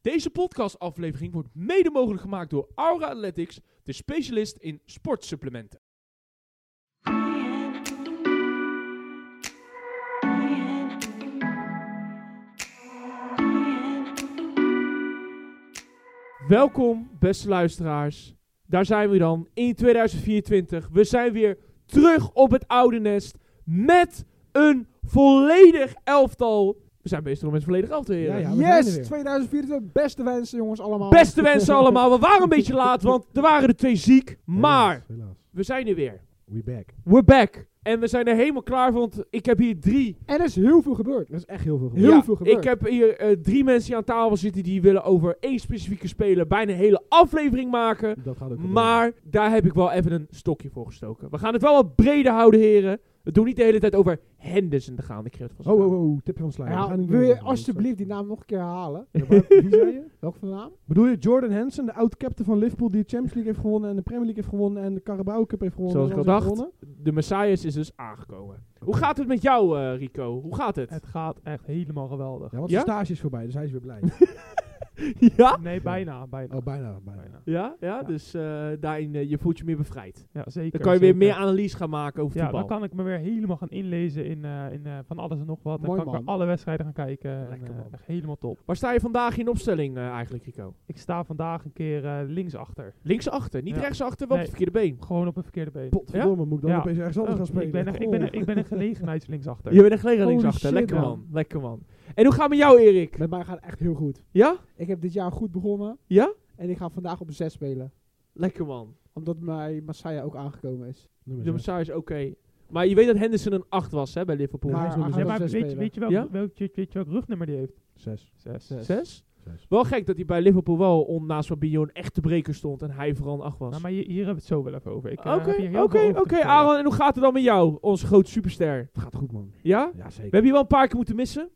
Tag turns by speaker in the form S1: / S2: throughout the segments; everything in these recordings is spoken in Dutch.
S1: Deze podcastaflevering wordt mede mogelijk gemaakt door Aura Athletics, de specialist in sportsupplementen. Welkom, beste luisteraars. Daar zijn we dan in 2024. We zijn weer terug op het oude nest met een volledig elftal. We zijn bezig met een volledig elftal, heren.
S2: Ja, ja, we zijn er
S3: Yes,
S2: weer.
S3: 2024. Beste wensen, jongens, allemaal.
S1: Beste wensen allemaal. We waren een beetje laat, want er waren er twee ziek. Maar
S2: Helaas, helaas.
S1: we zijn er weer.
S2: We back.
S1: We're back. En we zijn er helemaal klaar voor, want ik heb hier drie.
S3: En er is heel veel gebeurd.
S2: Er is echt heel veel gebeurd.
S3: Heel
S1: Ja,
S3: veel gebeurd.
S1: Ik heb hier eh, drie mensen die aan tafel zitten die willen over één specifieke speler bijna een hele aflevering maken.
S2: Dat gaat ook gebeuren.
S1: Maar daar heb ik wel even een stokje voor gestoken. We gaan het wel wat breder houden, heren. We doen niet de hele tijd over Henderson te gaan. Ik geef het van
S2: Oh, oh, oh, tipje van slagen.
S3: Ja, wil je alsjeblieft die naam nog een keer herhalen?
S2: Wie zei je?
S3: Welke naam?
S2: Bedoel je Jordan Henson, de oud-captain van Liverpool, die de Champions League heeft gewonnen en de Premier League heeft gewonnen en de Carabao Cup heeft gewonnen.
S1: Zoals ik
S2: en
S1: al
S2: alles heeft
S1: dacht. De Messias is dus aangekomen. Hoe gaat het met jou, eh, Rico? Hoe gaat het?
S4: Het gaat echt helemaal geweldig.
S2: Ja, want
S1: Ja?
S2: zijn stage is voorbij, dus hij is weer blij.
S1: Ja?
S4: Nee, bijna, bijna.
S2: oh, bijna, bijna.
S4: Bijna.
S1: Ja, ja,
S4: Ja.
S1: dus eh, daarin eh, je voelt je meer bevrijd.
S4: Ja, zeker.
S1: Dan kan je weer
S4: zeker.
S1: meer analyse gaan maken over
S4: Ja,
S1: voetbal.
S4: dan kan ik me weer helemaal gaan inlezen in, eh, in eh, van alles en nog wat. Dan
S3: Mooi,
S4: kan ik
S3: man.
S4: weer alle wedstrijden gaan kijken.
S1: Lekker,
S4: en, eh,
S1: man.
S4: echt helemaal top.
S1: Waar sta je vandaag in opstelling eh, eigenlijk, Rico?
S4: Ik sta vandaag een keer eh, linksachter.
S1: Linksachter, niet
S4: Ja.
S1: rechtsachter, wel op het verkeerde been.
S4: Gewoon op een verkeerde been.
S2: Potverdomme, moet ik dan
S4: Ja.
S2: opeens ergens anders
S4: Oh,
S2: gaan spelen?
S4: ik, ben een, ik, ben een,
S2: Goh.
S4: ik ben een gelegenheidslinksachter.
S1: Je bent een gelegen
S2: Holy
S1: linksachter,
S2: shit,
S1: lekker
S4: ja.
S1: man, Nou, lekker man. En hoe gaat het met jou, Erik?
S3: Met mij gaat het echt heel goed.
S1: Ja?
S3: Ik heb dit jaar goed begonnen.
S1: Ja?
S3: En ik ga vandaag op 6 spelen.
S1: Lekker man.
S3: Omdat mijn Masaya ook aangekomen is.
S2: Nummer
S1: De
S2: zes.
S1: Messiah is oké. Maar je weet dat Henderson een 8 was, hè, bij Liverpool.
S3: Maar hij
S4: Ja,
S3: gaat op
S4: maar
S3: 6
S4: weet, je-
S3: spelen.
S4: weet, je wel,
S1: Ja?
S4: welk, weet, je- weet je welk rugnummer die heeft?
S2: Zes.
S4: Zes.
S3: Zes.
S1: 6?
S2: Zes.
S1: Wel gek dat hij bij Liverpool wel on, naast Fabinho een echte breker stond en hij vooral een 8 was.
S4: Nou, maar hier, hier hebben we het zo wel even over. Ik, eh, heb hier
S1: Oké,
S4: heel veel
S1: oké,
S4: over te
S1: oké,
S4: vertellen.
S1: Aaron. En hoe gaat het dan met jou, onze grote superster?
S2: Het gaat goed, man.
S1: Ja?
S2: Ja,
S1: We
S2: zeker.
S1: hebben je wel een paar keer moeten missen.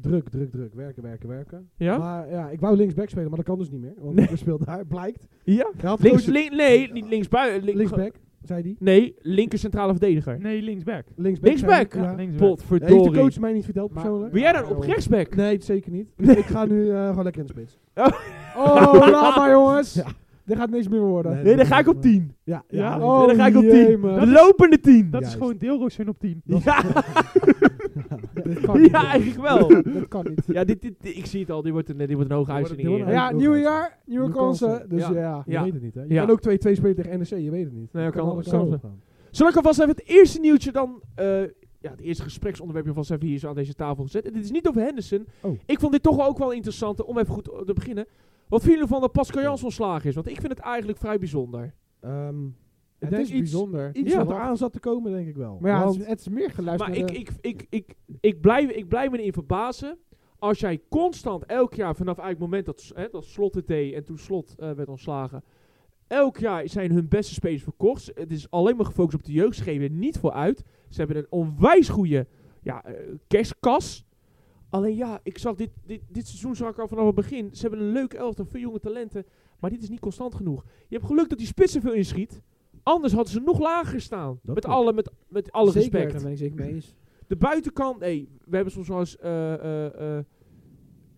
S2: Druk, druk, druk. Werken, werken, werken.
S1: Ja?
S2: Maar ja, ik wou linksback spelen, maar dat kan dus niet meer. Want
S1: Nee.
S2: we speelt daar, blijkt.
S1: Ja?
S2: Hij had
S1: Links,
S2: coach-
S1: link, nee, niet linksbuiten. Link,
S2: linksback, zei hij.
S1: Nee, linker centrale verdediger.
S4: Nee, linksback.
S2: Linksback.
S1: Linksback?
S2: zei hij.
S4: Ja,
S2: Ja.
S4: linksback.
S2: Heeft de
S1: Potverdorie.
S2: coach mij niet verteld
S3: Maar-
S2: persoonlijk?
S1: Wil jij dan op rechtsback?
S2: Nee, het zeker niet. Ik ga nu eh, gewoon lekker in de spits.
S3: Oh, laat maar jongens.
S2: Ja.
S3: Dit gaat niks meer worden.
S2: Nee.
S1: Nee, dan ga ik op 10.
S2: Ja,
S4: Ja?
S2: nee,
S3: Oh,
S1: dan ga ik op
S3: jee,
S1: 10.
S3: man.
S1: De lopende 10.
S4: Dat
S2: Juist.
S4: is gewoon deelroosje op 10.
S1: Ja,
S3: Dit kan niet.
S1: ja, eigenlijk wel.
S3: Dat kan niet.
S1: Ja, dit, dit, ik zie het al. Dit wordt een, dit wordt een hoge
S2: Dit wordt-
S1: uitzending.
S2: dit wordt
S1: heren.
S2: een-
S3: Ja, nieuw jaar, nieuwe
S2: Nieuwe kansen.
S3: kansen. Dus
S1: Ja.
S3: ja.
S2: Je
S1: Ja.
S2: weet het niet, hè? Je
S1: Ja.
S2: kan ook 2-2 spelen tegen NEC, je weet het niet.
S1: Nee,
S2: Je
S1: kan alle
S2: alle
S1: kanten
S2: kanten
S1: op
S2: gaan.
S1: Zal ik alvast even het eerste nieuwtje dan... eh, ja, het eerste gespreksonderwerp alvast even hier zo aan deze tafel gezet. En dit is niet over Henderson.
S2: Oh.
S1: Ik vond dit toch wel ook wel interessant om even goed te beginnen. Wat vinden jullie van dat Pascal Jans ontslagen is? Want ik vind het eigenlijk vrij bijzonder.
S2: Ehm, ik
S3: Het
S2: denk
S3: is
S2: iets,
S3: bijzonder.
S2: iets
S1: Ja.
S2: wat eraan zat te komen, denk ik wel.
S3: Maar ja, het
S2: Want-
S3: is, het is meer geluisterd
S1: Maar
S3: naar
S1: ik,
S3: de-
S1: ik, ik, ik, ik, blijf, ik blijf me erin verbazen. Als jij constant elk jaar, vanaf eigenlijk het moment dat, hè, dat Slot het deed en toen Slot eh, werd ontslagen. Elk jaar zijn hun beste spelers verkocht. Het is alleen maar gefocust op de jeugd. Ze geven er niet voor uit. Ze hebben een onwijs goede ja, eh, kerstkas. Alleen ja, ik zag dit, dit, dit seizoen zag ik al vanaf het begin. Ze hebben een leuk elftal, veel jonge talenten. Maar dit is niet constant genoeg. Je hebt geluk dat die spitsen veel inschiet. Anders hadden ze nog lager staan.
S2: Dat
S1: Met
S2: klopt.
S1: alle, met, met alle
S3: Zeker,
S1: respect.
S3: Daar ben ik zeker mee eens.
S1: De buitenkant, nee, we hebben soms wel eens eh, eh, eh,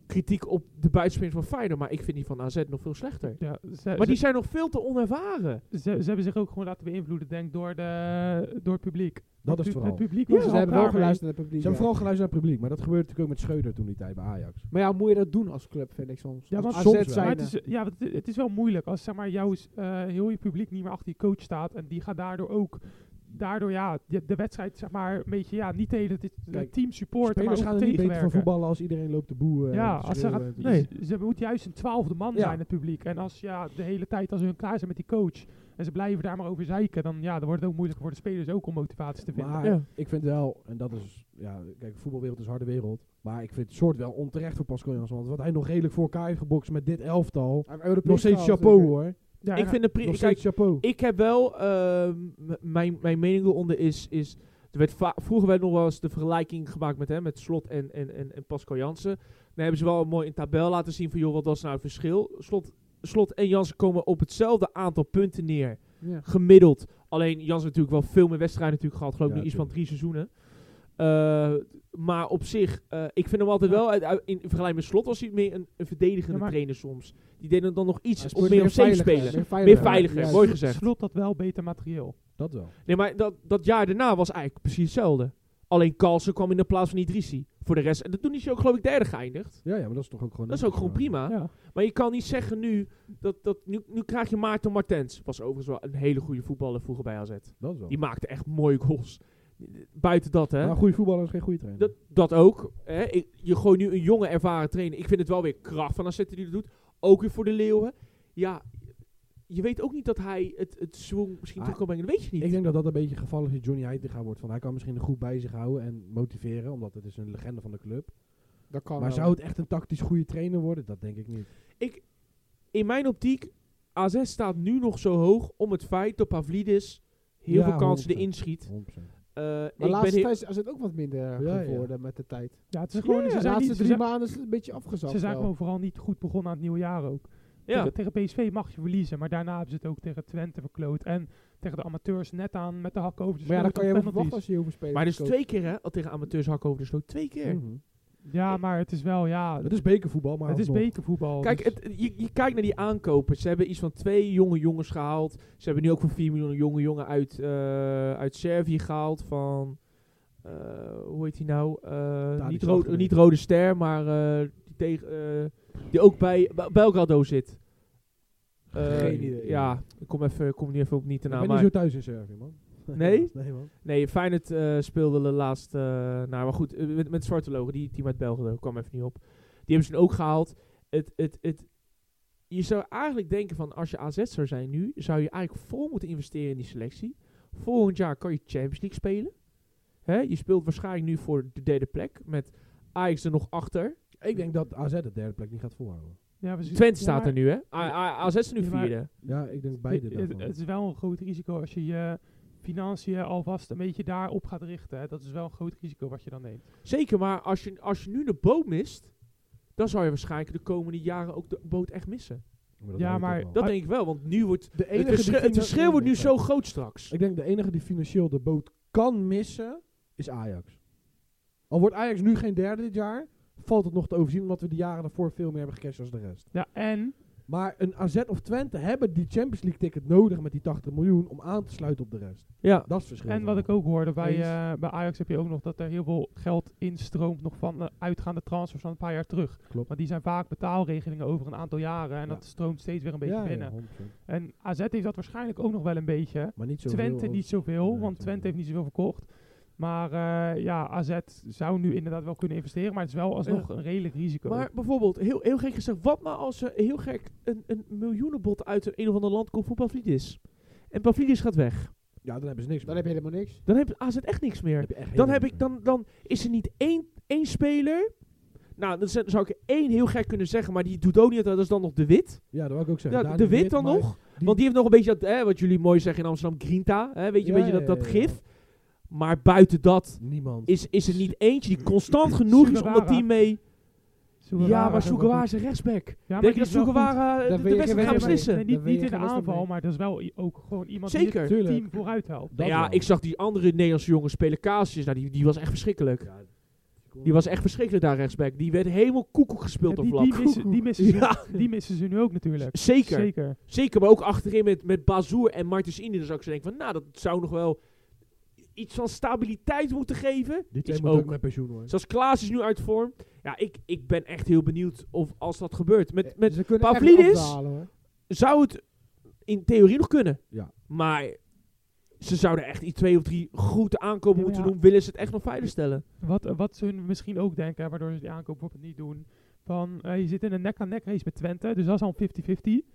S1: kritiek op de buitenspelers van Feyenoord, maar ik vind die van AZ nog veel slechter.
S4: Ja, ze-
S1: Maar
S4: ze-
S1: die zijn nog veel te onervaren.
S4: ze, ze hebben zich ook gewoon laten beïnvloeden, denk ik, door, de, door het publiek.
S2: dat
S4: het,
S2: is
S4: pu-
S2: vooral.
S4: Het publiek
S2: Ja,
S4: was
S3: Ze
S4: er al
S3: hebben wel
S4: klaar mee.
S3: geluisterd naar het
S2: Ze
S3: publiek.
S2: hebben
S3: ja.
S2: vooral geluisterd naar het publiek, maar dat gebeurde natuurlijk ook met Schreuder toen die tijd bij Ajax.
S3: Maar ja, moet je dat doen als club, vind ik soms.
S4: Ja,
S3: Als
S4: want
S2: soms
S3: AZ
S2: wel.
S3: zijn
S4: Maar het is, ja, want het, het is wel moeilijk als zeg maar, jouw s- eh, heel je publiek niet meer achter je coach staat. En die gaat daardoor ook. Daardoor ja, je- de wedstrijd zeg maar een beetje ja, niet tegen het,
S2: Kijk,
S4: het team supporten, maar
S2: Spelers
S4: ook
S2: gaan er niet beter van
S4: tegenwerken.
S2: voetballen als iedereen loopt te
S3: eh,
S2: boeien.
S4: Ja,
S2: en te
S4: als ze
S2: schreeuwen
S4: gaan-
S2: en te-
S1: Nee.
S4: Ze moeten juist een twaalfde man
S2: Ja.
S4: zijn, het publiek. En als ja, de hele tijd, als hun klaar zijn met die coach en ze blijven daar maar over zeiken, dan, ja, dan wordt het ook moeilijk voor de spelers ook om motivatie te vinden.
S2: Maar
S1: Ja.
S2: ik vind wel, en dat is, ja, kijk, voetbalwereld is een harde wereld. Maar ik vind het soort wel onterecht voor Pascal Jansen. Want wat hij nog redelijk voor elkaar heeft gebokst met dit elftal.
S3: Hij heeft Europees
S2: Nog steeds
S3: gehaald,
S2: chapeau
S3: zeker.
S2: hoor.
S4: Ja,
S1: ik
S4: en-
S1: vind de pri-
S2: Nog
S1: kijk,
S2: steeds chapeau.
S1: ik heb wel, ehm, m- mijn, mijn mening eronder is, is er werd va- vroeger werd nog wel eens de vergelijking gemaakt met, hè, met Slot en, en, en, en Pascal Jansen. Dan hebben ze wel een mooi een tabel laten zien van, joh, wat was nou het verschil? Slot, Slot en Jansen komen op hetzelfde aantal punten neer.
S3: Ja.
S1: gemiddeld. Alleen Jans heeft natuurlijk wel veel meer wedstrijden natuurlijk gehad. Geloof ik
S2: Ja,
S1: nu iets van drie seizoenen. Eh, maar op zich, eh, ik vind hem altijd wel, uit, uit- in vergelijking met Slot was hij meer een, een verdedigende
S4: Ja, maar-
S1: trainer soms. Die deden dan nog iets
S2: Hij
S1: op meer op safe spelen. Meer veiliger,
S3: Ja,
S1: mooi
S4: Slot-
S1: gezegd.
S4: Slot dat wel beter materieel.
S2: Dat wel.
S1: Nee, maar dat, dat jaar daarna was eigenlijk precies hetzelfde. Alleen Carlsen kwam in de plaats van Idrissi. Voor de rest, en toen is hij ook geloof ik derde geëindigd.
S2: Ja, ja, maar dat is toch ook gewoon...
S1: Dat is ook gewoon prima.
S4: Ja.
S1: Maar je kan niet zeggen nu, dat, dat nu, nu krijg je Maarten Martens. Was overigens wel een hele goede voetballer vroeger bij AZ.
S2: Dat is wel.
S1: Die maakte echt mooie goals. Buiten dat, hè.
S2: Maar een goede voetballer is geen goede trainer.
S1: Dat, dat ook. Hè? Ik- Je gooit nu een jonge ervaren trainer. Ik vind het wel weer kracht van AZ die dat doet. Ook weer voor de Leeuwen. Ja, je weet ook niet dat hij het, het zwoeng misschien
S2: Ah,
S1: terug kan brengen. Dat weet je niet.
S2: Ik denk dat dat een beetje het geval is met Johnny Heitinga wordt. Van hij kan misschien de groep bij zich houden en motiveren, omdat het is een legende van de club.
S3: Dat kan
S2: Maar
S3: wel.
S2: zou het echt een tactisch goede trainer worden? Dat denk ik niet.
S1: In mijn optiek, AZ staat nu nog zo hoog om het feit dat Pavlidis heel
S2: Ja,
S1: veel kansen
S2: 100%.
S1: erin schiet.
S2: 100%.
S1: Eh,
S3: Maar
S1: ik ben
S3: laatste
S1: heel-
S3: tijd is het ook wat minder eh,
S2: Ja, ja.
S3: geworden met de tijd.
S4: ja, het is gewoon...
S1: Ja,
S4: ze
S3: de
S4: zijn,
S3: laatste
S4: niet, ze
S3: drie
S4: zijn-
S3: maanden is het een beetje afgezakt.
S4: ze zijn
S3: wel.
S4: gewoon vooral niet goed begonnen aan het nieuwe jaar ook.
S1: ja.
S4: Tegen, tegen PSV mag je verliezen, maar daarna hebben ze het ook tegen Twente verkloot. En tegen de amateurs net aan met de hak over de
S3: Maar ja, dan
S4: sloot
S3: kan
S4: en
S3: je
S4: penalties.
S3: wel verwachten als je heel veel spelers
S1: Maar dus
S3: verkoopt.
S1: twee keer, hè? Al tegen amateurs hakken over de sloot. Twee keer.
S2: Mhm.
S4: Ja, maar het is wel, ja...
S2: Het is bekervoetbal, maar
S4: Het is
S2: alsnog.
S4: bekervoetbal.
S1: Kijk,
S4: dus-
S1: het, je, je kijkt naar die aankopen. Ze hebben iets van twee jonge jongens gehaald. Ze hebben nu ook voor 4 miljoen een jonge jongen uit, eh, uit Servië gehaald. Van, eh, hoe heet hij nou? Eh, niet, rood,
S2: Zagreb.
S1: niet Rode Ster, maar eh, die, tegen, eh, die ook bij bij Belgrado zit. Eh,
S2: Geen idee.
S1: Ja, ik kom, even, kom nu even op niet de
S2: Ik
S1: naam.
S2: ben
S1: maar-
S2: niet zo thuis in Servië, man.
S1: Nee?
S2: nee, man.
S1: Nee, Feyenoord eh, speelde de laatste... nou, maar goed, eh, met, met Zwarte Logen, die team uit België, kwam even niet op. Die hebben ze toen ook gehaald. Het, het, het, je zou eigenlijk denken van, als je AZ zou zijn nu, zou je eigenlijk vol moeten investeren in die selectie. Volgend jaar kan je Champions League spelen. Hè? Je speelt waarschijnlijk nu voor de derde plek, met Ajax er nog achter.
S2: Ik denk dat AZ de derde plek niet gaat volhouden.
S4: ja, we zien-
S1: Twente
S4: ja,
S1: staat
S4: maar
S1: er nu, hè? A- A- AZ is er nu
S4: Ja, maar-
S1: vierde.
S2: Ja, ik denk beide
S4: het- het,
S2: daarvan.
S4: het is wel een groot risico als je je financiën alvast een beetje daarop gaat richten. hè. Dat is wel een groot risico wat je dan neemt.
S1: Zeker, maar als je, als je nu de boot mist, dan zou je waarschijnlijk de komende jaren ook de boot echt missen.
S2: Maar dat
S4: Ja,
S2: weet ik
S4: maar
S2: ook wel.
S1: Dat denk ik wel, want nu wordt
S2: de
S1: het,
S2: enige
S1: verschil,
S2: die
S1: het verschil wordt nu zo
S2: financieel-
S1: groot straks.
S2: Ik denk de enige die financieel de boot kan missen, is Ajax. Al wordt Ajax nu geen derde dit jaar, valt het nog te overzien omdat we de jaren daarvoor veel meer hebben gecashed als de rest.
S4: Ja, en
S2: Maar een AZ of Twente hebben die Champions League ticket nodig met die 80 miljoen om aan te sluiten op de rest.
S1: Ja.
S2: Dat is het verschil.
S4: En wat ik ook hoorde, bij,
S2: Eens.
S4: eh, bij Ajax heb je ook nog dat er heel veel geld instroomt nog van de uitgaande transfers van een paar jaar terug.
S2: Klopt.
S4: Want die zijn vaak betaalregelingen over een aantal jaren en
S2: Ja.
S4: dat stroomt steeds weer een beetje
S2: ja,
S4: binnen.
S2: Ja, 100%.
S4: En AZ heeft dat waarschijnlijk ook nog wel een beetje.
S2: maar niet zo
S4: Twente niet zoveel, want
S2: Nee, Twente
S4: Twente
S2: niet.
S4: heeft niet zoveel verkocht. Maar eh, ja, AZ zou nu inderdaad wel kunnen investeren, maar het is wel alsnog een redelijk risico.
S1: Maar bijvoorbeeld, heel, heel gek gezegd, wat nou als er heel gek een, een miljoenenbod uit een, een of ander land komt voor Pavlidis? En Pavlidis gaat weg.
S2: Ja, dan hebben ze niks.
S3: Dan heb je helemaal niks.
S1: Dan heeft AZ echt niks meer.
S2: je echt
S1: Dan,
S2: heel
S1: heb
S2: niks
S1: ik,
S2: meer.
S1: dan, dan is er niet één, één speler. Nou, dan zou zou ik er één heel gek kunnen zeggen, maar die doet ook niet, dat is dan nog de Wit.
S2: Ja, dat wil ik ook zeggen.
S1: Ja, de
S2: Daniel
S1: Wit dan
S2: maar-
S1: nog.
S2: die-
S1: Want die heeft nog een beetje dat, hè, wat jullie mooi zeggen in Amsterdam, Grinta. Hè, weet je,
S2: Ja,
S1: weet je
S2: ja,
S1: dat, dat
S2: ja, ja.
S1: gif. Maar buiten dat
S2: Niemand.
S1: is, is er niet eentje die constant genoeg is om dat
S4: Sugawara.
S1: team mee...
S4: Sugawara
S1: Ja, maar
S4: kan wel
S1: Sugawara
S4: goed.
S1: is een rechtsback.
S4: Ja, maar
S1: Denk je
S4: die
S1: dat
S4: is wel goed.
S1: Sugawara
S3: Daar
S1: de,
S3: weet
S1: de
S3: je
S1: wedstrijd
S3: geen
S1: gaat
S3: weet-
S1: beslissen?
S4: Nee,
S3: Daar
S4: niet,
S3: wil je
S4: niet in de
S3: geen wedstrijd
S4: aanval,
S3: mee.
S4: maar dat is wel i- ook gewoon iemand die het
S1: Zeker.
S2: Tuurlijk.
S4: team vooruit helpt.
S2: Dat
S1: Nou ja,
S2: wel.
S1: ik zag die andere Nederlandse jongen spelen Casius. Nou, die, die was echt verschrikkelijk.
S2: Ja,
S1: Die was echt verschrikkelijk daar rechtsback. Die werd helemaal koekoek gespeeld
S4: Ja,
S1: op
S4: die,
S1: vlak.
S4: die, missen, die, missen ze,
S1: Ja.
S4: die missen ze nu ook natuurlijk.
S1: Zeker. Zeker.
S4: Zeker.
S1: maar ook achterin met, met Bazoer en Martens Inde. Dan zou ik zo denken van, nou, dat zou nog wel iets van stabiliteit moeten geven. Is
S2: Die twee moeten ook
S1: ook.
S2: met pensioen hoor.
S1: Zoals Klaas is nu uit vorm. Ja, ik, ik ben echt heel benieuwd of als dat gebeurt. Met, met,
S3: Eh, Ze kunnen echt
S1: Pavlidis?
S3: wat afhalen, hoor.
S1: zou het in theorie nog kunnen.
S2: Ja.
S1: Maar ze zouden echt iets twee of drie goede aankopen
S4: Ja, maar
S1: moeten
S4: ja.
S1: doen. Willen ze het echt nog veilig stellen?
S4: Wat, eh, wat ze hun misschien ook denken, hè, waardoor ze die aankoop bijvoorbeeld niet doen. Van, eh, je zit in een nek-aan-nek race met Twente, dus dat is al een 50-50.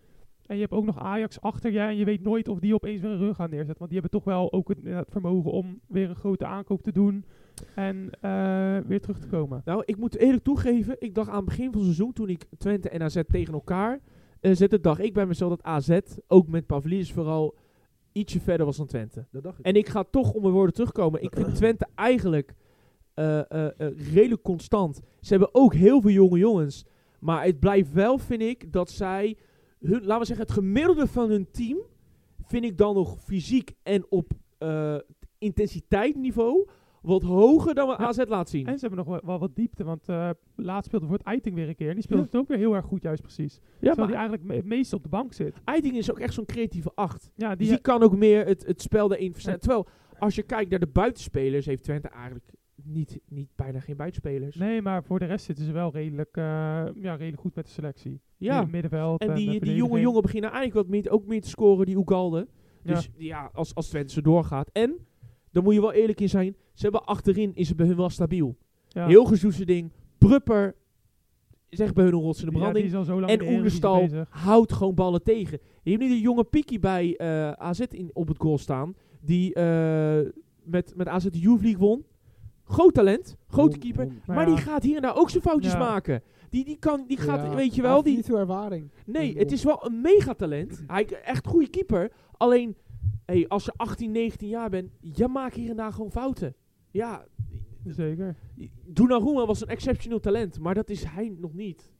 S4: En je hebt ook nog Ajax achter je en je weet nooit of die opeens weer een rug gaan neerzetten. Want die hebben toch wel ook het, eh, het vermogen om weer een grote aankoop te doen en eh, weer terug te komen.
S1: Nou, ik moet eerlijk toegeven. Ik dacht aan het begin van het seizoen, toen ik Twente en AZ tegen elkaar eh zette, dacht ik bij mezelf dat AZ, ook met Pavlidis vooral, ietsje verder was dan Twente.
S2: Dat dacht ik.
S1: En ik ga toch om mijn woorden terugkomen. Ik vind Twente eigenlijk eh, eh, eh, redelijk constant. Ze hebben ook heel veel jonge jongens. Maar het blijft wel, vind ik, dat zij... Hun, laten we zeggen, het gemiddelde van hun team... vind ik dan nog fysiek en op eh, intensiteitsniveau... wat hoger dan wat
S4: Ja.
S1: AZ laat zien.
S4: En ze hebben nog wel, wel wat diepte, want eh, laatst speelde voor het Eiting weer een keer. En die speelde
S1: Ja.
S4: het ook weer heel erg goed, juist precies.
S1: ja,
S4: Terwijl
S1: maar
S4: die eigenlijk me- het meest op de bank zit.
S1: Eiting is ook echt zo'n creatieve acht.
S4: Ja,
S1: Die,
S4: die, eh,
S1: die kan ook meer het, het spel daarin versnellen. Terwijl, als je kijkt naar de buitenspelers, heeft Twente eigenlijk niet, niet bijna geen buitenspelers.
S4: eh, nee, maar voor de rest zitten ze wel redelijk, eh, ja, redelijk goed met de selectie.
S1: Ja,
S4: Midden- Middenveld.
S1: en die, die jonge
S4: verdediging.
S1: jongen beginnen eigenlijk wat meer, ook meer te scoren, die Ugalde.
S4: Ja.
S1: Dus ja, als, als Twente ze doorgaat. En, daar moet je wel eerlijk in zijn, ze hebben achterin, is het bij hun wel stabiel.
S4: ja.
S1: Heel gezoetse ding, Prupper is echt bij hun een rots in de
S4: Ja, die
S1: branding.
S4: is al zo lang
S1: en
S4: in de Eredivisie
S1: Oenerstal
S4: bezig.
S1: houdt gewoon ballen tegen. Je hebt niet een jonge Piki bij eh, AZ in, op het goal staan. Die eh, met, met AZ de Youth League won. Groot talent, grote keeper. Maar,
S4: ja,
S1: die gaat hier en daar ook zijn foutjes
S4: Ja.
S1: maken. Die, die kan, die gaat,
S3: Ja,
S1: weet je
S3: hij
S1: wel.
S3: heeft
S1: Die,
S3: Niet veel ervaring.
S1: nee, het is wel een megatalent. Hij is echt goede keeper. Alleen, hey, als je 18, 19 jaar bent, je maakt hier en daar gewoon fouten. Ja,
S4: Zeker.
S1: Donnarumma was een exceptioneel talent, maar dat is hij nog niet.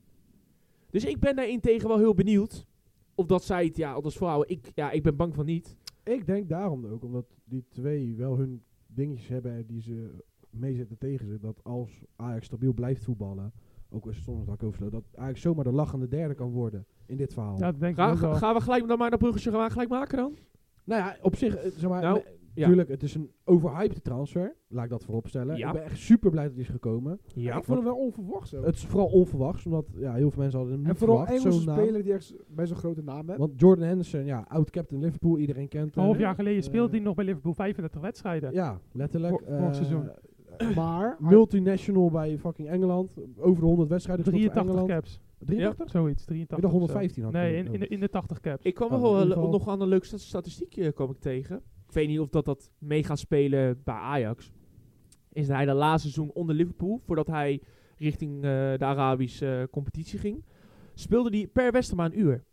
S1: Dus ik ben daarentegen wel heel benieuwd. Of dat zij het, ja, als vrouwen, ik, ja, ik ben bang van niet.
S2: Ik denk daarom ook, omdat die twee wel hun dingetjes hebben die ze meezetten tegen ze. Dat als Ajax stabiel blijft voetballen, ook als soms dat oversloot, dat Ajax zomaar de lachende derde kan worden in dit verhaal.
S4: Ja, dat denk ik
S1: Ga,
S4: ook wel.
S1: gaan we gelijk dan maar naar Bruggetje gaan we gelijk maken dan?
S2: Nou ja, op zich, eh, zeg maar,
S1: Nou,
S2: nee,
S1: ja.
S2: tuurlijk, het is een overhyped transfer. Laat ik dat voorop stellen.
S1: Ja.
S2: Ik ben echt super blij dat hij is gekomen.
S1: Ja.
S3: ik vond hem wel onverwacht zo.
S2: Het is vooral onverwachts, omdat ja, heel veel mensen hadden hem niet
S3: En vooral
S2: verwacht.
S3: Engelse
S2: zo'n naam.
S3: speler die echt bij zo'n grote naam hebben.
S2: Want Jordan Henderson, ja, oud-captain Liverpool, iedereen kent
S4: Een
S2: hem.
S4: half jaar geleden
S2: Eh,
S4: speelde hij nog bij Liverpool 35 wedstrijden.
S2: Ja, letterlijk.
S4: Vor- vorig
S2: eh,
S4: seizoen.
S3: Maar
S2: Multinational bij fucking Engeland. Over de 100 wedstrijden gespeeld
S4: 83
S2: voor Engeland.
S4: caps.
S2: 83?
S4: Zoiets, 83
S2: Ik dacht
S4: of zo.
S2: 115 had
S4: Nee,
S2: ik
S4: in, in, de, in de 80 caps.
S1: Ik kwam
S2: Nou,
S1: wel
S2: in
S1: wel
S2: ieder geval-
S1: nog aan een leuke stat- statistiekje eh, kwam ik tegen. Ik weet niet of dat, dat mee gaat spelen bij Ajax. Is dat hij de laatste seizoen onder Liverpool, voordat hij richting eh, de Arabische eh, competitie ging, speelde hij per wedstrijd maar een uur.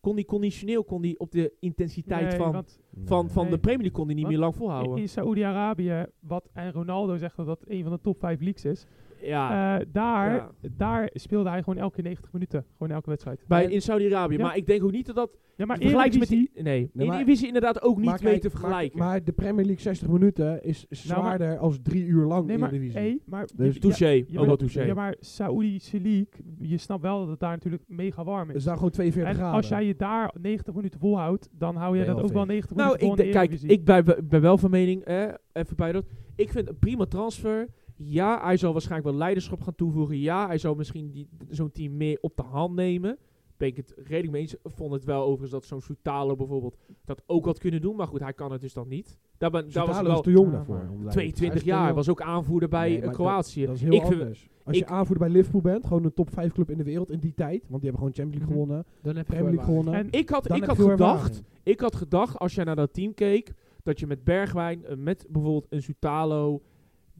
S1: Kon hij conditioneel, kon hij op de intensiteit
S4: Nee,
S1: van
S4: want
S1: van, van
S4: Nee.
S1: de Premier League kon hij niet
S4: Wat?
S1: meer lang
S4: in,
S1: volhouden.
S4: in Saoedi-Arabië, wat en Ronaldo zegt dat dat een van de top 5 leagues is.
S1: ja,
S4: eh, daar,
S1: Ja.
S4: daar speelde hij gewoon elke keer 90 minuten. Gewoon elke wedstrijd.
S1: bij,
S4: En-
S1: in Saudi-Arabië.
S4: eh, ja.
S1: Maar ik denk ook niet dat dat
S4: ja, maar
S1: vergelijkt met
S4: Eredivisie-
S1: die... Nee,
S2: maar-
S1: in de Eredivisie inderdaad ook niet mee
S2: kijk,
S1: te vergelijken.
S2: Maar, maar de Premier League 60 minuten is zwaarder als drie uur lang
S4: Nou, Nee,
S2: in
S4: maar,
S2: de divisie.
S4: hey, maar
S2: Dus
S4: ja,
S1: touché,
S4: ja,
S1: ook wel
S4: maar-
S1: touché.
S4: Ja, maar Saoedische League, je snapt wel dat het daar natuurlijk mega warm
S2: is
S4: is.
S2: daar gewoon 42
S4: En
S2: graden.
S4: als jij je daar 90 minuten volhoudt, dan hou je
S2: Ben je
S4: dat
S2: al
S4: ook wel
S2: fit.
S4: 90
S1: nou,
S4: minuten vol
S1: ik
S4: in de
S1: denk- kijk,
S4: Eredivisie.
S1: ik ben, ben wel van mening, eh, even bij dat. Ik vind een prima transfer. Ja, hij zal waarschijnlijk wel leiderschap gaan toevoegen. Ja, hij zal misschien die- zo'n team meer op de hand nemen. Ben ik het redelijk mee eens. Vond het wel overigens dat zo'n Soutalo bijvoorbeeld dat ook had kunnen doen. Maar goed, hij kan het dus dan niet. Daar, ben, daar was ik
S2: Zitalo
S1: wel
S2: is te jong
S4: Ja,
S2: daarvoor.
S4: maar-
S2: om daar-
S1: 22
S2: Hij is te
S1: jaar,
S2: jong.
S1: was ook aanvoerder bij
S2: Nee,
S1: eh,
S2: maar dat-
S1: Kroatië.
S2: Dat is heel
S1: ik vind-
S2: anders. als
S1: ik-
S2: je aanvoerder bij Liverpool bent, gewoon een top 5 club in de wereld in die tijd. Want die hebben gewoon Champions League
S4: Mhm.
S2: gewonnen,
S3: dan heb
S2: Premier League gewonnen.
S4: En
S1: Ik had,
S2: Dan
S1: ik
S2: heb
S1: had
S2: je veel
S1: gedacht,
S2: ervaring.
S1: ik had gedacht, als jij naar dat team keek, dat je met Bergwijn, eh, met bijvoorbeeld een Zutalo,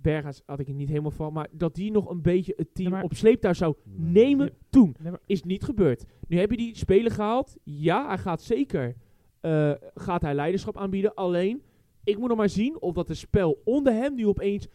S1: Berghuis had ik het niet helemaal van, maar dat die nog een beetje het team
S4: Ja, maar-
S1: op sleeptouw zou
S2: Nee.
S1: nemen
S4: Ja.
S1: toen.
S4: Nee, maar-
S1: Is niet gebeurd. Nu heb je die speler gehaald. Ja, hij gaat zeker, eh, gaat hij leiderschap aanbieden. Alleen, ik moet nog maar zien of dat het spel onder hem nu opeens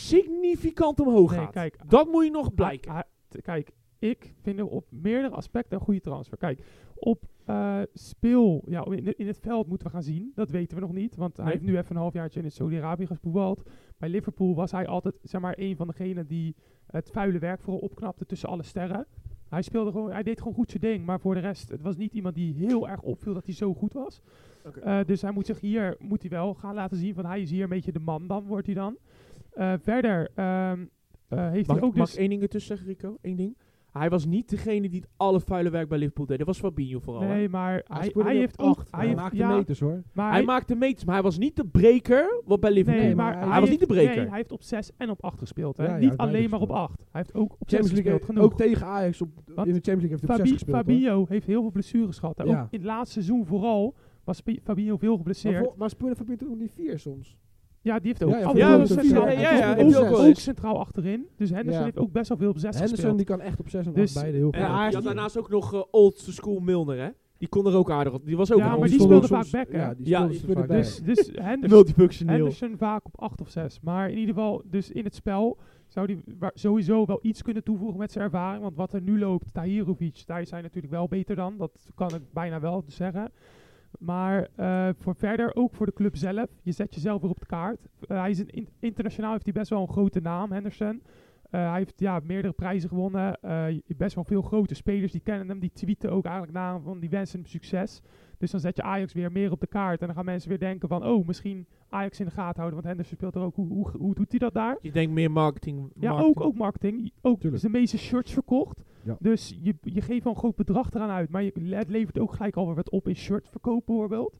S1: significant omhoog
S4: Nee,
S1: gaat.
S4: kijk,
S1: dat moet je nog blijken.
S4: Ah, ah, t- kijk, ik vind hem op meerdere aspecten een goede transfer. Kijk, op eh, speel, ja, in, in het veld moeten we gaan zien. Dat weten we nog niet, want hij
S1: Nee.
S4: heeft nu even een halfjaartje in het Saudi-Arabië gespoeld. Bij Liverpool was hij altijd, zeg maar, een van degenen die het vuile werk vooral opknapte tussen alle sterren. Hij speelde gewoon, hij deed gewoon goed zijn ding, maar voor de rest, het was niet iemand die heel erg opviel dat hij zo goed was.
S1: Oké.
S4: Eh, dus hij moet zich hier, moet hij wel gaan laten zien van hij is hier een beetje de man dan, wordt hij dan. Eh, verder ehm, eh, heeft
S1: Mag,
S4: hij ook
S1: mag
S4: dus...
S1: ik één ding ertussen zeggen, Rico? Eén ding. Hij was niet degene die het alle vuile werk bij Liverpool deed. Dat was Fabinho vooral. hè?
S4: Nee, maar hij,
S3: scoorde
S4: hij
S3: weer
S4: heeft
S3: op
S4: ook...
S3: acht.
S4: Hij
S2: Hij
S4: heeft,
S2: maakt de
S4: ja,
S2: meters hoor.
S4: maar
S1: Hij maakte meters, maar hij was niet de breker wat bij Liverpool.
S4: Nee,
S2: Nee,
S4: maar
S2: maar
S4: hij,
S1: hij was
S4: heeft-
S1: niet de breker.
S4: Nee, hij heeft op 6 en op 8 gespeeld. Hè?
S2: Ja, ja, hij
S4: niet
S2: heeft beide
S4: alleen maar op
S2: gespeeld.
S4: 8. Hij heeft ook op 6
S2: Champions League
S4: gespeeld.
S2: heeft
S4: Genoeg.
S2: ook tegen Ajax op, in de
S4: Want
S2: Champions League heeft hij op
S4: Fabi-
S2: 6 gespeeld. hoor.
S4: Fabinho heeft heel veel blessures gehad. hè. Ook
S2: Ja.
S4: in het laatste seizoen vooral was Fabi- Fabinho veel
S3: Maar,
S4: geblesseerd.
S3: voor, maar speelde Fabinho toen ook niet vier soms?
S4: ja, die heeft ook.
S2: Ja, ja,
S4: af en
S2: Fabinho
S4: toe
S2: heeft
S4: op
S2: ook
S4: zes
S2: vier.
S4: gehad.
S2: Ja,
S4: Hij
S2: ja,
S4: heeft
S2: ja,
S4: ook,
S2: heeft ook
S4: ook
S1: wel eens.
S4: centraal achterin. Dus Henderson
S3: Ja.
S4: heeft ook best wel veel op 6
S2: Henderson
S4: gespeeld.
S2: die kan echt op 6 en 8
S4: Dus-
S2: beide heel
S1: En
S2: veel.
S3: Ja, hij
S1: je
S3: is
S1: had
S3: niet-
S1: daarnaast ook nog eh, old school Milner, hè? Die kon er ook aardig op. Die was ook
S4: Ja,
S1: een
S4: maar
S1: old
S4: die
S1: school-
S4: speelde
S2: soms-
S4: vaak back, hè?
S2: Ja, die
S1: Ja,
S2: speelde
S3: die speelde
S2: vaak
S3: back.
S2: back.
S4: Dus, dus Henderson,
S1: multifunctioneel.
S4: Henderson vaak op 8 of 6. Maar in ieder geval, dus in het spel zou hij wa- sowieso wel iets kunnen toevoegen met zijn ervaring. Want wat er nu loopt, Tahirovic, daar is hij natuurlijk wel beter dan. Dat kan ik bijna wel zeggen. Maar eh, voor verder, ook voor de club zelf. Je zet jezelf weer op de kaart. Eh, hij is een in- internationaal heeft hij best wel een grote naam, Henderson. Eh, hij heeft ja, meerdere prijzen gewonnen. Eh, je- best wel veel grote spelers die kennen hem. Die tweeten ook eigenlijk na hem van die wensen hem succes. Dus dan zet je Ajax weer meer op de kaart. En dan gaan mensen weer denken van... Oh, misschien Ajax in de gaten houden. Want Henderson speelt er ook. Hoe, hoe, hoe doet hij dat daar?
S1: Je denkt meer marketing.
S4: Ja,
S1: marketing.
S4: ook, ook marketing. Ook
S2: Tuurlijk.
S4: dus de meeste shirts verkocht.
S2: Ja.
S4: Dus je, je geeft wel een groot bedrag eraan uit. Maar je, het levert ook gelijk alweer wat op in shirtverkoop bijvoorbeeld.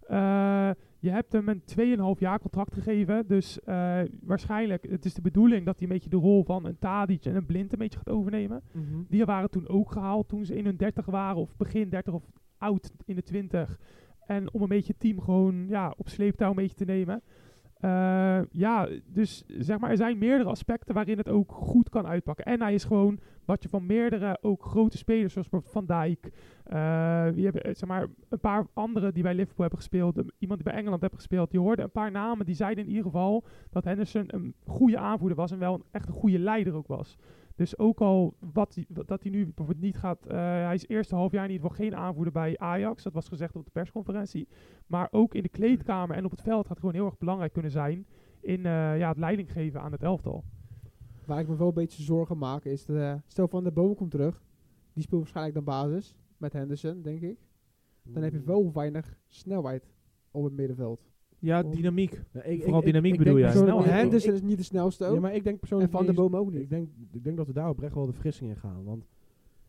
S4: Eh, je hebt hem een 2,5 jaar contract gegeven. Dus eh, waarschijnlijk, het is de bedoeling dat hij een beetje de rol van een Tadic en een Blind een beetje gaat overnemen.
S1: Mhm.
S4: Die waren toen ook gehaald toen ze in hun 30 waren, of begin 30 of oud in de 20. En om een beetje het team gewoon ja, op sleeptouw een beetje te nemen. Eh, ja, dus zeg maar, er zijn meerdere aspecten waarin het ook goed kan uitpakken. En hij is gewoon wat je van meerdere ook grote spelers, zoals bijvoorbeeld Van Dijk. eh, je hebt eh, zeg maar een paar anderen die bij Liverpool hebben gespeeld. eh, Iemand die bij Engeland hebben gespeeld. Je hoorde een paar namen die zeiden in ieder geval dat Henderson een goede aanvoerder was. En wel een, echt een goede leider ook was. Dus ook al wat hij- wat- dat hij nu bijvoorbeeld niet gaat. eh, hij is eerste half jaar in ieder geval geen aanvoerder bij Ajax. Dat was gezegd op de persconferentie. Maar ook in de kleedkamer en op het veld gaat hij gewoon heel erg belangrijk kunnen zijn. In eh, ja, het leiding geven aan het elftal.
S3: Waar ik me wel een beetje zorgen maak is, dat, eh, stel Van de Boom komt terug. Die speelt waarschijnlijk dan basis met Henderson, denk ik. Dus Dan heb je wel weinig snelheid op het middenveld.
S1: ja,
S3: Om-
S1: dynamiek.
S2: Ja, ik-
S1: Vooral
S2: ik-
S1: dynamiek
S2: ik denk
S1: bedoel jij?
S2: persoonlijk-
S1: Nou,
S3: Oh,
S2: ik-
S1: hè,
S2: ik-
S3: Henderson Dus is niet de snelste
S2: Ja,
S3: ook.
S2: maar ik denk
S3: en
S2: persoonlijk
S3: Van de
S2: niet eens-
S3: Boom ook niet.
S2: Ik denk, ik denk dat we daar oprecht wel de vergissing in gaan. Want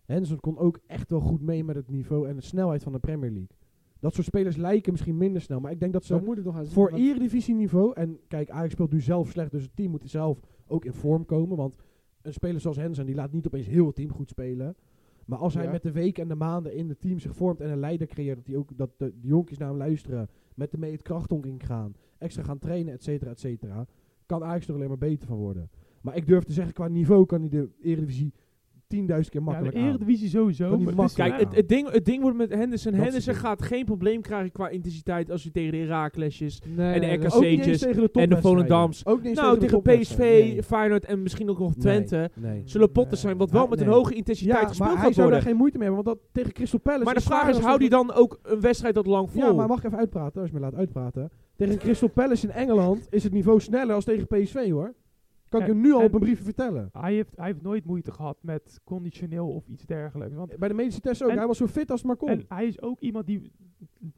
S2: Henderson kon ook echt wel goed mee met het niveau en de snelheid van de Premier League. Dat soort spelers lijken misschien minder snel. Maar ik denk dat
S3: Zo
S2: ze
S3: moet het nog gaan
S1: Dus
S3: zien.
S2: voor
S3: want-
S2: eredivisieniveau... En kijk, Ajax speelt nu zelf slecht. Dus het team moet zelf ook in vorm komen. Want een speler zoals Henderson die laat niet opeens heel het team goed spelen. Maar als hij
S3: Ja.
S2: met de weken en de maanden in het team zich vormt en een leider creëert... Dat, die ook, dat de, de jonkies naar hem luisteren, met hem mee het krachtonk in gaan... extra gaan trainen, et cetera, et cetera... kan Ajax er alleen maar beter van worden. Maar ik durf te zeggen, qua niveau kan hij de Eredivisie 10.000 keer
S4: Ja, de
S2: makkelijk aan.
S4: Eredivisie sowieso.
S2: Kan die
S4: maar het is-
S2: makkelijk-
S1: Kijk,
S2: Ja.
S1: het, het, ding, het ding wordt met Henderson.
S2: Dat is
S1: Henderson
S2: het
S1: gaat geen probleem krijgen qua intensiteit als hij tegen de Heraklesjes
S3: Nee,
S1: en de
S3: nee, dat-
S2: Ook niet
S1: RKC'tjes.
S2: eens tegen de
S1: en de
S2: topwedstrijden.
S1: Volendams.
S2: Ook niet eens
S1: Nou, tegen
S2: de
S1: PSV,
S2: topwedstrijden. Nee.
S1: Feyenoord en misschien ook nog Twente.
S2: Nee.
S1: Zullen potten zijn wat wel
S2: Ah,
S1: met een
S2: nee.
S1: hoge intensiteit
S2: Ja,
S1: gespeeld
S2: maar hij
S1: gaat
S2: zou daar
S1: worden.
S2: geen moeite mee hebben, want dat tegen Crystal Palace...
S1: Maar de
S2: zwaar
S1: vraag is,
S2: als
S1: houdt hij
S2: dat-
S1: dan ook een wedstrijd dat lang vol?
S2: Ja, maar mag ik even uitpraten, als je me laat uitpraten. Tegen Crystal Palace in Engeland is het niveau sneller als tegen PSV, hoor. Kan ik
S4: Ja,
S2: je nu al
S4: en-
S2: op een briefje vertellen.
S4: hij, heeft, hij heeft nooit moeite gehad met conditioneel of iets dergelijks. Want
S2: Bij de medische test ook.
S4: En-
S2: hij was zo fit als het maar kon.
S4: En hij is ook iemand die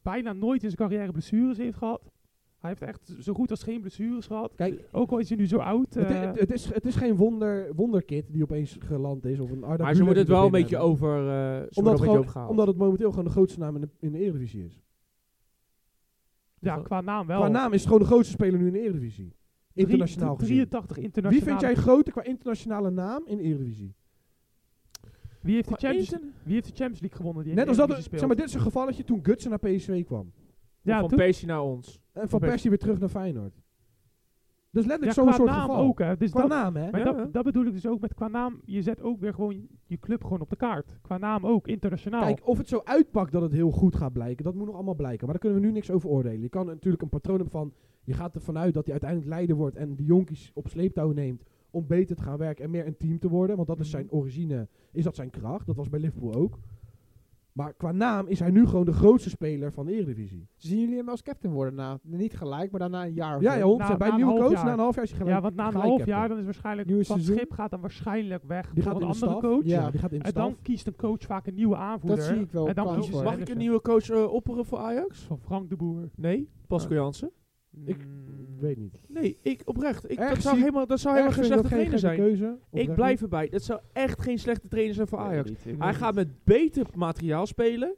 S4: bijna nooit in zijn carrière blessures heeft gehad. Hij heeft echt zo goed als geen blessures gehad.
S2: Kijk,
S4: Ook al is hij nu zo oud.
S2: het,
S4: eh,
S2: i- het is, het is geen wonder, wonderkid die opeens geland is. Of een Arda
S1: maar
S2: Güler
S1: ze worden het
S2: die
S1: wel een
S2: erin
S1: beetje
S2: hebben.
S1: over, eh ze
S2: Omdat,
S1: worden
S2: gewoon-
S1: een beetje
S2: omdat het momenteel gewoon de grootste naam in de, in de Eredivisie is.
S4: Ja, qua naam wel.
S2: Qua naam is het gewoon de grootste speler nu in de Eredivisie.
S4: Drie-
S2: Internationaal
S4: drie-
S2: gezien.
S4: 83
S2: Wie
S4: internationaal.
S2: vind jij groter qua internationale naam in de Eredivisie?
S4: Wie heeft, de
S1: Maar
S4: Champions,
S1: Inter-
S4: wie heeft de Champions League gewonnen? Die in
S2: Net
S4: de
S2: als dat,
S4: Eredivisie
S2: zeg maar,
S4: speelt?
S2: dit is een gevalletje toen Gutsen naar PSV kwam.
S4: ja,
S1: van
S4: toen-
S1: Persie naar ons.
S2: En
S1: Van
S2: Van
S1: Persie.
S2: Persie weer terug naar Feyenoord. Dus
S4: ja,
S2: letterlijk
S4: qua
S2: zo'n soort
S4: naam
S2: geval.
S4: ook. Hè. Dus
S2: Qua
S4: dat,
S2: naam, hè?
S4: maar
S1: Ja, ja.
S4: dat, dat bedoel ik dus ook met qua naam. Je zet ook weer gewoon je club gewoon op de kaart. Qua naam ook, internationaal.
S2: Kijk, of het zo uitpakt dat het heel goed gaat blijken, dat moet nog allemaal blijken. Maar daar kunnen we nu niks over oordelen. Je kan natuurlijk een patroon hebben van, je gaat ervan uit dat hij uiteindelijk leider wordt en die jonkies op sleeptouw neemt om beter te gaan werken en meer een team te worden. Want dat is
S4: Mhm.
S2: zijn origine, is dat zijn kracht. Dat was bij Liverpool ook. Maar qua naam is hij nu gewoon de grootste speler van de Eredivisie.
S3: Zien jullie hem als captain worden? Na, niet gelijk, maar daarna een jaar of
S2: Ja,
S3: zo.
S2: ja, honderd
S4: na-
S2: bij
S4: na
S2: een
S4: een
S2: nieuwe
S4: half
S2: coach,
S4: jaar.
S2: na een half jaar is hij gelijk
S4: ja, want na een
S2: gelijk
S4: half
S2: captain.
S4: jaar dan is waarschijnlijk...
S3: Nieuwe
S4: Van
S3: seizoen.
S4: Schip gaat dan waarschijnlijk weg voor
S2: Die gaat
S4: een
S2: in de
S4: andere
S2: staf.
S4: coach.
S2: Ja, die gaat in de
S4: En
S2: staf.
S4: dan kiest een coach vaak een nieuwe aanvoerder.
S3: Dat zie ik wel
S4: En dan
S3: kans
S4: kiest
S3: voor.
S4: ze
S1: Mag ik een nieuwe coach eh, opperen voor Ajax?
S4: Van Frank de Boer.
S1: Nee, Pascal Jansen.
S2: Ik
S4: Mm.
S2: weet niet.
S1: Nee, ik oprecht. Ik,
S2: Erg
S1: dat,
S2: zie
S1: zou
S2: ik-
S1: helemaal, dat zou helemaal geen
S2: Ergens vind
S1: slechte
S2: ik dat
S1: trainer
S2: geen
S1: zijn.
S2: gekke keuze,
S1: Ik
S2: oprecht
S1: blijf
S2: niet.
S1: erbij. Dat zou echt geen slechte trainer zijn voor Ajax.
S4: Ik weet
S1: Hij
S4: niet.
S1: gaat met beter materiaal spelen.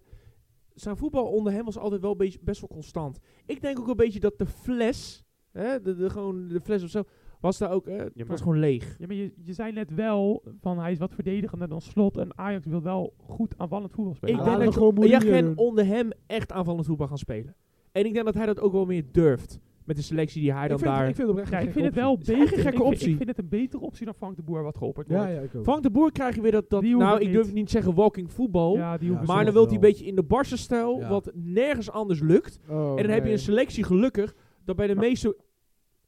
S1: Zijn voetbal onder hem was altijd wel beetje, best wel constant. Ik denk ook een beetje dat de fles, hè, de, de, gewoon de fles of zo, was daar ook, hè, het
S4: maar-
S1: was gewoon leeg.
S4: Ja, maar je, je zei net wel van hij is wat verdedigender dan slot. En Ajax wil wel goed aanvallend voetbal spelen.
S1: Ik
S3: laten
S1: denk
S3: we
S1: dat
S3: gewoon
S1: je, je
S3: Mourinho
S1: kan
S3: doen.
S1: onder hem echt aanvallend voetbal gaan spelen. En ik denk dat hij dat ook wel meer durft. Met de selectie die hij
S2: Ik
S1: dan
S2: vind,
S1: daar...
S2: ik vind oprecht
S4: Ja,
S2: geen
S4: ik vind
S2: gekke
S4: het
S1: is
S4: wel
S1: echt
S4: beter.
S1: een gekke
S4: ik vind-
S1: optie.
S4: Ik vind het een betere optie dan Frank de Boer wat geopperd
S2: optie. Ja,
S4: wordt.
S2: ja, ik ook.
S1: Frank de Boer krijg je weer dat... dat
S4: Die hoeft
S1: nou,
S4: het
S1: ik durf
S4: niet.
S1: niet te zeggen walking voetbal.
S4: Ja, die hoeven
S2: Ja,
S4: ze
S1: maar dan
S4: nog.
S1: wil hij een
S2: wel.
S1: beetje in de barse stijl,
S2: Ja.
S1: wat nergens anders lukt.
S3: Oh,
S1: en dan heb je
S3: nee.
S1: een selectie gelukkig dat bij de meeste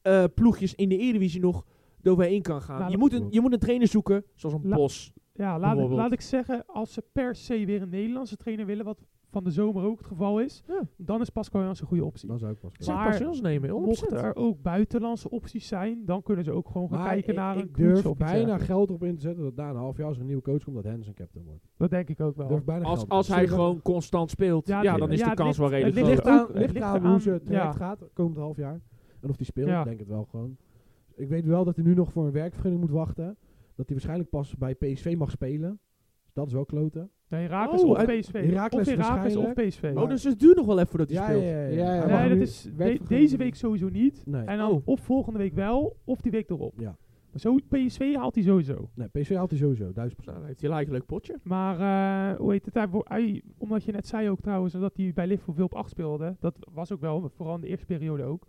S1: eh, ploegjes in de Eredivisie nog eroverheen kan gaan.
S4: Nou,
S1: je,
S4: dat
S1: moet een, je moet een trainer zoeken, zoals een
S4: La-
S1: Bos.
S4: Ja, laat ik,
S1: bijvoorbeeld.
S4: laat ik zeggen, als ze per se weer een Nederlandse trainer willen, wat van de zomer ook het geval is,
S1: Ja.
S4: dan is Pascal Jans een goede optie.
S2: Dan zou ik pas
S1: Zou
S4: Maar
S1: Pascal Jans nemen, 100%.
S4: Mochten er ook buitenlandse opties zijn, dan kunnen ze ook gewoon gaan
S2: Maar
S4: kijken
S2: ik-
S4: naar
S2: ik,
S4: een coach
S2: durf
S4: of iets
S2: bijna
S4: dergelijks.
S2: geld op in te zetten dat na een half jaar als er een nieuwe coach komt dat Henderson captain wordt.
S4: Dat denk ik ook wel.
S2: Durf bijna
S1: Als,
S2: geld
S1: als
S2: op.
S1: hij
S2: Zullen we-
S1: gewoon constant speelt, ja,
S4: Ja,
S1: dan
S4: het-
S1: is
S4: ja,
S1: de
S4: het
S1: kans
S4: ligt-
S1: wel redelijk
S4: het
S2: Het
S4: ligt
S1: groot.
S2: ligt,
S4: ook-
S2: aan,
S4: het
S2: ligt
S4: ligt
S2: aan
S4: aan-
S2: hoe ze terecht
S4: ja.
S2: gaat komend half jaar. En of die speelt,
S4: Ja.
S2: ik denk het wel gewoon. Ik weet wel dat hij nu nog voor een werkvergunning moet wachten. Dat hij waarschijnlijk pas bij PSV mag spelen. Dus dat is wel kloten.
S4: Nee, Herakles
S1: Oh,
S4: of
S2: uit-
S4: PSV.
S2: Heracles
S4: of Herakles of
S2: waarschijnlijk.
S4: PSV.
S1: Oh, dus het duurt nog wel even voordat hij
S2: Ja,
S1: speelt.
S2: ja, ja,
S3: Ja,
S2: ja.
S3: ja.
S2: Hij mag
S4: nee,
S2: nu-
S4: dat is de-
S3: werkvergunning
S4: deze
S3: doen.
S4: week sowieso niet.
S2: nee.
S4: En dan
S1: Oh.
S4: of volgende week wel, of die week erop.
S2: Ja.
S4: Maar Zo, PSV haalt hij sowieso.
S2: nee, PSV haalt hij sowieso, 1000
S1: Nou, dan heeft hij gelijk een leuk potje.
S4: Maar eh, hoe heet het? Hij, wo- hij- omdat je net zei ook trouwens, omdat hij bij Liverpool veel op 8 speelde. Dat was ook wel, vooral in de eerste periode ook.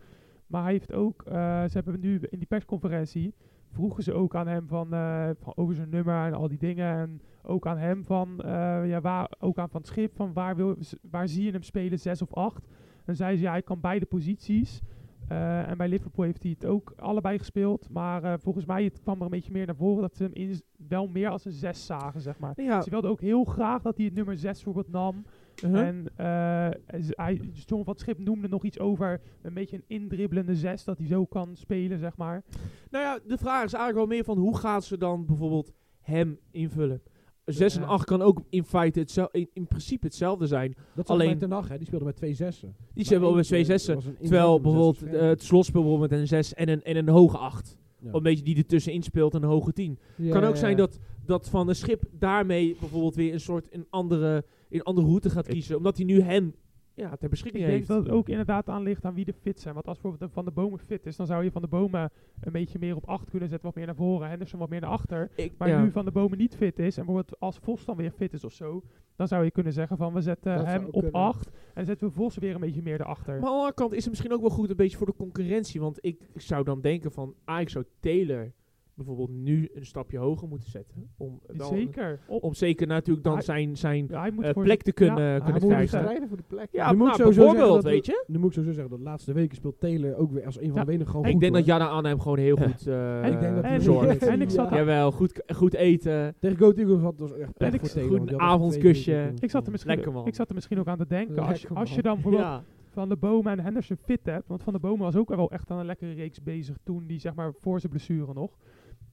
S4: Maar hij heeft ook, eh, ze hebben nu in die persconferentie, vroegen ze ook aan hem van, eh, van over zijn nummer en al die dingen. En ook aan hem van, eh, ja, waar, ook aan Van het Schip, van waar, wil, waar zie je hem spelen, 6 of 8? En zei ze, ja, hij kan beide posities. Eh, en bij Liverpool heeft hij het ook allebei gespeeld. Maar eh, volgens mij het kwam er een beetje meer naar voren dat ze hem in, wel meer als een 6 zagen, zeg maar.
S1: Ja,
S4: Ze wilden ook heel graag dat hij het nummer 6 bijvoorbeeld nam.
S1: uh-huh.
S4: En eh, z- hij, John van het Schip noemde nog iets over een beetje een indribbelende 6, dat hij zo kan spelen, zeg maar.
S1: Nou ja, de vraag is eigenlijk wel meer van hoe gaan ze dan bijvoorbeeld hem invullen? 6 en
S4: Ja.
S1: 8 kan ook in feite hetzel- in, in principe hetzelfde zijn.
S2: Dat
S1: Alleen-
S2: alleen ten Hag, hè, die speelde met twee zessen.
S1: Die zijn wel met twee zessen. Terwijl bijvoorbeeld eh, het slotspel bijvoorbeeld met een 6 en een, en een hoge 8.
S2: Ja.
S1: Een beetje die ertussenin speelt en een hoge 10. kan ook zijn dat, dat Van een Schip daarmee bijvoorbeeld weer een soort een andere, een andere route gaat kiezen. Omdat hij nu hem ja, ter
S4: Ik
S1: beschikking
S4: denk
S1: heeft.
S4: dat het ook inderdaad aan ligt aan wie de fit zijn. Want als bijvoorbeeld een Van de Bomen fit is, dan zou je Van de Bomen een beetje meer op 8 kunnen zetten, wat meer naar voren. Henderson wat meer naar achter.
S1: Ik,
S4: Maar
S1: ja.
S4: nu Van de Bomen niet fit is, en bijvoorbeeld als Vos dan weer fit is of zo, dan zou je kunnen zeggen van we zetten
S3: Dat zou
S4: hem
S3: ook
S4: op
S3: kunnen.
S4: 8 en dan zetten we Vos weer een beetje meer erachter.
S1: Maar aan de andere kant is het misschien ook wel goed een beetje voor de concurrentie. Want ik zou dan denken van, ah, ik zou Taylor bijvoorbeeld nu een stapje hoger moeten zetten. Om, wel-
S4: Zeker. Op-
S1: om zeker natuurlijk dan
S4: Hij-
S1: zijn, zijn
S4: Ja, hij moet
S1: eh,
S4: voor
S1: plek te kunnen,
S4: Ja, hij
S1: kunnen
S4: moet
S1: krijgen.
S4: zijn-
S3: strijden voor de plek.
S1: Ja,
S2: Je moet
S1: nou,
S2: sowieso zeggen
S1: bijvoorbeeld,
S2: dat-
S1: weet je.
S2: Nu moet ik zo zeggen, dat de laatste weken speelt Taylor ook weer als een van
S4: Ja.
S2: de wenigen gewoon
S1: Ik
S2: goed.
S1: denk dat
S2: hoor.
S1: Jana Arnhem gewoon heel
S4: Ja.
S1: goed eh
S4: Ik denk dat
S3: hij-
S1: zorgt.
S4: En ik zat
S3: Ja.
S1: Jawel, goed, goed eten.
S2: Tegen Goat Eagles had het was echt
S4: En
S2: pech
S4: ik-
S2: voor Taylor.
S1: goed
S2: want die
S1: een
S2: had echt twee
S1: avondkusje.
S2: weken kunnen
S4: Ik zat,
S1: Lekker
S4: er
S2: voetballen.
S4: misschien,
S1: man.
S4: ik zat er misschien ook aan te denken. Als je,
S3: Lekker
S4: als je
S3: man.
S4: dan bijvoorbeeld
S1: Ja.
S4: Van de Bomen en Henderson fit hebt. Want Van de Bomen was ook wel echt aan een lekkere reeks bezig toen. Die zeg maar voor zijn blessure nog.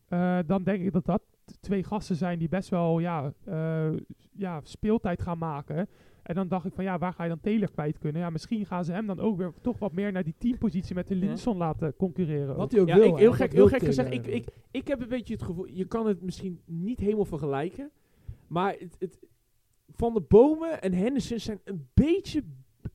S4: Eh, dan denk ik dat dat twee gasten zijn die best wel ja, eh, ja, speeltijd gaan maken. En dan dacht ik van ja, waar ga je dan Taylor kwijt kunnen? Ja, misschien gaan ze hem dan ook weer toch wat meer naar die teampositie met de Linson laten concurreren.
S2: Wat
S4: ook.
S2: hij ook
S1: Ja,
S2: wil.
S1: ik,
S2: hè,
S1: heel
S2: wat
S1: gek,
S2: wil
S1: heel gek
S2: Taylor
S1: gezegd. Ik, ik,
S2: eigenlijk.
S1: ik heb een beetje het gevoel, je kan het misschien niet helemaal vergelijken. Maar het, het, Van de Bomen en Henderson zijn een beetje b-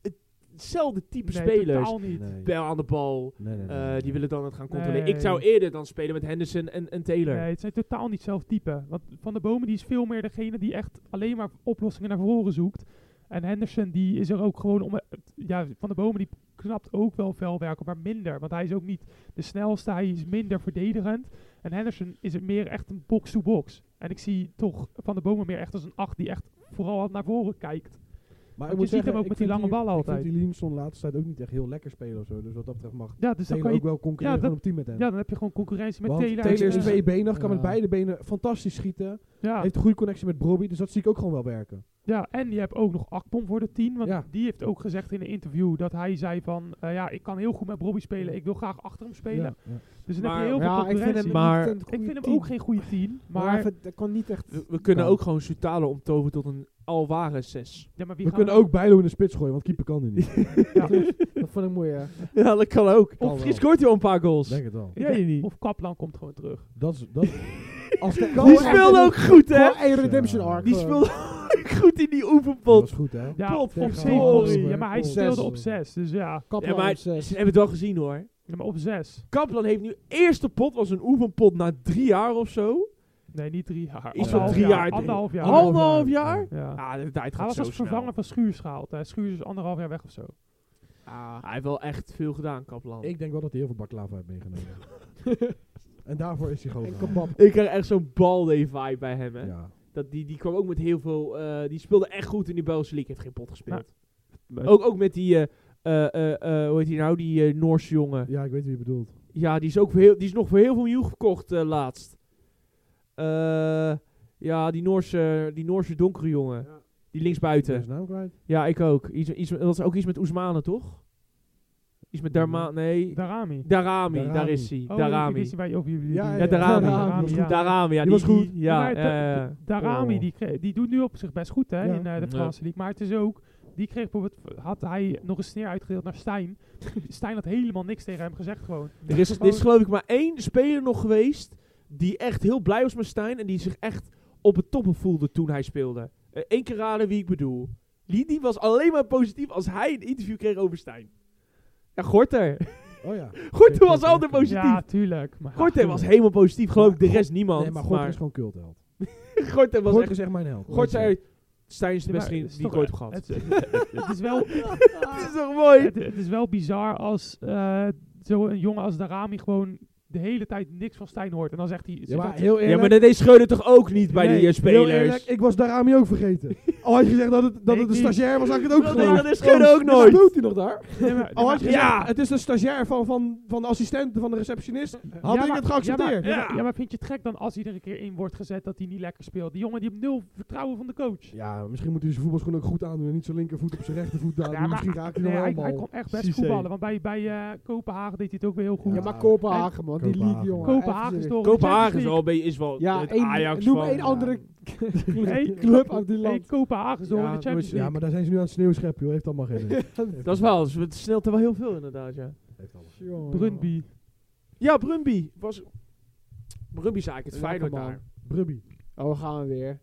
S1: hetzelfde type
S4: Nee,
S1: spelers.
S4: totaal niet.
S2: Nee.
S1: Bel aan de bal,
S2: Nee, nee,
S1: eh,
S2: nee, nee.
S1: die willen dan het gaan controleren.
S4: Nee.
S1: Ik zou eerder dan spelen met Henderson en, en Taylor.
S4: Nee, het zijn totaal niet zelf type. Want Van der Bomen die is veel meer degene die echt alleen maar oplossingen naar voren zoekt. En Henderson die is er ook gewoon om... eh, Ja, Van der Bomen die knapt ook wel fel werk op, maar minder. Want hij is ook niet de snelste, hij is minder verdedigend. En Henderson is het meer echt een box-to-box. En ik zie toch Van der Bomen meer echt als een acht die echt vooral naar voren kijkt.
S2: Maar
S4: je ziet
S2: ik moet zeggen,
S4: hem ook
S2: ik
S4: met die
S2: vind
S4: lange ballen
S2: Ik
S4: altijd.
S2: vind die Linson laatste tijd ook niet echt heel lekker spelen of zo. Dus wat dat betreft mag
S4: Ja, dus dan, kan
S2: Taylor ook
S4: je,
S2: wel concurreren
S4: ja, dat-
S2: gewoon op team met hem.
S4: ja, dan heb je gewoon concurrentie met
S2: Want
S4: Taylor.
S2: is
S4: Eh,
S2: tweebenig, kan met
S3: Ja.
S2: beide benen fantastisch schieten.
S4: ja.
S2: Heeft een goede connectie met Broby, dus dat zie ik ook gewoon wel werken.
S4: Ja, en je hebt ook nog Akpom voor de 10. Want
S2: Ja.
S4: die heeft ook gezegd in een interview dat hij zei van... eh, ja, ik kan heel goed met Bobby spelen. Ik wil graag achter hem spelen.
S2: Ja,
S4: Dus dan
S1: Maar-
S4: heb je heel veel
S3: Ja, ik
S4: concurrentie.
S3: vind hem,
S1: Maar-
S3: niet een
S4: ik
S3: goede
S4: vind hem
S3: team.
S4: ook geen goede 10.
S3: Maar
S4: Maar,
S3: even, dat kan niet echt...
S1: We, we kunnen
S3: Kan.
S1: ook gewoon Sutalo omtoveren tot een Alvarez 6.
S4: ja, maar wie
S2: We
S4: gaan
S2: kunnen ook Bijlo in de spits gooien, want keeper kan nu niet.
S3: Dat vond ik mooi, ja.
S1: Ja, dat kan ook.
S2: Kan
S1: Of
S2: wel.
S1: Fries scoort hij al een paar goals.
S2: Denk het wel.
S1: Ja, je niet.
S4: Of Kaplan komt gewoon terug.
S2: Dat is... Dat, als de
S3: Die
S1: Die
S3: Oh,
S1: speelde
S3: en-
S1: ook goed, hè?
S3: Gewoon één redemption arc.
S1: Die
S3: gewoon.
S1: speelde ook goed in die
S2: Dat
S1: oefenpot.
S2: is goed, hè?
S4: Ja,
S1: Klopt,
S4: op
S2: tegen
S4: 7.
S2: Almere.
S4: Ja, maar hij
S2: Op
S4: speelde
S3: zes.
S4: op 6. Dus ja,
S1: Ja,
S3: Kaplan
S1: maar
S3: op
S1: ze
S3: zes.
S1: hebben het wel gezien, hoor.
S4: ja, maar op 6.
S1: Kaplan heeft nu eerste pot, was een oefenpot na drie jaar of zo.
S4: Nee, niet 3 jaar.
S1: Is
S4: Anderhalf
S1: dat drie jaar?
S4: Anderhalf jaar.
S1: Anderhalf jaar?
S4: Ja.
S1: Ja, Ah, de tijd
S4: Hij
S1: gaat
S4: was
S1: zo
S4: als
S1: snel.
S4: vervanger van Schuurs gehaald. hè. Schuurs is anderhalf jaar weg of zo.
S1: Ah, hij heeft wel echt veel gedaan, Kaplan. Ik,
S2: Ik denk wel dat hij heel veel baklava heeft meegenomen. en daarvoor is hij gewoon...
S3: En
S2: gehaald.
S3: kebab.
S1: krijg echt zo'n balde-vibe bij hem, hè.
S2: Ja.
S1: Dat die, die kwam ook met heel veel... eh, die speelde echt goed in die Belgische League. Heeft geen pot gespeeld.
S4: Maar-
S1: ook, ook met die... eh eh, eh, eh, hoe heet die nou? Die eh, Noorse jongen.
S2: ja, ik weet wie je bedoelt.
S1: Ja, die is, ook voor heel, die is nog voor heel veel miljoen gekocht eh, laatst. Eh, ja, die Noorse, die Noorse donkere jongen. Die linksbuiten.
S2: ben zijn naam kwijt.
S1: Ja, ik ook. Iets, iets, dat was ook iets met Oesmane, toch? Iets met Darma... Nee.
S4: Darami.
S1: Darami,
S2: Darami.
S1: daar is hij.
S4: Oh, ik
S1: Darami.
S4: wist niet waar je over jullie
S2: Ja,
S1: Ja, Darami.
S2: Darami,
S1: Ja.
S4: ja.
S1: Darami, ja.
S2: Die was goed.
S1: die- ja,
S4: Maar da-
S1: eh,
S4: Darami,
S1: oh.
S4: die, kreeg- die doet nu op zich best goed hè,
S2: Ja.
S4: in eh, de
S1: Ja.
S4: Franse League. Maar het is ook, die kreeg bijvoorbeeld, had hij nog een sneer uitgedeeld naar Stijn. Stijn had helemaal niks tegen hem gezegd gewoon.
S1: Er is, er is geloof ik maar één speler nog geweest die echt heel blij was met Stijn en die zich echt op het toppen voelde toen hij speelde. Eén keer raden wie ik bedoel. Die, die was alleen maar positief als hij een interview kreeg over Stijn. Ja, Gorter.
S2: Oh ja.
S1: Gorter was
S2: Gorter.
S1: altijd positief.
S4: Ja, tuurlijk. Maar
S1: Gorter was helemaal positief, geloof ik. De
S2: Maar
S1: rest niemand.
S2: nee, maar
S1: maar
S2: Gort is gewoon cultheld.
S1: Gorter was
S2: Gort
S1: echt...
S2: is echt mijn held.
S1: Gort zei, Stijn is de
S4: Ja,
S1: beste
S4: maar
S1: vriend
S4: het is
S1: die ik
S4: toch-
S1: ooit heb gehad.
S4: Het, het- het is wel,
S1: Dat is toch mooi?
S4: het, het is wel bizar als eh, zo'n jongen als Darami gewoon de hele tijd niks van Stijn hoort. En dan zegt hij...
S2: Ja, maar
S4: zegt-
S2: heel eerlijk.
S1: Ja, maar dat deed Schreuder toch ook niet bij
S4: Nee,
S1: die eh,
S2: heel
S1: spelers?
S2: eerlijk, ik was daaraan ook vergeten. Al had je gezegd dat het, dat
S4: Ik
S2: het een
S4: niet.
S2: stagiair was, had ik het ook
S1: Dat deed-
S2: geloofd.
S1: dat is Schreuder ook
S2: Wat
S1: nooit.
S2: doet hij nog daar?
S4: Nee,
S1: Oh,
S4: maar-
S2: Al had je gezegd,
S1: Ja.
S2: het is een stagiair van, van, van de assistent, van de receptionist. Had
S4: Ja,
S2: ik
S4: maar-
S2: het geaccepteerd?
S4: Ja maar, ja,
S1: Ja.
S4: maar- ja, maar vind je het gek dan als iedere keer in wordt gezet dat hij niet lekker speelt? Die jongen die heeft nul vertrouwen van de coach.
S2: Ja, misschien moet hij zijn voetbalschoen ook goed aandoen en niet zijn linkervoet op zijn rechtervoet aan.
S4: Ja, maar-
S2: misschien raakt hij
S4: Nee,
S2: nog
S4: hij,
S2: wel
S4: hij
S2: een bal.
S4: kon echt best
S1: Cissé.
S4: voetballen, want bij, bij eh, Kopenhagen deed hij het ook weer heel goed.
S2: Ja,
S3: Ja,
S2: maar
S1: Ah.
S3: maar Kopenhagen, man. Die
S2: Kopenhagen.
S3: league, jongen.
S4: Kopenhagen is
S3: Even
S4: toch
S1: Kopenhagen is
S4: de
S1: wel, een beetje- is wel
S3: Ja,
S1: het
S3: één-
S1: Ajax
S3: noem
S1: van...
S3: één andere
S4: serieus.
S3: serieus.
S4: Hey,
S3: club uit die
S4: hey,
S3: land.
S4: Kopenhagen is toch
S1: Ja,
S4: in de Champions
S1: nooit-
S2: Ja,
S4: League.
S2: maar daar zijn ze nu aan het sneeuwscheppen, joh. Heeft allemaal geen idee.
S1: Dat is wel, dus het sneelt er wel heel veel inderdaad, ja.
S2: Heeft allemaal.
S3: Jongen, jongen.
S4: Brunby.
S1: Ja, Brumby was... Brumby zei ik het
S3: Lekker
S1: Feyenoord
S3: man.
S1: daar.
S2: Brubby.
S3: Oh, we gaan we weer.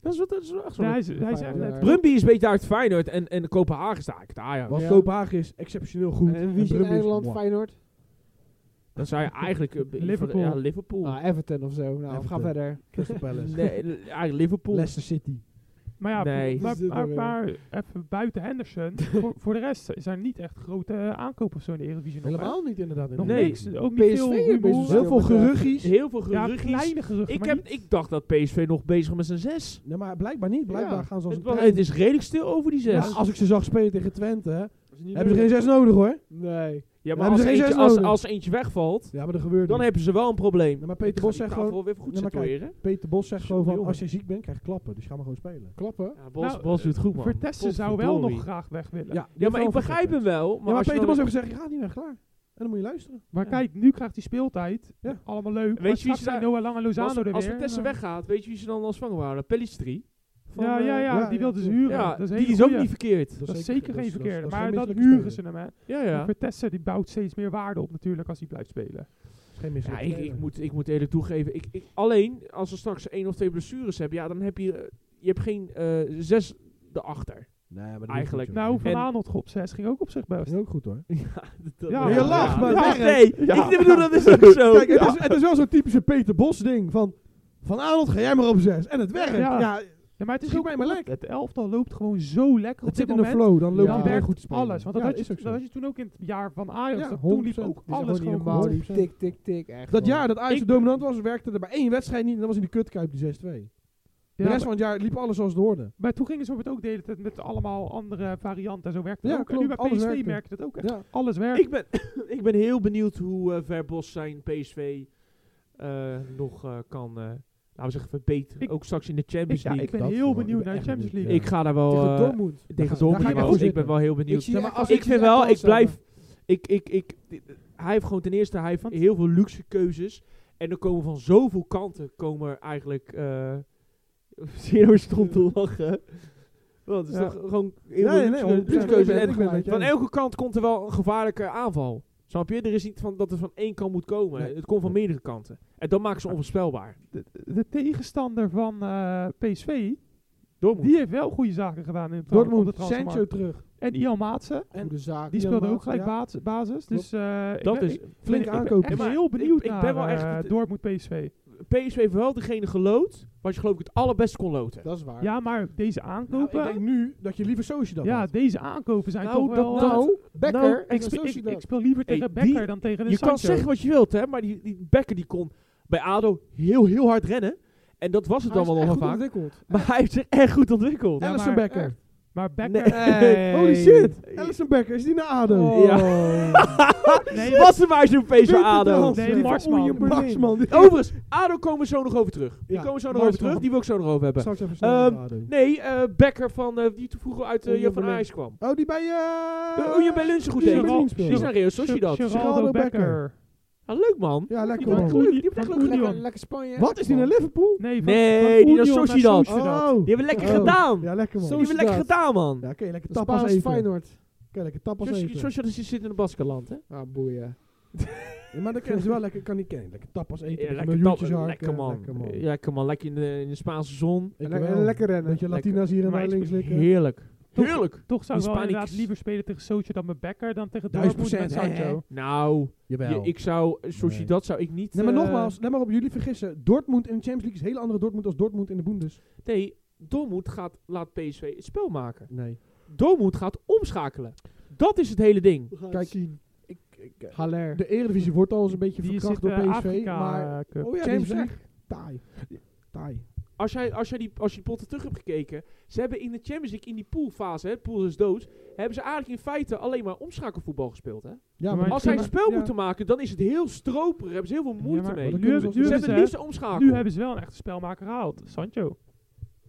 S1: Dat is, wat, dat is wel echt zo.
S4: Nee, hij is, hij is echt
S3: Ja.
S4: net-
S1: Brumby is een beetje daar het Feyenoord en, en Kopenhagen is daar eigenlijk het Ajax.
S2: Want
S3: Ja.
S2: Kopenhagen is exceptioneel goed.
S3: En wie is in
S2: Brumby Eh, is-
S3: Engeland,
S2: mwah.
S3: Feyenoord?
S1: Dan zou je eigenlijk... eh, be-
S4: Liverpool.
S1: Ja, Liverpool.
S2: Ah,
S3: Nou, Everton of zo. Nou, we
S2: Everton.
S3: gaan verder.
S2: Crystal Palace.
S1: nee, l- eigenlijk Liverpool.
S2: Leicester City.
S4: Maar ja,
S1: Nee.
S4: maar,
S3: Zit er
S4: maar,
S3: weer.
S4: maar even buiten Henderson. voor, voor de rest zijn er niet echt grote eh, aankopen of zo in de Eredivisie nog. hè?
S2: Helemaal niet inderdaad.
S4: Nog
S1: Nee.
S4: niks. Ook niet
S3: PSV
S4: veel
S3: is
S4: rumoer.
S3: bezig.
S2: Heel veel
S3: Heel veel
S2: geruggies.
S1: Heel veel
S4: Ja,
S1: geruggies.
S4: kleine geruchten.
S1: ik,
S4: maar
S1: heb,
S4: niet-
S1: ik dacht dat PSV nog bezig was met zijn zes.
S2: Nee, maar blijkbaar niet. Blijkbaar
S3: Ja.
S2: gaan ze als
S1: Het,
S2: een
S1: was-
S2: trein.
S1: het is redelijk stil over die
S2: Ja,
S1: zes.
S2: als ik ze zag spelen tegen Twente, hè, hebben
S3: Hebben
S2: ze geen zes nodig hoor.
S3: Nee.
S1: Ja,
S2: Dan
S1: maar
S2: hebben
S1: als
S2: ze geen
S1: eentje,
S2: zes
S1: als,
S2: nodig.
S1: als eentje wegvalt,
S2: Ja, maar dat gebeurt
S1: dan
S2: niet.
S1: hebben ze wel een probleem.
S2: Ja, maar Peter
S1: Ik ga
S2: Bos
S1: die
S2: zegt
S1: tafel
S2: gewoon-
S1: weer even goed
S2: Ja, maar kijk,
S1: situeren.
S2: Peter Bos zegt gewoon van,
S1: Jongen.
S2: als je ziek bent, krijg je klappen. Dus ga maar gewoon spelen.
S3: Klappen.
S1: Ja, Bos,
S4: Nou,
S1: Bos doet het goed, man.
S4: Vertessen zou wel nog
S1: Potverdorie.
S4: graag weg willen.
S2: Ja,
S1: Ja, maar ik begrijp hem wel.
S2: Maar,
S1: Maar,
S2: ja, maar
S1: als je
S2: Peter
S1: dan-
S2: Bos heeft gezegd, je gaat niet weg, klaar. En dan moet je luisteren.
S4: Maar
S1: Ja.
S4: kijk, nu krijgt hij speeltijd.
S2: Ja.
S4: Allemaal leuk.
S1: Weet
S4: maar
S1: je wie
S4: straks
S1: ze
S4: zijn
S1: daar-
S4: Noah Lang en Lozano
S1: Als,
S4: er weer.
S1: als Vitesse
S4: Ja.
S1: weggaat, weet je wie ze dan als vangen waren? Pellistri. Van,
S4: ja, ja,
S1: eh,
S4: ja,
S2: ja,
S4: die
S2: ja,
S4: wilde ze
S2: klopt.
S4: huren.
S1: ja,
S4: dat is, een
S1: die
S4: hele
S1: is ook
S4: goeie.
S1: niet verkeerd.
S4: Dat is zeker geen
S2: zeker- dat is- dat is-
S4: verkeerde.
S2: dat is
S4: Maar
S2: geen
S4: dat
S2: misselijke
S4: huren ze hem, hè.
S1: Ja, ja.
S4: Vertessen, die bouwt steeds meer waarde op natuurlijk als hij blijft spelen.
S2: Is Geen
S1: ja
S2: misselijke
S1: ik, ik,
S2: speler.
S1: moet, ik moet eerlijk toegeven. Ik, ik, alleen, als ze straks één of twee blessures hebben, ja, dan heb je, eh, je hebt geen eh, zes erachter.
S2: Nee, maar dat is
S1: Eigenlijk.
S2: goed, joh.
S4: Nou, Van
S1: En-
S4: Aanholt op 6 ging ook op zich
S2: Dat
S4: best.
S2: is ook goed hoor.
S4: Oh,
S1: Dat-
S4: Ja.
S1: dat-
S4: Je lacht, maar
S1: Ja,
S4: het
S1: nee,
S2: werkt. Ja.
S1: ik bedoel, dat is ook zo.
S2: Kijk, het
S1: Ja.
S2: is, het is wel zo'n typische Peter Bos ding. Van, van Arnold ga jij maar op zes. En het werkt.
S4: Ja.
S2: Ja,
S4: Ja, maar het is
S2: Schiet
S4: ook
S2: mij maar
S4: omdat Het elftal loopt gewoon zo lekker op dit
S2: het zit in de
S4: moment.
S2: flow. Dan loopt
S3: Ja.
S4: Dan
S2: iedereen
S4: werkt
S2: goed te spelen.
S4: alles. Want dat,
S2: Ja,
S4: had
S2: is
S4: je,
S2: ook zo.
S4: dat had je toen ook in het jaar van Ajax. dat
S2: Ja,
S4: toen liep
S2: 100%.
S4: ook
S2: Die zijn
S4: alles
S2: gewoon
S4: gewoon
S2: niet
S4: goed.
S3: Normaal, die
S2: 100%.
S3: tik, tik, tik. Echt,
S2: Dat
S3: man.
S2: jaar dat Ajax
S1: Ik-
S2: zo dominant was, werkte er maar één wedstrijd niet. En dat was in de kutkuip, die 6-2. de
S4: Ja,
S2: rest van het jaar liep alles zoals het hoorde.
S4: Maar toen gingen ze op het ook de hele tijd met allemaal andere varianten. en Zo werkte het
S2: Ja,
S4: ook. En nu
S2: klopt,
S4: bij
S2: alles
S4: PSV
S2: werkte.
S4: merk je dat ook echt.
S2: Ja.
S4: Alles werkt.
S1: Ik ben, ik ben heel benieuwd hoe eh, ver Bos zijn PSV eh, nog eh, kan, eh, laten we zeggen, verbeteren.
S4: Ik-
S1: ook straks in de Champions
S4: ik, Dus ja,
S1: League.
S4: ik ben
S2: dat
S4: heel
S2: gewoon.
S4: benieuwd
S2: Ik ben
S4: naar de
S2: echt
S4: Champions
S2: benieuwd,
S4: League.
S2: ja.
S1: ik ga daar
S4: Oh,
S1: wel...
S3: Tegen
S1: eh,
S3: Dortmund.
S2: Daar ga-
S1: tegen Dortmund,
S2: daar ga ik
S1: maar
S2: voor
S1: ik ben
S2: zitten.
S1: wel heel benieuwd.
S3: Ik zie
S1: Ja, maar
S3: echt
S1: als
S3: wel
S1: ik vind
S3: zitten.
S1: wel, ik
S3: Alles
S1: blijf... Ik, ik, ik, hij heeft gewoon ten eerste hij heeft
S4: Want-
S1: heel veel luxe keuzes. En er komen van zoveel kanten komen er eigenlijk... eh zie je nou eens stom te lachen? Want het is
S4: Ja.
S1: toch gewoon heel
S2: Nee,
S1: veel
S2: nee,
S1: luxe-
S2: hoor.
S1: luxe
S2: Ik ben-
S1: keuzes.
S2: ik
S1: En
S2: ben met je
S1: Van
S2: eens.
S1: elke kant komt er wel een gevaarlijke aanval. Snap je? Er is niet van dat er van één kant moet komen.
S2: Nee.
S1: Het komt van meerdere kanten. En dat maakt ze onvoorspelbaar.
S4: de, de tegenstander van eh, PSV,
S1: Dortmund.
S4: die heeft wel goede zaken gedaan in het op de
S2: Dortmund,
S4: transfermarkt.
S2: Sancho terug.
S4: En Ian Maatsen,
S3: Goede zaak.
S4: die speelde ook gelijk
S2: ja.
S4: baas- basis. Dus eh, ik
S1: Dat
S4: ben,
S1: is
S4: ik ben-
S2: flink
S4: ik ben
S2: aankopen.
S4: echt
S1: Ja, maar
S4: heel
S1: ik-
S4: benieuwd
S1: ik
S4: naar
S1: ben wel
S4: eh,
S1: echt-
S4: Dortmund PSV.
S1: PSV heeft wel degene gelood wat je geloof ik het allerbest kon loten.
S3: Dat is waar.
S4: Ja, maar deze
S2: Nou,
S4: aankopen,
S2: ik denk nu dat je liever Sociedad
S4: ja,
S2: had.
S4: deze aankopen zijn
S1: Nou,
S4: toch
S1: dat-
S4: wel...
S1: dat-
S3: Nou,
S1: Nou,
S3: Becker
S4: ik,
S3: en
S4: speel, ik,
S3: Sociedad.
S4: ik speel liever
S1: Hey,
S4: tegen
S1: die-
S4: Becker dan tegen een
S1: Je kan
S4: Sancho.
S1: zeggen wat je wilt, hè, maar die, die Becker die kon bij ADO heel, heel hard rennen. En dat was het
S3: Hij is
S1: allemaal
S3: echt
S1: nog
S3: goed
S1: vaak.
S3: ontwikkeld.
S1: Maar eh, hij heeft zich echt goed ontwikkeld.
S4: Ja,
S2: Allison
S4: maar-
S2: Becker.
S4: Maar Becker...
S1: Nee.
S2: Holy shit! Alison Becker, is die naar ADO?
S4: Oh.
S1: Ja.
S4: Nee,
S1: Wat een maar zo'n feest van
S2: Weet het
S1: ADO.
S2: wel.
S4: Nee,
S2: Die van
S4: Marsman.
S2: Oeien Berlin.
S3: Marsman, die-
S1: Overigens, ADO komen we zo nog over terug. Die
S2: Ja,
S1: komen we zo nog
S2: Marsman.
S1: over terug. Die wil ik zo nog over hebben.
S2: Straks even snel naar
S1: Ehm,
S2: ADO.
S1: Nee, eh Becker van, eh, die toen vroeger uit eh
S2: Oeien
S1: van
S2: Berlin.
S1: Ajax kwam.
S2: Oh, die bij... eh,
S1: Uh, Oeje bij Lunchen goed
S2: die
S4: deed.
S2: bij
S1: deed.
S4: Gerald-
S2: Berlin
S1: Die is
S2: speelt.
S1: naar Real Sociedad.
S4: Geraldo Becker.
S1: Ah, leuk man.
S2: Ja,
S1: Die
S2: lekker
S1: heeft echt
S2: man.
S1: leuk- die heeft echt
S4: Van
S1: leuk
S4: Union.
S1: gedaan.
S3: Lekker, lekker Spanje.
S2: Wat, is die naar Liverpool?
S4: Nee, van,
S1: Nee,
S4: van
S1: die naar
S4: Union naar
S1: Sociedad.
S4: Sociedad.
S2: Oh.
S1: Die hebben lekker
S2: Oh.
S1: gedaan.
S2: Ja, lekker man.
S1: Die hebben lekker gedaan man.
S2: Ja, kun je lekker tapas
S3: Spaans
S2: eten.
S3: Feyenoord.
S2: Kun je lekker tapas
S1: Zoals
S2: eten.
S1: zoals je dat ziet zit in het Baskenland hè.
S3: Ah, boeien.
S2: Ja, maar dan kunnen ze wel lekker, kan niet kennen. Lekker tapas eten.
S1: Ja,
S2: met
S1: lekker,
S2: miljoentjes
S1: tap-
S2: harken.
S1: lekker man.
S2: Lekker man.
S1: Eh, Lekker man, lekker in de, in de Spaanse zon.
S2: Ik
S3: En-
S2: wel.
S3: en lekker rennen.
S2: Beetje Latina's hier en
S4: Maar
S2: daar
S4: het
S2: links likken.
S1: Heerlijk.
S4: Toch-
S1: Heerlijk.
S4: Toch zou ik wel
S1: Hispanics.
S4: inderdaad liever spelen tegen Sochi dan met Becker dan tegen
S2: Duizend
S4: Dortmund met
S2: procent, hè,
S4: Sancho.
S1: Nou,
S2: Jawel.
S1: je- ik zou, zoals je
S2: Nee.
S1: dat zou ik niet...
S2: Nee, maar
S1: eh,
S2: nogmaals, let maar op jullie vergissen. Dortmund in de Champions League is een hele andere Dortmund als Dortmund in de Bundes.
S1: Nee, Dortmund gaat, laat PSV het spel maken.
S2: Nee.
S1: Dortmund gaat omschakelen. Dat is het hele ding.
S2: Kijk, ik,
S3: Haller.
S2: de Eredivisie wordt al eens een beetje
S4: Die
S2: verkracht
S4: zit
S2: door
S4: eh,
S2: PSV.
S4: Afrika
S2: maar
S4: eh, Cup.
S2: oh ja, die
S3: Champions
S2: is weg. Taai. Taai.
S1: Als jij, als jij die, als je die potten terug hebt gekeken. Ze hebben in de Champions League, in die poolfase, hè, pool is dood. Hebben ze eigenlijk in feite alleen maar omschakelvoetbal gespeeld. Hè?
S2: Ja,
S4: Maar
S1: Als
S4: ja,
S1: zij een spel
S2: ja.
S1: moeten maken, dan is het heel stroperig. Hebben ze heel veel moeite
S4: Ja, maar
S1: mee.
S2: dat
S4: Nu,
S2: kunnen ze
S4: hebben-
S2: ook
S4: nu
S1: Ze hebben
S4: hebben ze,
S1: het liefst een omschakel.
S4: nu hebben ze wel een echte spelmaker gehaald. Sancho.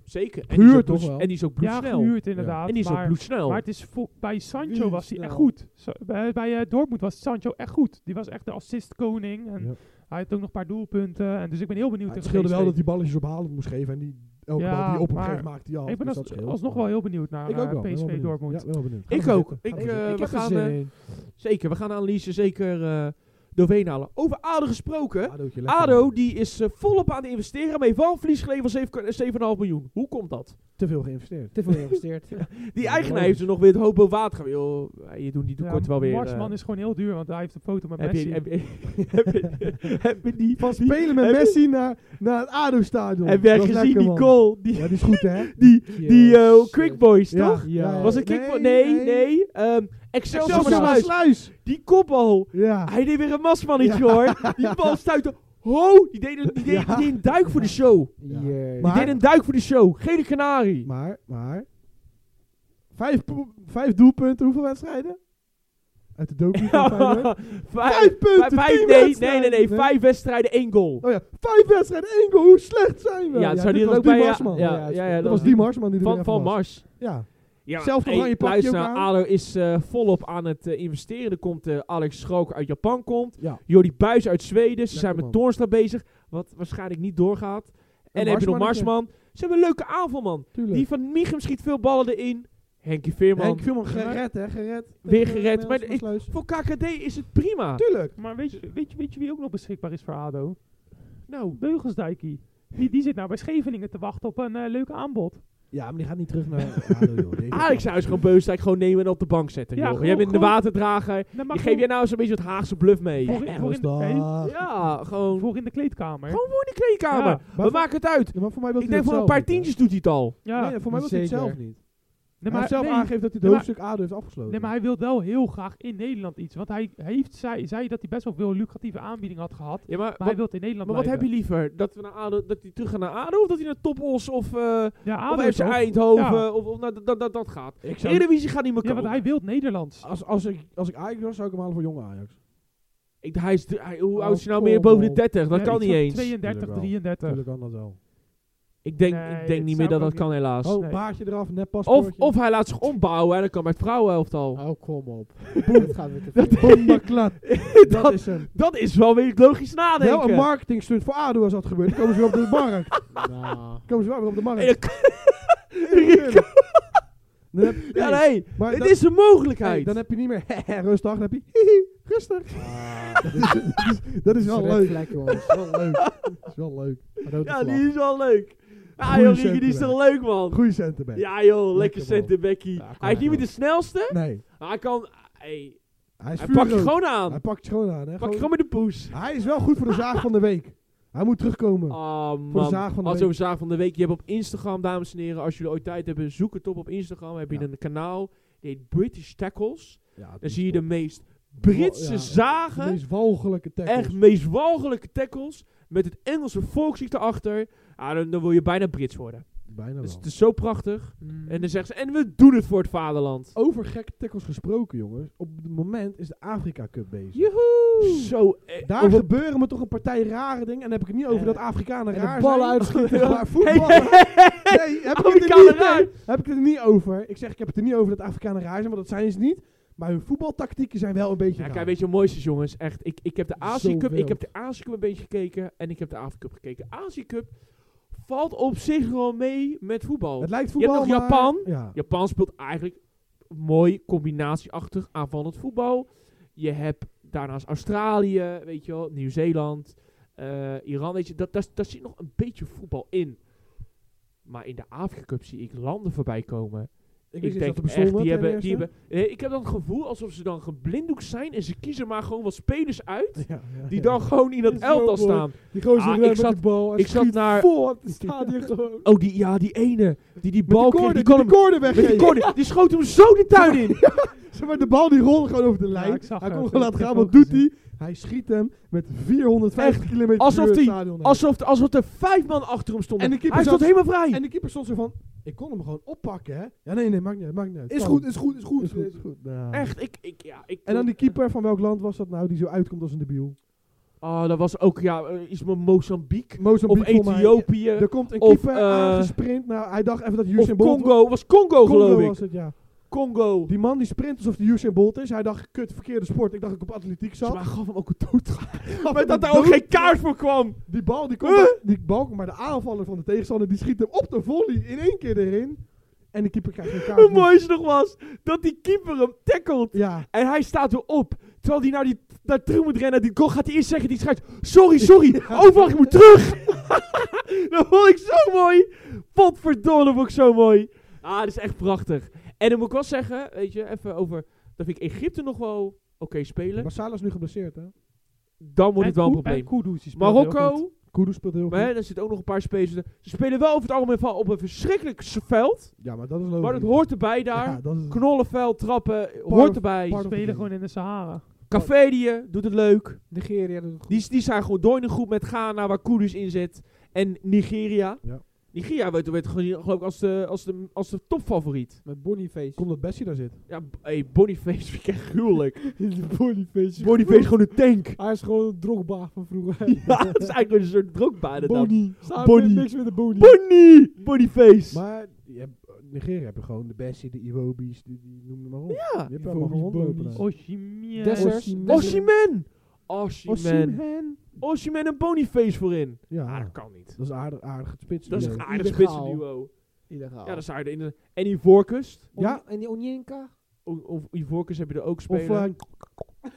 S1: Zeker. En die, is
S2: Gehuurd
S1: ook
S2: toch
S1: bloeds-
S2: wel?
S1: en die is ook
S4: Ja,
S1: bloedsnel.
S4: gehuurd inderdaad.
S1: en die is ook
S4: maar,
S1: bloedsnel.
S4: maar het is vol- bij Sancho was hij echt
S3: Snel.
S4: goed. Zo- bij bij eh, Dortmund was Sancho echt goed. Die was echt de assistkoning. En
S2: Ja.
S4: Hij had ook nog een paar doelpunten. En dus ik ben heel benieuwd.
S2: het
S4: tegen
S2: scheelde wel dat
S4: PSV.
S2: die balletjes op halen moest geven. En die elke
S4: Ja,
S2: bal die op hem
S4: maar
S2: geeft maakte hij af.
S4: Ik ben
S2: dus
S4: als,
S2: dat scheelt.
S4: alsnog wel heel benieuwd naar
S2: Ik ook
S4: eh,
S2: wel. ben wel
S4: PSV
S2: benieuwd.
S4: Dortmund.
S2: Ja, wel benieuwd.
S1: Ik
S2: Ga maar
S1: ook.
S2: zitten.
S1: Ik,
S2: Ga maar
S1: eh, we
S2: zitten.
S3: Ik heb dus, er
S1: gaan,
S3: zin
S1: eh,
S3: in.
S1: Zeker, we gaan Annelies er zeker eh, doorheen halen. Over ADO gesproken.
S2: Adootje, lekker,
S1: eh, ADO
S2: man.
S1: die is eh, volop aan het investeren. Maar heeft wel een verlies geleverd van 7,5 miljoen. Hoe komt dat?
S2: te veel geïnvesteerd.
S3: Te veel geïnvesteerd.
S1: Die
S2: Ja,
S1: eigenaar
S2: logisch.
S1: heeft er nog weer het hoop boven water gehaald. Joh, Je doet die tekort wel weer.
S4: Marsman
S1: eh,
S4: is gewoon heel duur, want hij heeft een foto met
S1: heb je,
S4: Messi.
S1: heb, je, heb, je, heb je die,
S2: Van spelen met
S1: heb je-
S2: Messi naar, naar het ADO-stadion.
S1: heb jij
S2: Dat is
S1: gezien
S2: lekker,
S1: die
S2: man.
S1: goal? Die,
S2: Ja, die is goed, hè?
S1: die, die eh,
S3: Jezus.
S1: Quick Boys, toch?
S2: Ja.
S1: Was het Quick Boys? Nee, nee. ehm, Excelsior
S2: Excelsior
S1: Sluis.
S2: Sluis.
S1: Die kopbal.
S2: Ja.
S1: Hij deed weer een masmannetje hoor. Die bal stuitte. Ho! Die deed, een- die, deed, die deed een duik voor de show.
S2: Ja.
S3: Jee.
S1: Die
S2: Maar-
S1: deed een duik voor de show. Gele kanarie.
S2: Maar, maar. Vijf, po- vijf doelpunten, hoeveel wedstrijden? Uit de docu van Feyenoord. Vijf punten,
S1: vijf-
S2: tien
S1: nee, nee,
S2: wedstrijden.
S1: nee, nee. Vijf wedstrijden, één goal.
S2: Oh ja, vijf wedstrijden, één goal. Hoe slecht zijn we?
S1: Ja,
S2: dat
S1: zou die dat ook bij... Ja, ja, ja,
S2: dat
S1: ja,
S2: was die Marsman die er
S1: Van,
S2: weer
S1: van
S2: even was.
S1: Mars.
S2: Ja.
S1: Ja,
S2: Zelfde
S1: hey,
S2: oranje pakje
S1: luister,
S2: ook aan.
S1: ADO is eh, volop aan het eh, investeren. Er komt eh, Alex Schrook uit Japan komt.
S2: Ja.
S1: Jordi Buis uit Zweden. Ze
S2: Lekker
S1: zijn met
S2: man.
S1: Toornstra bezig. Wat waarschijnlijk niet doorgaat. En dan heb je nog
S2: Marsmannetje.
S1: Marsman. Ze hebben een leuke aanval, man.
S2: Tuurlijk.
S1: Die van Michem schiet veel ballen erin. Henkie Veerman.
S2: Henk Veerman gered, hè? Gered.
S1: Weer
S2: Tegen
S1: gered, maar
S2: Nederlandse
S1: ik-
S2: Sluis.
S1: Voor KKD is het prima.
S2: Tuurlijk.
S4: Maar weet je, weet, je, weet je wie ook nog beschikbaar is voor ADO?
S1: Nou,
S4: Beugelsdijkie. Die, die zit nou bij Scheveningen te wachten op een eh, leuke aanbod.
S2: Ja, maar die gaat niet terug naar ADO, joh. Die heeft-
S1: Alex Ah, zou eens gewoon Beusdijk gewoon nemen en op de bank zetten.
S4: Ja,
S1: joh.
S4: gewoon-
S1: jij bent de
S4: gewoon-
S1: waterdrager.
S4: Nou, maar
S1: Je geef
S4: gewoon
S1: jij nou eens een beetje het Haagse bluff mee.
S4: Voor-
S2: Ja,
S1: Ja,
S4: voor
S2: was
S4: in de-
S2: dat?
S1: ja, gewoon
S4: voor in de kleedkamer.
S1: Gewoon in de kleedkamer.
S4: Ja,
S1: We
S2: voor-
S1: maken het uit.
S2: Ja, maar voor mij wil
S1: Ik
S2: hij
S1: denk
S2: dat
S1: voor een
S2: zelf
S1: paar
S2: niet, hè?
S1: tientjes doet hij het al.
S4: ja.
S2: Nee, voor mij was hij het
S3: Zeker.
S2: zelf niet.
S4: Nee,
S2: hij heeft zelf
S4: nee,
S2: aangeeft dat hij het
S4: Nee, maar-
S2: hoofdstuk ADO heeft afgesloten.
S4: nee, maar hij wil wel heel graag in Nederland iets. Want hij heeft, zei, zei dat hij best wel veel lucratieve aanbiedingen had gehad. Maar
S1: Ja, maar,
S4: hij
S1: wat,
S4: wil het in Nederland
S1: maar wat heb
S4: blijven.
S1: je liever? Dat, we naar ADO, dat hij terug gaat naar ADO of dat hij naar Topos of, eh
S4: Ja,
S1: of FC
S4: ADO toch?
S1: Eindhoven
S4: Ja.
S1: of, of naar dat, dat, dat, dat gaat.
S2: ik zou,
S1: Eredivisie gaat niet meer
S4: Ja,
S1: komen.
S4: want hij wil het Nederlands.
S2: als, als, ik, als ik Ajax was, zou ik hem halen voor jonge Ajax.
S1: Ik- hij is, hij- hoe
S2: Oh,
S1: oud is hij nou
S2: kom
S1: meer boven de
S2: op.
S1: 30? Dat
S4: Ja,
S1: kan
S4: iets
S1: niet
S4: van
S1: eens.
S4: 32,
S2: Tuurlijk wel.
S4: 33.
S2: Natuurlijk kan dat wel.
S1: Ik denk,
S4: Nee,
S1: ik denk niet
S4: het
S1: meer
S4: zou
S1: dat dat
S4: ook
S1: kan helaas.
S2: Oh,
S4: nee.
S2: baardje eraf, net
S1: Of,
S2: paspoortje.
S1: of hij laat zich ombouwen en dan kan bij het vrouwenelftal.
S3: Oh, kom op. Dat gaat weer te veel.
S2: Bombaklat. dat,
S1: dat,
S2: is hem.
S1: dat is wel weer logisch nadenken.
S2: Wel Nou, een marketingstunt voor ADO als dat gebeurt. Dan komen ze weer op de markt. Dan
S3: Nou.
S2: komen ze wel weer op de markt.
S1: Hey,
S2: Dan heb, nee,
S1: ja, nee.
S2: maar
S1: het
S2: dan-
S1: is een
S2: hey,
S1: mogelijkheid.
S2: dan heb je niet meer rustig. Dan heb je hihi, rustig. dat, is, dat is wel leuk.
S3: Red flag, jongens.
S2: Dat is wel leuk. Dat is wel leuk.
S3: Rode
S1: ja,
S3: vlag.
S1: die is wel leuk. Ah
S2: Goeie
S1: joh, Rieke, die is
S2: centerback.
S1: toch leuk, man.
S2: Goeie centen bij.
S1: Ja joh, lekker
S2: Lekker, man.
S1: centerbackie.
S2: Ja, kom
S1: hij is
S2: maar,
S1: niet meer de snelste,
S2: Nee,
S1: maar hij kan... Hey,
S2: hij is
S1: hij pakt je
S2: vuurrood.
S1: gewoon aan.
S2: Hij pakt je gewoon aan. Hè.
S1: Pak je
S2: Gewoon-
S1: gewoon met de poes.
S2: Hij is wel goed voor de zaag van de week. Hij moet terugkomen.
S1: Oh man,
S2: de zaag van de
S1: als
S2: week.
S1: over zaag van de week. Je hebt op Instagram, dames en heren, als jullie ooit tijd hebben, zoek het op op Instagram. Heb je
S2: Ja.
S1: een kanaal, die heet British Tackles.
S2: Ja,
S1: Dan zie je de meest Britse
S2: Ja,
S1: zagen,
S2: De meest walgelijke tackles.
S1: echt meest walgelijke tackles, met het Engelse volkslied erachter. Ah, dan, dan wil je bijna Brits worden.
S2: bijna
S1: Dus
S2: wel.
S1: het is zo prachtig.
S4: Mm.
S1: En
S2: Mm.
S1: dan zeggen ze, en we doen het voor het vaderland.
S2: Over gekke tackles gesproken, jongens. Op het moment is de Afrika Cup bezig.
S1: Joehoe! Zo, eh,
S2: Daar
S1: over-
S2: gebeuren me toch een partij rare dingen. En dan heb ik het niet over
S1: Eh,
S2: dat Afrikanen
S3: en de
S2: raar
S3: ballen
S2: zijn.
S3: uitschieten.
S2: Maar voetballen... Nee, heb ik, het er
S1: Afrikanen
S2: niet,
S1: raar.
S2: nee, heb ik het er niet over. Ik zeg, ik heb het er niet over dat Afrikanen raar zijn, want dat zijn ze niet. Maar hun voetbaltactieken zijn wel een beetje
S1: Ja,
S2: raar.
S1: kijk, weet je wat mooi is, jongens? Echt, ik, ik heb de Azië Cup,
S2: Zoveel.
S1: ik heb de Azië Cup een beetje gekeken en ik heb de Afrika Cup gekeken. Azië Cup valt op zich wel mee met voetbal.
S2: het lijkt
S1: hebt
S2: voetbal,
S1: nog
S2: maar-
S1: Japan.
S2: Ja.
S1: Japan speelt eigenlijk mooi combinatieachtig aanvallend voetbal. Je hebt daarnaast Australië, weet je wel, Nieuw-Zeeland, eh, Iran, weet je, dat, daar, daar zit nog een beetje voetbal in. Maar in de Afrika Cup zie ik landen voorbij komen.
S2: Ik,
S1: Ik,
S2: wist niet
S1: denk
S2: dat er
S1: echt,
S2: bestond,
S1: die
S2: ten
S1: hebben,
S2: eerste.
S1: die hebben... eh, ik heb dan het gevoel alsof ze dan geblinddoekt zijn en ze kiezen maar gewoon wat spelers uit
S2: Ja, ja,
S1: die
S2: ja.
S1: dan gewoon in dat
S2: Is
S1: elftal
S2: wel mooi.
S1: staan.
S2: Die gozer
S1: Ah,
S2: ah,
S1: ik
S2: met
S1: zat-
S2: de bal en
S1: ik zat
S2: schiet
S1: naar-
S2: vol op het stadion gewoon.
S1: Oh, die, ja, die ene die die
S2: Met
S1: bal
S2: die
S1: kreeg,
S2: koorden,
S1: die kon
S2: die
S1: hem...
S2: koorden
S1: Met die
S2: weggeven.
S1: corner, die schoot hem zo de tuin in.
S2: Zeg maar, de bal die rolde gewoon over de lijn.
S4: ik zag
S2: hij kon
S4: het.
S2: gewoon
S4: Ik
S2: laten
S4: heb
S2: gaan.
S4: het
S2: Wat
S4: ook
S2: doet hij? Hij schiet hem met 450 km per uur
S1: alsof
S2: het
S1: die-
S2: stadion uit.
S1: Alsof, alsof er vijf man achter hem stonden.
S2: En de keeper
S1: Hij stond
S2: zat-
S1: helemaal vrij.
S2: En de keeper stond zo van, ik kon hem gewoon oppakken, hè? Ja, nee, nee, maakt niet uit, maakt niet uit.
S3: Is
S2: Kan.
S3: goed, is goed, is goed.
S2: Is goed, is goed. Nou.
S1: Echt, ik, ik, ja, ik...
S2: En dan die keeper van welk land was dat nou, die zo uitkomt als een debiel?
S1: Oh, dat was ook, ja, eh, iets met Mozambique. Of
S2: Mozambique voor mij.
S1: Ethiopië.
S2: Er komt een
S1: Of,
S2: keeper
S1: eh,
S2: aangesprint. Nou, hij dacht even dat
S1: of
S2: Usain Bolt...
S1: Congo. Was Congo,
S2: Congo
S1: geloof ik.
S2: was het, ja.
S1: Congo.
S2: Die man die sprint alsof die Usain Bolt is. Hij dacht, kut, verkeerde sport. Ik dacht dat ik op atletiek
S1: Ze
S2: zat.
S1: maar gaf hem ook een doodgaan.
S2: Maar
S1: Dat daar ook geen kaart voor kwam.
S2: Die bal, die komt,
S1: Huh?
S2: die bal, maar de aanvaller van de tegenstander, die schiet hem op de volley in één keer erin. En de keeper krijgt een kaart.
S1: Hoe mooi het nog was dat die keeper hem tackelt.
S2: Ja.
S1: En hij staat weer op. Terwijl hij naar, die, naar terug moet rennen. Die goal gaat hij eerst zeggen. Die schrijft. Sorry, sorry. Oh, wacht, ik moet terug. dat vond ik zo mooi. Potverdomme, dat vond ik zo mooi. Ah, dat is echt prachtig. En dan moet ik wel zeggen, weet je, even over... Dat vind ik Egypte nog wel oké spelen.
S2: Maar Salah is nu geblesseerd, hè?
S1: Dan wordt
S4: En
S1: het wel een
S4: Ku-
S1: probleem.
S4: en Kudus, die speelt heel goed.
S1: Marokko,
S2: Kudu speelt heel goed.
S1: maar hè, daar zitten ook nog een paar spelers. in. Ze spelen wel over het algemeen van op een verschrikkelijk s- veld.
S2: Ja, maar dat is logisch.
S1: Maar dat hoort erbij
S2: Ja,
S1: daar.
S2: dat is
S1: Knollenveld, trappen, hoort
S2: of-
S1: erbij.
S2: part-
S4: Die spelen gewoon in de Sahara.
S1: Cafedië doet het leuk.
S3: Nigeria doet het goed.
S1: Die, die zijn gewoon door in een groep met Ghana, waar Kudus in zit. En Nigeria.
S2: Ja.
S1: Nigeria werd, werd gewoon, geloof ik als de, als, de, als de topfavoriet.
S3: Met Boniface.
S2: Komt dat Bessie daar zit?
S1: Ja, b- hey, Boniface vind ik echt gruwelijk.
S3: Boniface.
S1: Boniface gewoon een tank.
S3: Hij is gewoon een drogba van vroeger.
S1: ja, dat is eigenlijk een soort drokbaan. dan.
S3: Bonnie. Samen
S1: Bonnie.
S3: niks met de Bonnie.
S1: Bonnie! Boniface!
S2: Maar je hebt, Nigeria heb je gewoon de Bessie, de Iwobi's, die, die noem er maar op.
S1: ja,
S2: Je hebt er allemaal
S3: Iwobi's,
S2: gewoon rondlopen
S3: Boni's.
S2: daar.
S4: Oshimie.
S3: Dessers.
S1: Osimhen!
S2: Oh,
S1: Osimhen.
S2: Osimhen.
S1: Osimhen en Boniface voorin. Ah,
S2: Ja,
S1: dat kan niet.
S2: dat is aardig, aardig het spits.
S1: Dat is een
S2: idee.
S1: aardig
S3: Illegaal.
S1: spitsenduo.
S3: Illegaal.
S1: Ja, dat is aardig. En- eh, En Ivorcus.
S2: Ja.
S3: En die Onyenka?
S1: Of- Of Ivorcus heb je er ook
S2: Of
S1: spelen.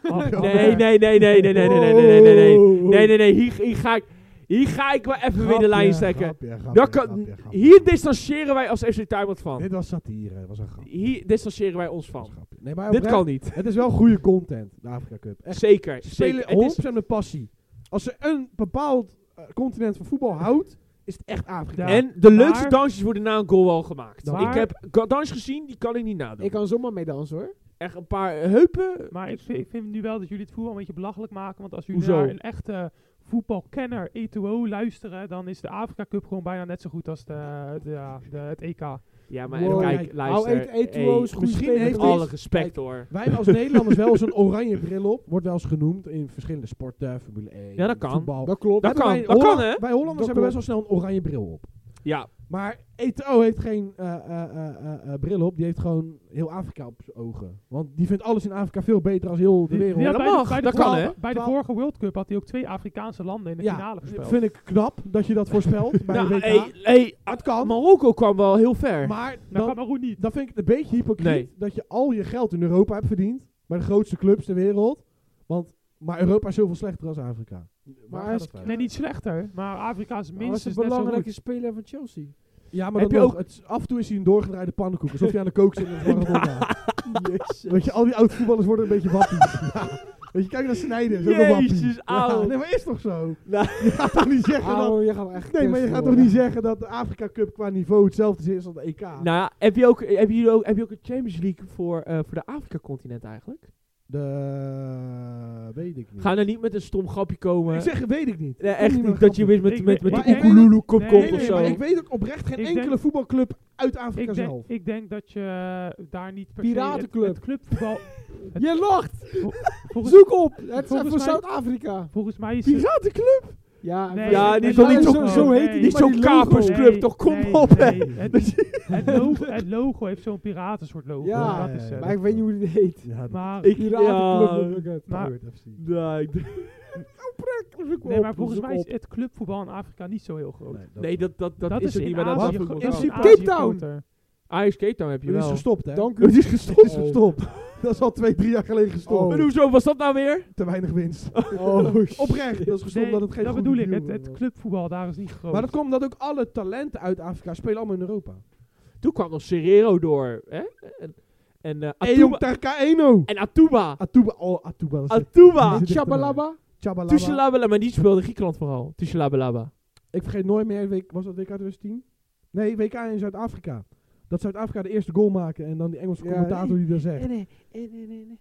S2: eh,
S4: Oh,
S1: nee, nee, nee, nee, nee, nee, nee, nee, nee, nee, nee. Nee, nee, nee, hier, hier, ga, ik, hier ga ik wel even weer de lijn stekken.
S2: Grapje, grapje,
S1: Dan kan-
S2: grapje, grapje.
S1: Hier distancieren wij als FC Tuimert van.
S2: Dit was satire, dat was een grap.
S1: Hier distancieren wij ons
S2: Dat was
S1: van.
S2: een grapje. Nee, maar
S1: Dit
S2: oprecht,
S1: kan niet.
S2: Het is wel goede content, de Afrika Cup. Echt,
S1: Zeker,
S2: ze spelen
S1: zeker. Het is,
S2: 100% met passie. Als ze een bepaald eh, continent van voetbal houdt, is het echt Afrika.
S4: Ja.
S1: en de leukste
S4: maar-
S1: dansjes worden na een goal al gemaakt.
S4: Maar-
S1: ik heb ga- dans gezien, die kan ik niet nadoen.
S3: Ik kan zomaar mee dansen hoor.
S1: Echt een paar eh, heupen.
S4: Maar ik vind, ik vind nu wel dat jullie het voetbal een beetje belachelijk maken. Want als jullie
S1: Hoezo?
S4: naar een echte voetbalkenner, E2O, luisteren, dan is de Afrika Cup gewoon bijna net zo goed als de, de, ja, de- het E EK.
S1: Ja, maar
S3: Wow.
S1: kijk, luister.
S3: Hou eet- eet
S1: hey,
S3: Tuo's goede
S2: misschien
S3: spelers.
S1: met
S2: heeft
S3: Alles.
S1: alle respect hoor.
S2: Wij hebben als Nederlanders wel eens een oranje bril op. Wordt wel eens genoemd in verschillende sporten, Formule 1,
S1: Ja, dat kan.
S2: voetbal.
S3: Dat klopt.
S1: Dat
S2: Hebben
S1: kan,
S2: wij
S1: dat kan
S2: Holland-
S1: hè?
S2: Wij Hollanders
S3: Dat
S2: hebben best wel snel een oranje bril op.
S1: Ja,
S2: Maar ETO heeft geen eh, eh, eh, eh, eh, bril op. Die heeft gewoon heel Afrika op zijn ogen. Want die vindt alles in Afrika veel beter als heel de wereld.
S1: Ja, dat
S4: bij de-
S1: mag.
S4: bij de
S1: Dat kan,
S4: vorige-
S1: hè?
S4: Bij de vorige World Cup had hij ook twee Afrikaanse landen in de
S2: Ja,
S4: finale gespeeld.
S2: vind ik knap dat je dat voorspelt bij
S1: nou,
S2: de WK.
S1: hey, hey,
S2: Het kan.
S1: Marokko kwam wel heel ver.
S2: Maar
S4: dat kan
S2: dan,
S4: Maroon Nou, niet.
S2: dan vind ik het een beetje hypocriet
S1: Nee.
S2: dat je al je geld in Europa hebt verdiend. Bij de grootste clubs ter wereld. Want, maar Europa is zoveel slechter als Afrika. Waar
S3: hij
S2: gaat
S3: is-
S2: dat
S4: Nee,
S2: uit?
S4: niet slechter. Maar Afrika is
S3: Maar was
S4: minstens
S3: een
S4: net zo goed.
S3: belangrijke speler van Chelsea.
S2: Ja, maar
S1: Heb
S2: heb
S1: je
S2: je ook, het, is- af en toe is hij een doorgedraaide pannenkoek. Alsof je aan de kook zit met Maradona. Weet je, al die oud-voetballers worden een beetje wappie. Ja. Weet je, kijk naar Snijder. is ook een wappie.
S1: Jezus,
S2: Ja,
S1: auw.
S2: nee, maar is toch zo?
S1: Nou.
S2: Je gaat toch niet zeggen dat...
S3: Ouwe, je gaat echt
S2: Nee, maar je gaat toch niet zeggen dat de Afrika Cup qua niveau hetzelfde is als de EK?
S1: Nou, ja, heb je ook, heb je ook, heb je ook een Champions League voor, eh, voor de eh, Afrika-continent eigenlijk?
S2: De, eh, weet ik niet.
S1: Ga nou niet met een stom grapje komen.
S2: ik zeg, weet ik niet.
S1: Nee, echt
S2: Kom niet
S1: niet
S2: met
S1: dat je weer met,
S4: Ik
S1: met,
S4: weet-
S1: met
S2: maar
S1: de
S2: ik-
S1: koekeloeloek op
S4: Nee,
S1: komt
S4: nee,
S1: of
S4: nee,
S1: zo.
S2: maar ik weet ook oprecht geen
S4: Ik denk-
S2: enkele voetbalclub uit Afrika
S4: Ik denk,
S2: zelf.
S4: ik denk dat je eh, daar niet per se
S3: Piratenclub.
S4: het, het clubvoetbal...
S3: Je lacht!
S4: Volgens,
S3: Zoek op! Het is
S4: volgens
S3: voor
S4: mij-
S3: Zuid-Afrika.
S4: volgens mij is het-
S2: Piratenclub!
S3: Ja,
S4: Nee,
S1: ja,
S4: nee,
S1: die
S4: nee,
S1: zal niet
S4: nee,
S1: zo,
S4: nee,
S1: zo heet
S4: nee,
S1: niet
S3: maar
S1: zo'n
S3: die logo.
S1: kapersclub,
S4: Nee,
S1: toch? Kom
S4: nee,
S1: op, hè.
S4: nee. Het, het logo, het logo heeft zo'n piratensoort logo.
S3: Ja,
S4: dat is, het.
S3: maar ik weet niet hoe die heet.
S2: Ja, dat
S4: maar,
S1: Ik-
S3: Piratenclub
S1: ja,
S3: noem ik het.
S4: maar-
S2: gebeurt FC.
S1: Nee, ik denk-
S4: nee, maar volgens mij is het clubvoetbal in Afrika niet zo heel groot.
S2: Nee, dat-
S1: nee, dat, dat, dat,
S4: dat
S1: is het
S4: in
S1: niet. Maar dat
S4: Azië
S1: was
S4: gro-
S1: ook
S4: dat is
S1: wel.
S4: in
S3: Cape
S4: Azië
S3: Town.
S4: groter.
S1: Ajax Cape Town heb je
S2: Die is
S1: wel.
S2: gestopt, hè?
S3: Dank u.
S2: Die is gestopt.
S3: Oh.
S2: gestopt. Dat is al twee, drie jaar geleden gestopt.
S3: Oh.
S1: En hoezo was dat nou weer?
S2: Te weinig winst.
S3: Oh,
S2: Oprecht, dat is gestopt
S4: Nee,
S2: dat het geen
S4: dat
S2: goede
S4: bedoel ik.
S2: deal
S4: Het, het
S2: was.
S4: clubvoetbal daar is niet groot.
S2: Maar dat komt omdat ook alle talenten uit Afrika spelen allemaal in Europa.
S1: Toen kwam nog Serrero door. Hè? En, en, eh,
S2: Eyom
S1: Atuba,
S2: Tarka Eno.
S1: en Atuba.
S2: Atuba, oh Atuba. dat is
S1: Atuba.
S2: Nee.
S3: Chabalaba.
S2: Chabalaba.
S1: Tushalabalaba. Maar die speelde Griekenland vooral. Tushalabalaba.
S2: Ik vergeet nooit meer, week- was dat WK 2010? Nee, WK in Zuid-Afrika. Dat Zuid-Afrika de eerste goal maken en dan die Engelse
S3: Ja.
S2: commentator die daar zegt.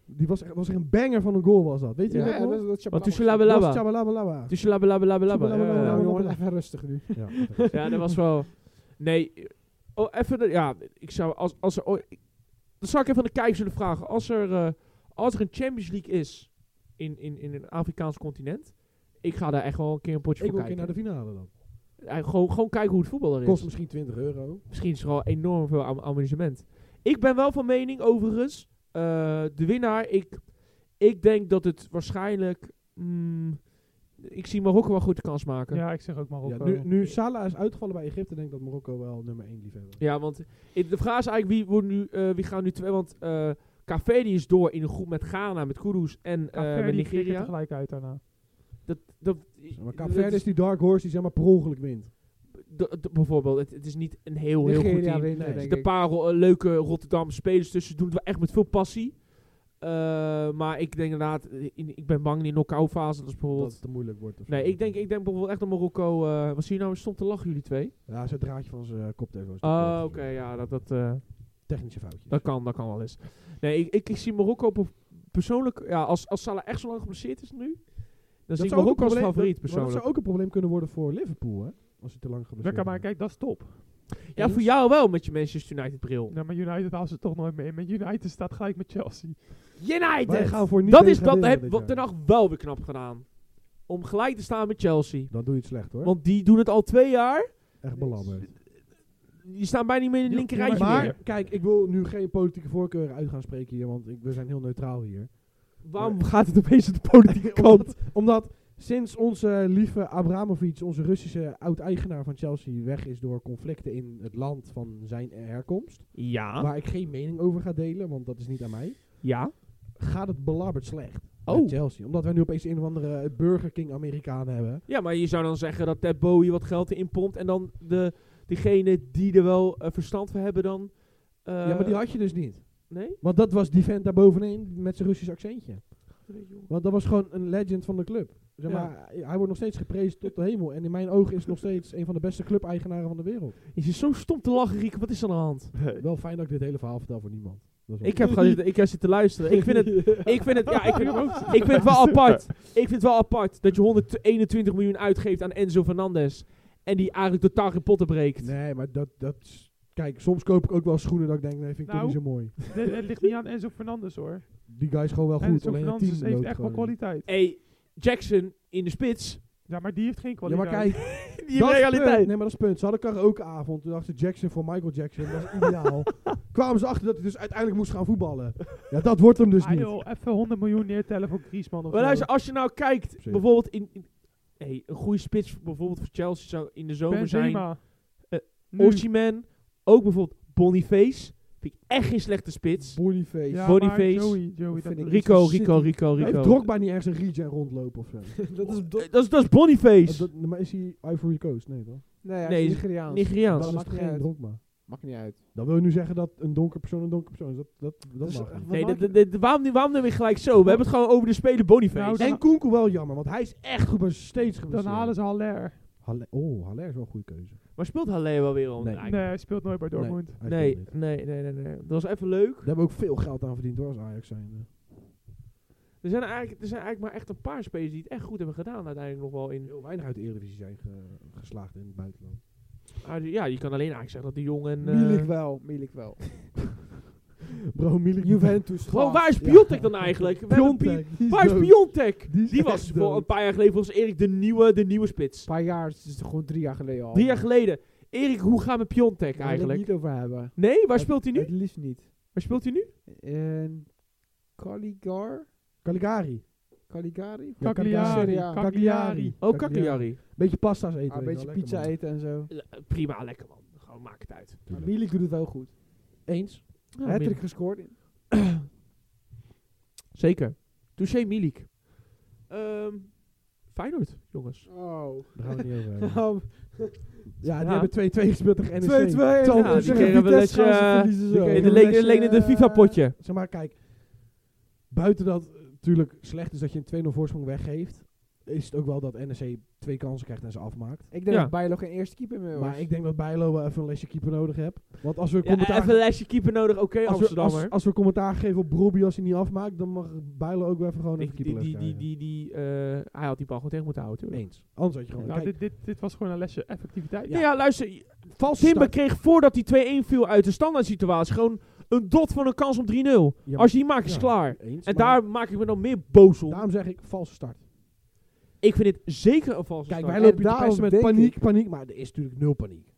S2: Die was echt, was echt een banger van een goal was dat. Weet je
S3: Ja,
S2: dat nog?
S3: dat is dat
S1: Want
S3: Chabalaba.
S2: Dat was
S1: Tushalabalaba.
S2: Chabalabalabalaba.
S1: Dus Tushalabalabalabalaba.
S2: Tushalabalaba.
S1: ja, ja.
S3: Nou jongen, even rustig nu.
S2: Ja,
S1: Ja, dat was wel. Nee, oh, even. de- ja, ik zou. Als, als er, ooit- ik- dat zou ik even aan de kijkers willen vragen. Als er, eh, als er een Champions League is. In, in, in een Afrikaans continent. Ik ga daar echt wel een keer een potje
S2: ik wil
S1: voor
S2: een keer
S1: kijken.
S2: naar de finale dan.
S1: Ja, gewoon, gewoon kijken hoe het voetbal er is.
S2: Kost misschien 20 euro.
S1: Misschien is er al enorm veel am- amusement. Ik ben wel van mening, overigens. eh, de winnaar, ik, ik denk dat het waarschijnlijk. mm, ik zie Marokko wel goed de kans maken.
S4: ja, ik zeg ook maar op. eh,
S2: Ja, nu, nu Salah is uitgevallen bij Egypte, denk ik dat Marokko wel nummer 1 liefhebber.
S1: Ja, want i- de vraag is eigenlijk wie, wordt nu, eh, wie gaan nu twee. Want eh Café die is door in een groep met Ghana, met Kudus en eh, met
S4: Nigeria.
S1: Nigeria.
S4: gelijk uit daarna.
S1: Dat, dat,
S2: Maar dus-
S1: dat
S2: Kaapverde is die dark horse die zeg maar per ongeluk wint.
S1: dat- dat- bijvoorbeeld, het, het is niet een heel, heel goed
S3: Nigeria
S1: team. Er
S3: winnen,
S2: Nee.
S3: denk
S1: zitten een
S3: ik.
S1: paar ro- eh, leuke Rotterdamse spelers tussen. Doen het wel echt met veel passie. Eh, maar ik denk inderdaad, eh, in, ik ben bang in die knock-out fase. Dat is
S2: Dat
S1: bijvoorbeeld.
S2: het te moeilijk wordt. of zo.
S1: nee, ik denk, ik denk bijvoorbeeld echt dat Marokko. eh wat zie je nou? Stond te lachen, jullie twee.
S2: Ja, zijn draadje van zijn eh, koptelefoon. is
S1: Oh,
S2: kapot.
S1: oké, ja, dat, dat, eh,
S2: Technische foutjes.
S1: Dat kan, dat kan wel eens. Nee, ik, ik, ik zie Marokko op- persoonlijk... Ja, als, als Salah echt zo lang geblesseerd is nu... Dan zie ik
S2: zou ook
S1: Marokko
S2: een
S1: als
S2: probleem-
S1: favoriet
S2: dat- maar Dat
S1: persoonlijk.
S2: zou ook een probleem kunnen worden voor Liverpool, hè? Als hij te lang geblesseerd
S4: Lekker, maar
S2: is.
S4: kijk, dat is top.
S1: Ja, voor jou wel met je Manchester United bril.
S4: Ja, maar United haalt ze toch nooit mee. Met United staat gelijk met Chelsea.
S2: Wij
S1: United!
S2: gaan voor niet
S1: Dat is dat
S2: degraderen
S1: heb
S2: dit
S1: wat Ten
S2: jaar.
S1: Hag wel weer knap gedaan. Om gelijk te staan met Chelsea.
S2: Dan doe je het slecht, hoor.
S1: Want die doen het al twee jaar.
S2: Echt belabberd.
S1: Die staan bijna niet meer in het
S4: Ja,
S1: linkerrijtje
S4: maar-
S1: meer.
S2: Maar, kijk, ik wil nu geen politieke voorkeuren uit gaan spreken hier, want ik, we zijn heel neutraal hier.
S1: Waarom gaat het opeens de politieke kant?
S2: Omdat sinds onze lieve Abramovic, onze Russische oud-eigenaar van Chelsea, weg is door conflicten in het land van zijn herkomst,
S1: Ja,
S2: waar ik geen mening over ga delen, want dat is niet aan mij,
S1: ja.
S2: gaat het belabberd slecht
S1: Oh.
S2: met Chelsea. Omdat wij nu opeens een of andere Burger King Amerikanen hebben.
S1: Ja, maar je zou dan zeggen dat Ted Bowie wat geld erin pompt. En dan de, degene die er wel eh, verstand van hebben dan... eh,
S2: ja, maar die had je dus niet.
S1: Nee?
S2: Want dat was die vent daar bovenin met zijn Russisch accentje. Want dat was gewoon een legend van de club. Zeg
S1: Ja.
S2: maar, hij- hij wordt nog steeds geprezen tot de hemel. En in mijn ogen is het nog steeds een van de beste club-eigenaren van de wereld.
S1: Je zit zo stom te lachen, Rieke. Wat is er aan de hand?
S2: Wel fijn dat ik dit hele verhaal vertel voor niemand. Dat is wel-
S1: Ik heb gewoon zitten- ik heb zitten luisteren. Ik vind het, ik vind het, ja, ik vind, ik vind het wel apart. Ik vind het wel apart dat je 121 miljoen uitgeeft aan Enzo Fernandez. En die eigenlijk totaal geen potten breekt.
S2: Nee, maar dat, dat is- Kijk, soms koop ik ook wel schoenen dat ik denk, nee, vind ik
S4: Nou.
S2: toch niet zo mooi.
S4: Het- Het ligt niet aan Enzo Fernandes hoor.
S2: Die guy is gewoon wel goed,
S4: Enzo
S2: alleen het
S4: Fernandes
S2: team
S4: heeft
S2: loopt
S4: echt wel
S2: gewoon niet.
S4: kwaliteit.
S1: hey, Jackson in de spits.
S4: Ja, maar die heeft geen
S2: Ja,
S4: kwaliteit.
S2: maar kijk,
S1: Die
S2: dat is het punt.
S1: realiteit.
S2: Nee, maar dat is het punt. Ze hadden karaokeavond, toen dachten ze Jackson voor Michael Jackson, dat is ideaal. Kwamen ze achter dat hij dus uiteindelijk moest gaan voetballen. Ja, dat wordt hem dus
S4: Ah,
S2: niet.
S4: joh, even 100 miljoen neertellen voor Griezmann of
S1: Maar
S4: zo.
S1: luister, als je nou kijkt,
S2: Zeker.
S1: bijvoorbeeld in... in- hey, een goede spits bijvoorbeeld voor Chelsea zou in de zomer zijn.
S4: Benzema.
S1: Eh,
S4: Nu.
S1: Osimhen. Ook bijvoorbeeld Boniface. Vind ik echt geen slechte spits.
S3: Boniface.
S4: Ja,
S1: Boniface.
S4: maar Joey, Joey,
S3: Dat
S4: dat
S3: vind ik-
S1: Rico,
S3: City.
S1: Rico, Rico,
S2: Heeft
S1: Rico.
S2: Drogba niet ergens een regen rondlopen of zo?
S3: Dat is... do-
S1: Eh, Dat is, dat is Boniface.
S2: Oh, dat- maar is hij Ivory Coast? Nee, toch?
S3: Nee, hij
S1: Nee,
S3: is
S1: is
S3: Nigeriaans.
S1: Nigeriaans.
S2: Dan is
S3: maakt
S2: het
S3: niet
S2: geen
S3: uit.
S2: Drogba.
S3: Maakt niet uit.
S2: Dan wil je nu zeggen dat een donker persoon een donker persoon is. Dat, dat, dat
S3: is
S2: mag
S3: echt
S2: niet.
S1: Nee,
S3: Wat maak
S1: dat- dat- dat- waarom, waarom neem je gelijk zo? We hebben het gewoon over de speler Boniface.
S4: Nou, dan-
S2: En Koenko wel jammer, want hij is echt goed, maar steeds geblesseerd.
S4: Dan halen ze Haller.
S2: Haller- oh, Haller is wel een goede keuze.
S1: maar speelt Halle wel weer al?
S2: Nee.
S4: Nee, hij speelt nooit bij Dortmund.
S2: hij speelt
S1: Nee,
S2: niet.
S1: nee, nee, nee, nee. Dat was even leuk.
S2: eh. Daar hebben we ook veel geld aan verdiend hoor, als Ajax zijn.
S1: Er zijn, er eigenlijk, er zijn eigenlijk maar echt een paar spelers die het echt goed hebben gedaan uiteindelijk nog wel in.
S2: Heel weinig uit de Eredivisie zijn ge- geslaagd in het buitenland.
S1: Ah, ja, je kan alleen eigenlijk zeggen dat die jongen... en... eh,
S3: Milik wel, Milik wel.
S2: Bro, Milik.
S3: Juventus.
S1: Gewoon,
S3: gast.
S1: waar is
S3: Ja.
S1: Piontek dan eigenlijk? We hebben Pi- Waar is Piontek?
S2: Die is
S1: Die
S2: echt
S1: was
S2: dood.
S1: wel een paar jaar geleden volgens Erik de nieuwe, de nieuwe spits.
S3: Een paar jaar, het is gewoon drie jaar geleden al.
S1: Drie jaar geleden. Erik, hoe gaan we Piontek
S3: Daar wil ik
S1: eigenlijk?
S3: niet over hebben.
S1: Nee, waar speelt hij nu?
S3: Het liefst niet.
S1: Waar speelt hij nu?
S3: En Caligar?
S2: Caligari.
S3: Caligari?
S2: Ja,
S4: Cagliari.
S3: Cagliari.
S4: Cagliari.
S1: Oh, Cagliari.
S2: Beetje pasta's eten.
S3: Ah,
S2: weet
S3: een beetje
S2: je wel,
S3: pizza
S2: lekker,
S3: eten en zo.
S1: Eh, Prima, lekker man. Gewoon maak het uit.
S2: man.
S3: Maar Milik doet het wel goed.
S2: Eens.
S1: Ja,
S3: Hij heeft
S1: Milik.
S3: er gescoord in.
S1: Zeker. Touché Milik. Ehm Feyenoord, jongens.
S3: Oh.
S2: Daar gaan we het niet over hebben.
S3: Um,
S2: Ja, die
S1: Ja.
S2: hebben 2-2 gespeeld tegen E NEC.
S3: 2-2. Ja,
S2: Zal ik
S1: die
S2: zeggen,
S1: kregen wel
S2: Vitesse
S1: eens,
S2: gaan ze
S1: eh,
S2: verliezen
S1: In
S2: zo.
S3: die kregen
S1: de
S3: een
S1: leek
S3: lesje,
S1: leek in de
S3: eh,
S1: FIFA-potje.
S2: Zeg maar, kijk. Buiten dat natuurlijk slecht is dat je een 2-0 voorsprong weggeeft, is het ook wel dat NEC twee kansen krijgt en ze afmaakt.
S3: ik denk
S1: Ja.
S3: dat Bijlo geen eerste keeper meer was.
S2: Maar ik denk dat Bijlo wel even een lesje keeper nodig hebt. Want als we
S1: Ja, even
S2: commentaar,
S1: een lesje keeper nodig. Oké,
S2: als we,
S1: Amsterdammer.
S2: als, als we commentaar geven op Brobbey als hij niet afmaakt, dan mag Bijlo ook wel even gewoon
S1: die,
S2: even keeper
S1: die, die, die, die, die, eh, hij had die bal gewoon tegen moeten houden. hoor.
S2: Eens. Anders had je gewoon...
S4: Nou,
S2: kijk,
S4: dit, dit, dit was gewoon een lesje effectiviteit.
S1: Ja. Nee, ja, luister.
S2: valse
S1: Timber
S2: start.
S1: kreeg voordat hij 2-1 viel uit de standaard situatie gewoon een dot van een kans op 3-0.
S2: Ja,
S1: Als je die maakt, is
S2: ja,
S1: het klaar.
S2: Eens,
S1: En
S2: maar
S1: daar maak ik me dan meer boos om.
S2: Daarom zeg ik valse start.
S1: Ik vind dit zeker een valse
S2: Kijk,
S1: start.
S2: wij
S3: En
S2: lopen hier te
S3: daarom
S2: pesten met
S3: denk
S2: paniek,
S3: ik-
S2: paniek, maar er is natuurlijk nul paniek.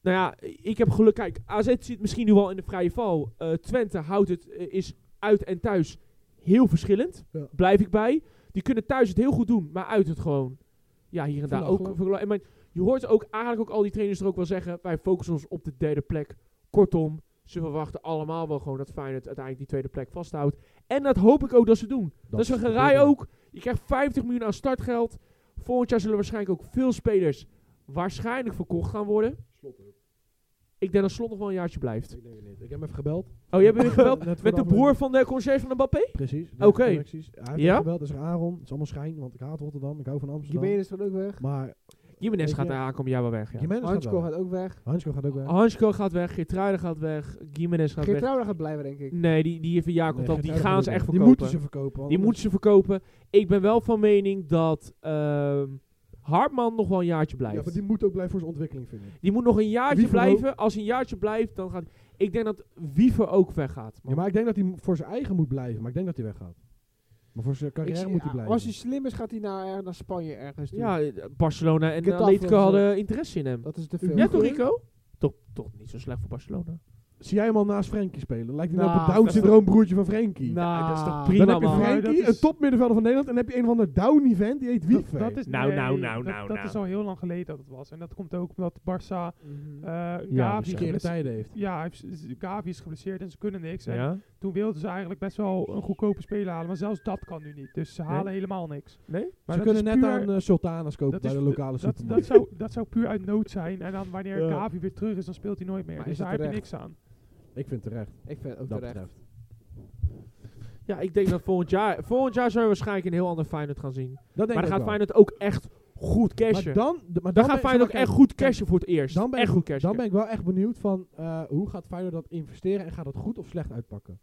S1: Nou ja, ik heb geluk. Kijk, AZ zit misschien nu wel in de vrije val. Eh, Twente houdt het, eh, is uit en thuis heel verschillend.
S2: Ja.
S1: Blijf ik bij. Die kunnen thuis het heel goed doen, maar uit het gewoon. Ja, hier en daar ook.
S2: Verlachelijk.
S1: verla- En maar je hoort ook eigenlijk ook al die trainers er ook wel zeggen, wij focussen ons op de derde plek. Kortom, ze verwachten allemaal wel gewoon dat Feyenoord uiteindelijk die tweede plek vasthoudt. En dat hoop ik ook dat ze doen. Dat, is een
S2: de
S1: Dus geraai
S2: bedoeling.
S1: ook. Je krijgt 50 miljoen aan startgeld. Volgend jaar zullen waarschijnlijk ook veel spelers waarschijnlijk verkocht gaan worden. Ik denk dat Slot nog wel een jaartje blijft.
S2: Ik denk het niet. Ik heb hem even gebeld.
S1: Oh, jij bent weer gebeld?
S2: Net voor
S1: Met de
S2: aflevering.
S1: broer van de conciërge van Mbappé?
S2: Precies.
S1: Oké.
S2: Hij heeft
S1: Ja?
S2: ja? gebeld, is er Aaron. Het is allemaal schijn, want ik haat Rotterdam, ik hou van Amsterdam.
S3: Gimenez gaat ook weg.
S2: Maar
S1: Jiménez
S2: Weet
S1: gaat
S2: je-
S1: naar aankomen jaar wel weg, ja.
S2: Jimenez gaat
S3: Hansko
S2: wel.
S3: gaat ook weg.
S2: Hansko gaat ook weg.
S1: Hansko gaat weg, Geertruiden gaat weg, Jiménez gaat weg.
S3: Geertruida gaat blijven, denk ik.
S1: Nee, die, die heeft een jaar
S2: Nee,
S1: contract. die
S2: Geert
S1: gaan ze
S2: Uilen
S1: echt
S2: gaat ook weg.
S1: verkopen.
S2: Die moeten ze verkopen.
S1: Die
S2: want
S1: moeten ze verkopen. Ik ben wel van mening dat ehm, Hartman nog wel een jaartje
S2: anders-
S1: blijft.
S2: Ja, maar die moet ook blijven voor zijn ontwikkeling vinden.
S1: Die moet nog een jaartje
S2: Wiever
S1: blijven. Als hij een jaartje blijft, dan gaat... Ik denk dat Wiever ook weggaat. man.
S2: Ja, maar ik denk dat hij m- voor zijn eigen moet blijven, maar ik denk dat hij weggaat. Maar voor zijn
S3: Ik
S2: carrière
S3: zie-
S2: moet hij
S3: ah,
S2: blijven.
S3: Als hij slim is, gaat hij naar, naar Spanje ergens toe.
S1: Ja, eh, Barcelona en
S3: Getafe
S1: Atletico
S3: of zo.
S2: eh,
S1: hadden interesse in hem.
S3: Dat is te veel.
S1: Ja, toch Rico? Toch, toch niet zo slecht voor Barcelona.
S2: Zie jij hem al naast Frenkie spelen? Lijkt hij nou
S3: Nou,
S2: op het Down
S4: dat is
S2: syndroom broertje van Frenkie?
S1: Ja, dat is toch
S3: Nou,
S1: prima,
S2: dan heb je
S1: man.
S4: Maar
S2: Frenkie,
S4: dat
S2: een
S4: is-
S2: topmiddenvelder van Nederland, en dan heb je een van de Down-event, die heet
S4: Dat,
S2: Wiefer.
S4: dat is,
S1: Nou,
S4: nee,
S1: nou, nou,
S4: dat,
S1: nou,
S4: dat
S1: nou.
S4: is al heel lang geleden dat het was. En dat komt ook omdat Barça eh
S3: Mhm.
S2: ja,
S4: Gavi,
S2: die verkeerde
S4: gebles-
S2: tijden heeft.
S4: ja, hij heeft- Gavi is geblesseerd en ze kunnen niks. En
S1: Ja?
S4: toen wilden ze eigenlijk best wel een goedkope speler halen. Maar zelfs dat kan nu niet. Dus ze halen
S1: Nee?
S4: helemaal niks.
S1: Nee?
S4: Maar
S2: ze
S4: dat
S2: kunnen
S4: is
S2: net
S4: puur-
S2: aan eh, sultanas kopen
S4: dat
S2: bij
S4: is
S2: de
S4: pu-
S2: lokale
S4: dat,
S2: supermarkt.
S4: dat, zou, dat zou puur uit nood zijn. En dan wanneer
S2: Ja.
S4: Gavi weer terug is, dan speelt hij nooit meer.
S3: Maar
S4: dus
S3: is het
S4: daar heb je
S3: terecht?
S4: niks aan.
S2: Ik vind het terecht.
S3: Ik vind het ook
S2: dat
S3: terecht.
S2: betreft.
S1: Ja, ik denk dat volgend jaar... Volgend jaar zullen we waarschijnlijk een heel ander Feyenoord gaan zien. maar
S2: Dat denk ik
S1: dan gaat
S2: wel.
S1: Feyenoord ook echt goed
S2: Maar
S1: cashen. Dan,
S2: dan, d- maar dan,
S1: gaat
S2: ben-
S1: Feyenoord ook
S2: kijk,
S1: echt goed cashen voor het eerst.
S2: Dan ben,
S1: echt
S2: ik,
S1: goed cashen.
S2: dan ben ik wel echt benieuwd van eh, hoe gaat Feyenoord dat investeren en gaat dat goed of slecht uitpakken.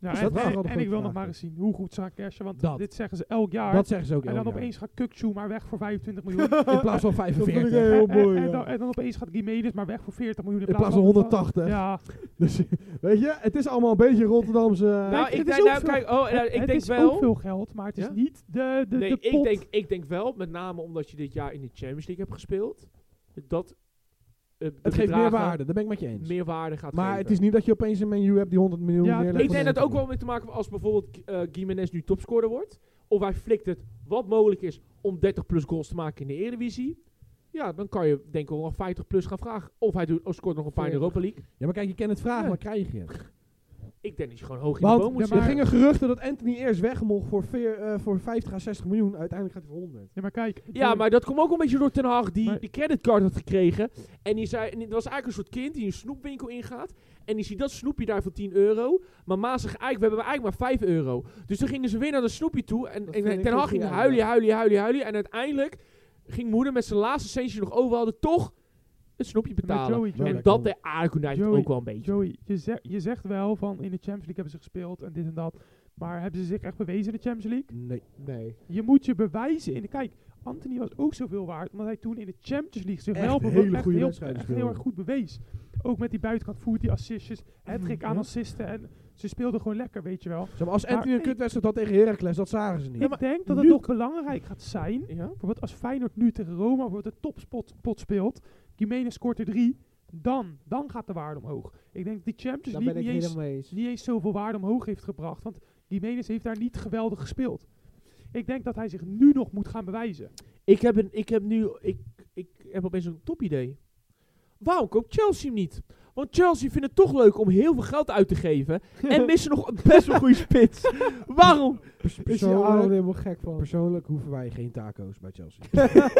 S4: Ja,
S2: Dus
S4: en
S2: dat waren
S4: en,
S2: wel de
S4: en
S2: grote
S4: ik wil nog
S2: vragen.
S4: maar eens zien hoe goed ze gaan cashen. Want
S2: Dat.
S4: dit zeggen ze elk jaar.
S2: dat zeggen ze ook
S4: en dan
S2: elk jaar.
S4: opeens gaat Kukchu maar weg voor 25 miljoen.
S2: in plaats van Oh,
S4: En-
S2: 45.
S4: en-
S2: In
S4: en, dan, en dan opeens gaat Guimedes maar weg voor 40 miljoen.
S2: plaats van 180.
S4: Ja,
S2: Dus weet je, het is allemaal een beetje Rotterdamse...
S1: nou,
S4: Kijk,
S1: ik
S4: het is
S1: denk,
S4: ook
S1: nou,
S4: veel-
S1: kijk, oh, nou,
S4: het,
S1: ik
S4: het
S1: denk
S4: is ook
S1: wel...
S4: veel geld, maar het is
S1: Ja?
S4: niet de, de,
S1: nee,
S4: de
S1: ik
S4: pot.
S1: denk, ik denk wel, met name omdat je dit jaar in de Champions League hebt gespeeld, dat eh, de
S2: het geeft meer
S1: bedragen
S2: waarde, daar ben ik met je eens.
S1: meer waarde gaat
S2: maar
S1: geven.
S2: het is niet dat je opeens een menu hebt die 100 miljoen
S4: Ja,
S2: neerlegt.
S4: dat
S1: Ik
S2: voor
S1: denk
S2: de
S1: dat ook
S2: Champions
S1: wel mee te maken heeft als bijvoorbeeld eh Gimenez nu topscorer wordt. Of hij flikt het wat mogelijk is om 30 plus goals te maken in de Eredivisie. Ja, dan kan je denk ik wel nog 50 plus gaan vragen. Of hij doet, of scoort nog een paar in de Europa League.
S2: League. Ja, maar kijk, je kent het vragen,
S1: Ja.
S2: maar krijg je het?
S1: Ik denk dat je gewoon hoog in de boom
S2: Want
S1: moet
S2: er
S1: zitten.
S2: gingen geruchten dat Anthony eerst weg mocht voor, veer- eh, voor 50 à 60 miljoen. Uiteindelijk gaat hij voor 100.
S4: Ja, maar kijk.
S1: Ja,
S4: de-
S1: maar dat komt ook een beetje door Ten Hag die
S4: Maar-
S1: de creditcard had gekregen. En die zei, en het was eigenlijk een soort kind die een snoepwinkel ingaat. En die ziet dat snoepje daar voor 10 euro. Maar Ma zegt eigenlijk, we hebben eigenlijk maar 5 euro. Dus toen gingen ze weer naar dat snoepje toe. En,
S3: Dat
S1: en
S3: vind ik
S1: Ten
S3: een
S1: Hag ging
S3: goeie
S1: huilen, huilen, huilen, huilen. En uiteindelijk ging moeder met zijn laatste centje die nog over hadden toch het snoepje
S4: maar
S1: betalen.
S4: Joey, Joey,
S1: En dat de aardappelnijst
S4: Joey,
S1: ook wel een beetje.
S4: Joey, je, zegt, je zegt wel van in de Champions League hebben ze gespeeld en dit en dat. Maar hebben ze zich echt bewezen in de Champions League?
S2: Nee.
S3: Nee.
S4: Je moet je bewijzen. In de, kijk, Anthony was ook zoveel waard. Omdat hij toen in de Champions League zich
S2: Echt
S4: wel
S2: hele
S4: bewe- echt
S2: goede
S4: heel,
S2: wedstrijden
S4: echt heel
S2: speelde.
S4: erg goed bewees. Ook met die buitenkant voet, die assistjes. Hattrick aan
S2: Mm, Ja.
S4: assisten. En ze speelden gewoon lekker, weet je wel.
S2: Zeg maar, als
S4: Maar
S2: Anthony een
S4: ik-
S2: kutwedstrijd had tegen Heracles, dat zagen ze niet.
S4: ik denk dat het
S1: nu-
S4: nog belangrijk gaat zijn.
S1: Ja?
S4: Bijvoorbeeld als Feyenoord nu tegen Roma bijvoorbeeld de topspot pot speelt. Jiménez scoort er drie. Dan, dan gaat de waarde omhoog. Ik denk dat die Champions
S3: Daar ben
S4: League
S3: ik
S4: Dus niet eens,
S3: helemaal mee eens.
S4: niet eens zoveel waarde omhoog heeft gebracht. Want Jiménez heeft daar niet geweldig gespeeld. Ik denk dat hij zich nu nog moet gaan bewijzen.
S1: Ik heb, een, ik heb nu, ik, ik heb opeens een topidee. Waarom koopt Chelsea hem niet? Want Chelsea vindt het toch leuk om heel veel geld uit te geven. en missen nog een best wel goede spits. Waarom?
S2: Pers-
S3: Is hij al
S2: persoonlijk,
S3: helemaal gek van.
S2: persoonlijk hoeven wij geen taco's bij Chelsea.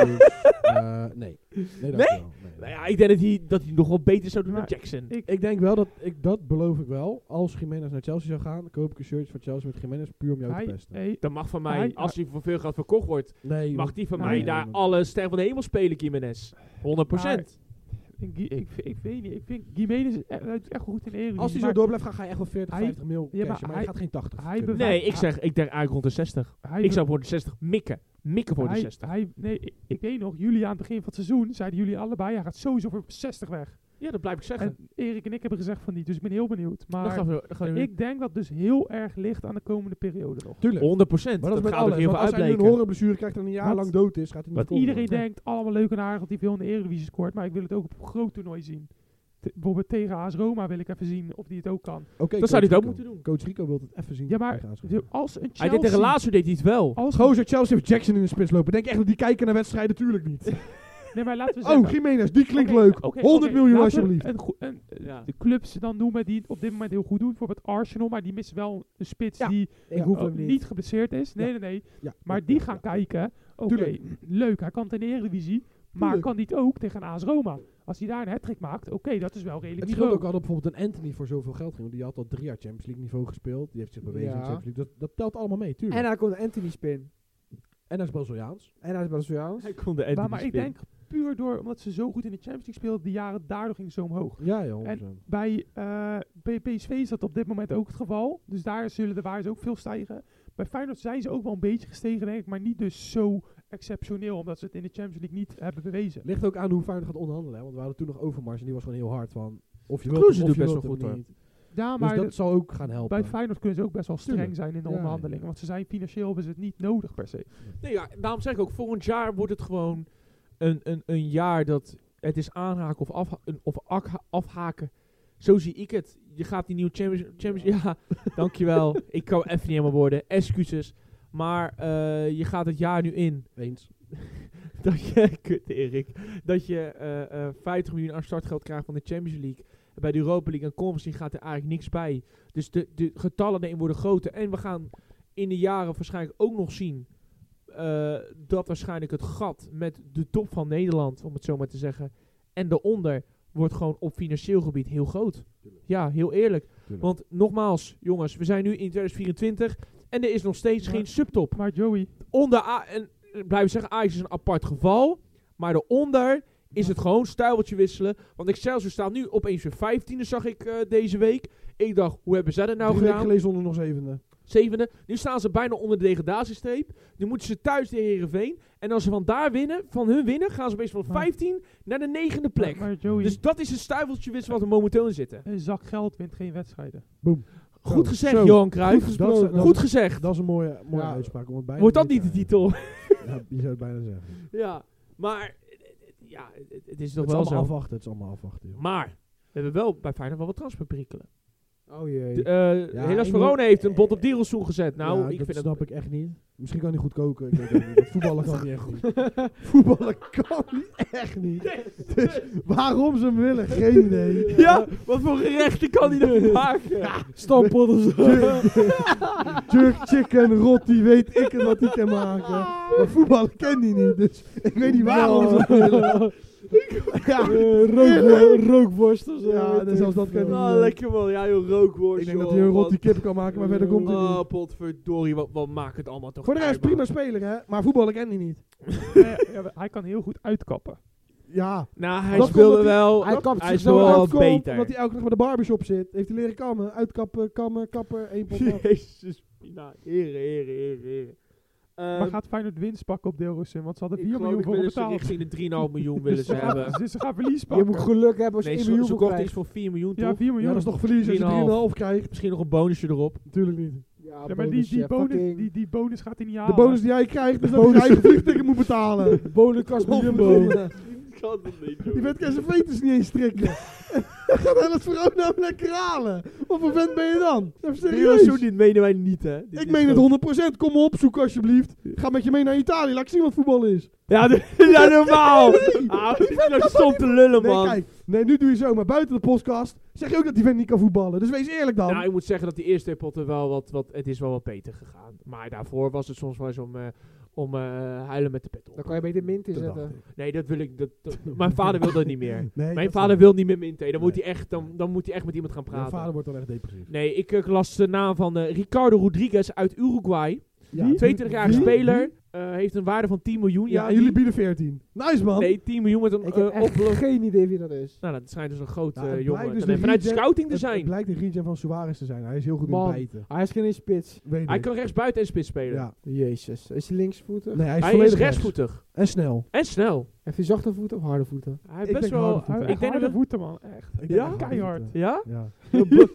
S2: dus, eh, nee. Nee, dankjewel. nee?
S1: Nou ja, ik denk dat hij, dat hij nog wel beter zou doen dan
S4: Maar
S1: Jackson.
S4: ik-
S2: Ik denk wel dat, ik, dat beloof ik wel. Als Jiménez naar Chelsea zou gaan, koop ik een shirtje van Chelsea met Jiménez puur om jou
S4: Hij,
S2: te pesten.
S4: hey,
S1: dat mag van
S4: Hij-
S1: mij, als hij voor veel geld verkocht wordt,
S2: Nee,
S1: mag hij van
S4: Nee,
S1: mij
S4: nee,
S1: daar
S2: want-
S1: alle ster van de hemel spelen, Jiménez. 100%.
S4: ik, ik, ik, ik weet niet. Ik vind Jiménez is e- hij doet echt goed in de Eredivisie.
S2: als hij zo
S4: maar
S2: door blijft gaan, ga je echt wel 40,
S4: Hij-
S2: 50 mil
S4: Ja, maar
S2: cashen, maar,
S4: hij-
S2: je gaat geen 80
S4: hij
S2: kunnen.
S4: bewijst-
S1: Nee, ik zeg, ik denk eigenlijk rond de 60.
S4: hij
S1: Ik zou voor de 60 mikken. Mikken voor de
S4: hij,
S1: 60.
S4: hij- nee, ik, ik weet nog, jullie aan het begin van het seizoen zeiden jullie allebei, hij gaat sowieso voor 60 weg.
S1: Ja, dat blijf ik zeggen.
S4: En Erik en ik hebben gezegd van niet, dus ik ben heel benieuwd.
S1: Dan
S4: Maar
S1: gaan we, dan gaan we
S4: ik denk dat dus heel erg ligt aan de komende periode nog.
S2: Tuurlijk.
S1: 100%.
S2: Maar dat, is met
S1: gaat ook
S2: alles.
S1: heel
S2: Want
S1: veel
S2: als hij nu een
S1: uitbleken.
S2: horenblessure krijgt en een jaar
S4: Wat-
S2: lang dood is, gaat hij niet
S1: wat
S2: komen.
S4: Iedereen
S2: Ja.
S4: denkt allemaal leuk en aardig dat hij veel in de Eredivisie scoort, maar ik wil het ook op een groot toernooi zien. Te- bijvoorbeeld tegen AS Roma wil ik even zien of hij het ook kan.
S2: Oké,
S1: Dat zou hij
S2: Coach
S1: het ook
S2: Rico.
S1: moeten doen.
S2: Coach Rico wil het even zien.
S4: Ja, maar
S2: tegen AS Roma.
S4: de- als een Chelsea...
S1: Hij deed tegen laatst deed hij het wel.
S4: als
S2: Gozer, Chelsea heeft Jackson in de spits lopen. Denk je echt dat die kijken naar wedstrijden? Tuurlijk niet.
S4: Nee, maar laten we zeggen...
S2: Oh, Jiménez, die klinkt
S4: Oké,
S2: leuk.
S4: oké,
S2: 100
S4: oké,
S2: miljoen
S4: laten we
S2: alsjeblieft.
S4: Een, goe- een,
S1: Ja.
S4: de clubs dan noemen die het op dit moment heel goed doen. Bijvoorbeeld Arsenal, maar die missen wel een spits
S2: Ja.
S4: oh, die
S3: Ik hoef
S4: ook
S3: hem niet.
S4: niet geblesseerd is. Nee, nee, nee.
S2: Ja,
S4: Maar
S2: ja,
S4: die
S2: ja,
S4: gaan
S2: ja.
S4: kijken. Oké,
S2: Tuurlijk.
S4: leuk, hij kan het in de Eredivisie. Maar
S2: Tuurlijk.
S4: kan dit ook tegen een AS Roma? Als hij daar een hat maakt, oké, dat is wel redelijk
S2: Het scheelt ook
S4: niveau.
S2: al dat bijvoorbeeld een Anthony voor zoveel geld ging. Want die had al drie jaar Champions League niveau gespeeld. Die heeft zich bewezen
S3: Ja.
S2: in de Champions League. Dat, dat telt allemaal mee, tuurlijk.
S3: En
S2: En,
S3: daar komt Anthony spin.
S2: hij is Braziliaans.
S3: En hij is Braziliaans.
S1: Hij kon de Anthony
S4: Maar, maar ik
S1: spin.
S4: denk puur door, omdat ze zo goed in de Champions League speelden, die jaren daardoor ging ze omhoog.
S2: Ja, ja, 100%.
S4: Bij eh, bij PSV is dat op dit moment ook het geval. Dus daar zullen de waardes ook veel stijgen. Bij Feyenoord zijn ze ook wel een beetje gestegen, denk ik. Maar niet dus zo exceptioneel, omdat ze het in de Champions League niet hebben bewezen.
S2: Ligt ook aan hoe Feyenoord gaat onderhandelen. Hè? Want we hadden toen nog Overmars en die was gewoon heel hard van... Of je wilt
S1: Kloeze
S2: hem, of
S1: doet
S2: je
S1: best
S2: wilt
S1: wel
S2: hem
S1: goed, hoor.
S2: niet.
S4: Ja,
S2: Dus
S4: maar
S2: dat zal ook gaan helpen.
S4: Bij Feyenoord kunnen ze ook best wel streng
S2: Tuurlijk.
S4: zijn in de
S2: Ja,
S4: onderhandelingen.
S2: ja.
S4: Want ze zijn financieel hebben ze het niet nodig per se.
S1: Nee, ja, daarom zeg ik ook, volgend jaar wordt het gewoon een, een, een jaar dat het is aanhaken of, afha- een- of akha- afhaken. Zo zie ik het. Je gaat die nieuwe Champions... Champions ja, dankjewel. ik kan even niet helemaal worden. Excuses. Maar eh, je gaat het jaar nu in.
S2: Eens.
S1: Dat je, kut Erik, dat je eh, eh, 50 miljoen aan startgeld krijgt van de Champions League. Bij de Europa League en Conference League gaat er eigenlijk niks bij. Dus de, de getallen daarin worden groter. En we gaan in de jaren waarschijnlijk ook nog zien eh, dat waarschijnlijk het gat met de top van Nederland, om het zo maar te zeggen, en daaronder wordt gewoon op financieel gebied heel groot. Ja, heel eerlijk.
S2: Tuurlijk.
S1: Want nogmaals, jongens, we zijn nu in 2024 en er is nog steeds
S4: Maar-
S1: geen subtop
S4: Maar Joey,
S1: onder A en eh, blijven zeggen, Ajax is een apart geval. Maar daaronder is het gewoon stuiveltje wisselen. Want Excelsior staat nu opeens weer 15e, zag ik eh, deze week. Ik dacht, hoe hebben zij dat nou
S2: Drie weken
S1: gedaan?
S2: geleden zonder nog eh, zevende.
S1: Zevende. Nu staan ze bijna onder de degradatiestreep. Nu moeten ze thuis tegen Herenveen. En als ze van daar winnen, van hun winnen, gaan ze opeens van
S4: Maar-
S1: 15 naar de negende plek.
S4: maar Joey,
S1: dus dat is het stuiveltje wisselen wat we momenteel in zitten.
S4: een zak geld wint geen wedstrijden.
S1: Goed
S2: Zo,
S1: gezegd,
S2: zo.
S1: Johan Cruijff.
S2: Goed
S1: Goed,
S2: gesproken. Dat- dat-
S1: gezegd.
S2: Dat is een mooie, mooie
S3: Ja.
S2: uitspraak. Om het bijna
S1: Wordt dat
S2: te
S1: niet de
S2: weten
S1: titel?
S2: eigenlijk. Ja, je zou het bijna zeggen.
S1: ja, maar eh, eh, ja, het, het is toch
S2: Het is
S1: wel
S2: allemaal
S1: zo.
S2: afwachten. Het is allemaal afwachten. joh.
S1: Maar we hebben wel bij Feyenoord wel wat transferperikelen.
S3: Oh jee.
S1: De, eh,
S2: Ja,
S1: Helaas
S2: ik
S1: Verona
S2: moet-
S1: heeft een bot op Dierelsoen gezet. Nou,
S2: Ja,
S1: ik
S2: dat
S1: vind
S2: snap
S1: dat...
S2: ik echt niet. Misschien kan hij goed koken. Ik weet het niet. Want Voetballen kan hij echt niet. Voetballen kan hij echt niet. Dus waarom ze hem willen, geen idee.
S1: Ja, wat voor gerechten kan hij dan maken?
S2: Stampot of zo. Jerk chicken, rot, die weet ik het wat hij kan
S1: Ah.
S2: maken. Maar voetballen kent hij niet, dus ik weet niet waarom ze hem willen. Ja, Eh, rookworst, of zo. Ja, dus zelfs dat kan hij
S1: Ah,
S2: niet.
S1: lekker man. Ja, joh, rookworst.
S2: Ik denk dat
S1: joh.
S2: hij een rot
S1: Wat-
S2: die kip kan maken, maar verder komt hij niet.
S1: Oh, potverdorie. Wat, wat maakt het allemaal toch
S2: Voor de rest
S1: uit,
S2: Ah, prima
S1: man.
S2: speler, hè? Maar voetballen kent hij niet.
S4: Eh, ja, hij kan heel goed uitkappen.
S2: Ja,
S1: Nou, hij
S2: Dat
S1: speelde
S2: omdat hij-
S1: wel.
S3: hij kapt
S1: hij
S3: zich
S1: is
S3: zo
S1: wel
S2: uitkomt,
S1: beter.
S2: Omdat hij elke dag bij de barbershop zit. Heeft hij leren kammen, uitkappen, kammen, kappen, één pot. af.
S1: Jezus, Mina. Heren, heren, heren, heren. Ehm,
S4: maar gaat Feyenoord winst pakken op Deelrussen? Want ze hadden
S1: ik
S4: 4
S1: geloof
S4: miljoen
S1: ik
S4: voor hem
S1: willen ze
S4: betaald.
S1: richting de 3,5 miljoen willen ze
S4: Dus gaan-
S1: hebben.
S4: Dus ze gaan verlies
S3: Je
S4: pakken.
S3: moet geluk hebben als je
S1: Nee,
S3: een
S1: ze,
S3: miljoen
S1: ze
S3: wil
S1: kochten iets
S3: krijgen.
S1: voor 4 miljoen,
S4: ja,
S1: toch?
S4: 4 miljoen.
S2: Ja, dat is toch verlies als
S1: 3,5.
S2: je 3,5 krijgt?
S1: Misschien nog een bonusje erop.
S2: Natuurlijk niet.
S3: Ja,
S4: Ja, maar die, die,
S3: bonusje,
S4: bonus,
S3: fucking-
S4: die, die bonus gaat hij niet
S2: De
S4: halen.
S2: bonus die jij krijgt is dat je je eigen vliegticket moet betalen.
S3: De bonenkast met
S2: Combo.
S3: Jumbo. Ja,
S1: kan het niet,
S2: Die vet kan zijn veters niet eens strikken. Dan gaat Hellas Verona hem lekker halen. Wat voor vent ben je dan? Even serieus.
S1: dit menen wij niet, hè? Dit
S2: Ik
S1: is
S2: meen
S1: gewoon-
S2: het 100%. Kom me opzoeken alsjeblieft. Ga met je mee naar Italië. Laat ik zien wat voetbal is.
S1: Ja, dit is nou normaal!
S2: Nee.
S1: Ah, ik zit nou stom te lullen,
S2: Nee,
S1: man.
S2: kijk. Nee, nu doe je zo. Maar buiten de podcast zeg je ook dat die vent niet kan voetballen. Dus wees eerlijk dan.
S1: Nou, ik moet zeggen dat die eerste potten wel wat, wat... Het is wel wat beter gegaan. Maar daarvoor was het soms wel eens om, eh, om eh, huilen met de pet
S3: Dan
S1: op.
S3: kan je beter Mint
S2: Dat dacht
S3: inzetten.
S2: ik.
S1: Nee, dat wil ik... Dat, dat- mijn vader wil dat niet meer. Mijn
S2: Nee, dat
S1: vader
S2: snap ik.
S1: wil niet met me in thee. Dan, moet
S2: Nee.
S1: hij echt, dan, dan moet hij echt met iemand gaan
S2: Mijn
S1: praten.
S2: vader wordt dan echt depressief.
S1: Nee, ik eh, las de naam van eh, Ricardo Rodriguez uit Uruguay. 22-jarige
S2: Wie?
S1: speler. eh, heeft een waarde van 10 miljoen.
S2: Ja,
S1: Ja,
S2: en jullie bieden 14. Nice man.
S1: Nee, 10 miljoen met een
S3: Ik heb
S1: eh, op...
S3: echt geen idee wie dat is.
S1: Nou, dat schijnt dus een groot
S2: Ja, het
S1: eh,
S2: blijkt
S1: jongen.
S2: dus
S1: te-
S2: een
S1: vanuit de
S2: regen-
S1: scouting te
S2: Het- Het
S1: zijn.
S2: blijkt een regen van Suarez te zijn. Hij is heel goed
S3: Man.
S2: in bijten.
S3: Hij is geen spits.
S2: Weet
S1: Hij
S2: ik.
S1: kan rechts buiten en spits spelen.
S2: Ja.
S3: Jezus. Is hij linksvoetig?
S2: Nee, hij is,
S1: hij is
S2: volledig
S1: rechtsvoetig.
S2: rechts. En snel.
S1: En snel.
S3: Heeft hij zachte voeten of harde voeten?
S1: Hij heeft
S2: Ik
S1: best
S2: denk
S1: wel...
S4: Oh,
S2: harde voeten.
S1: Ik denk dat...
S4: de
S1: het-
S4: voeten, man. Echt.
S2: Ik denk
S1: Ja?
S2: echt dat
S4: Keihard.
S2: het,
S1: Ja?
S2: eh, Ja.
S1: Een blok-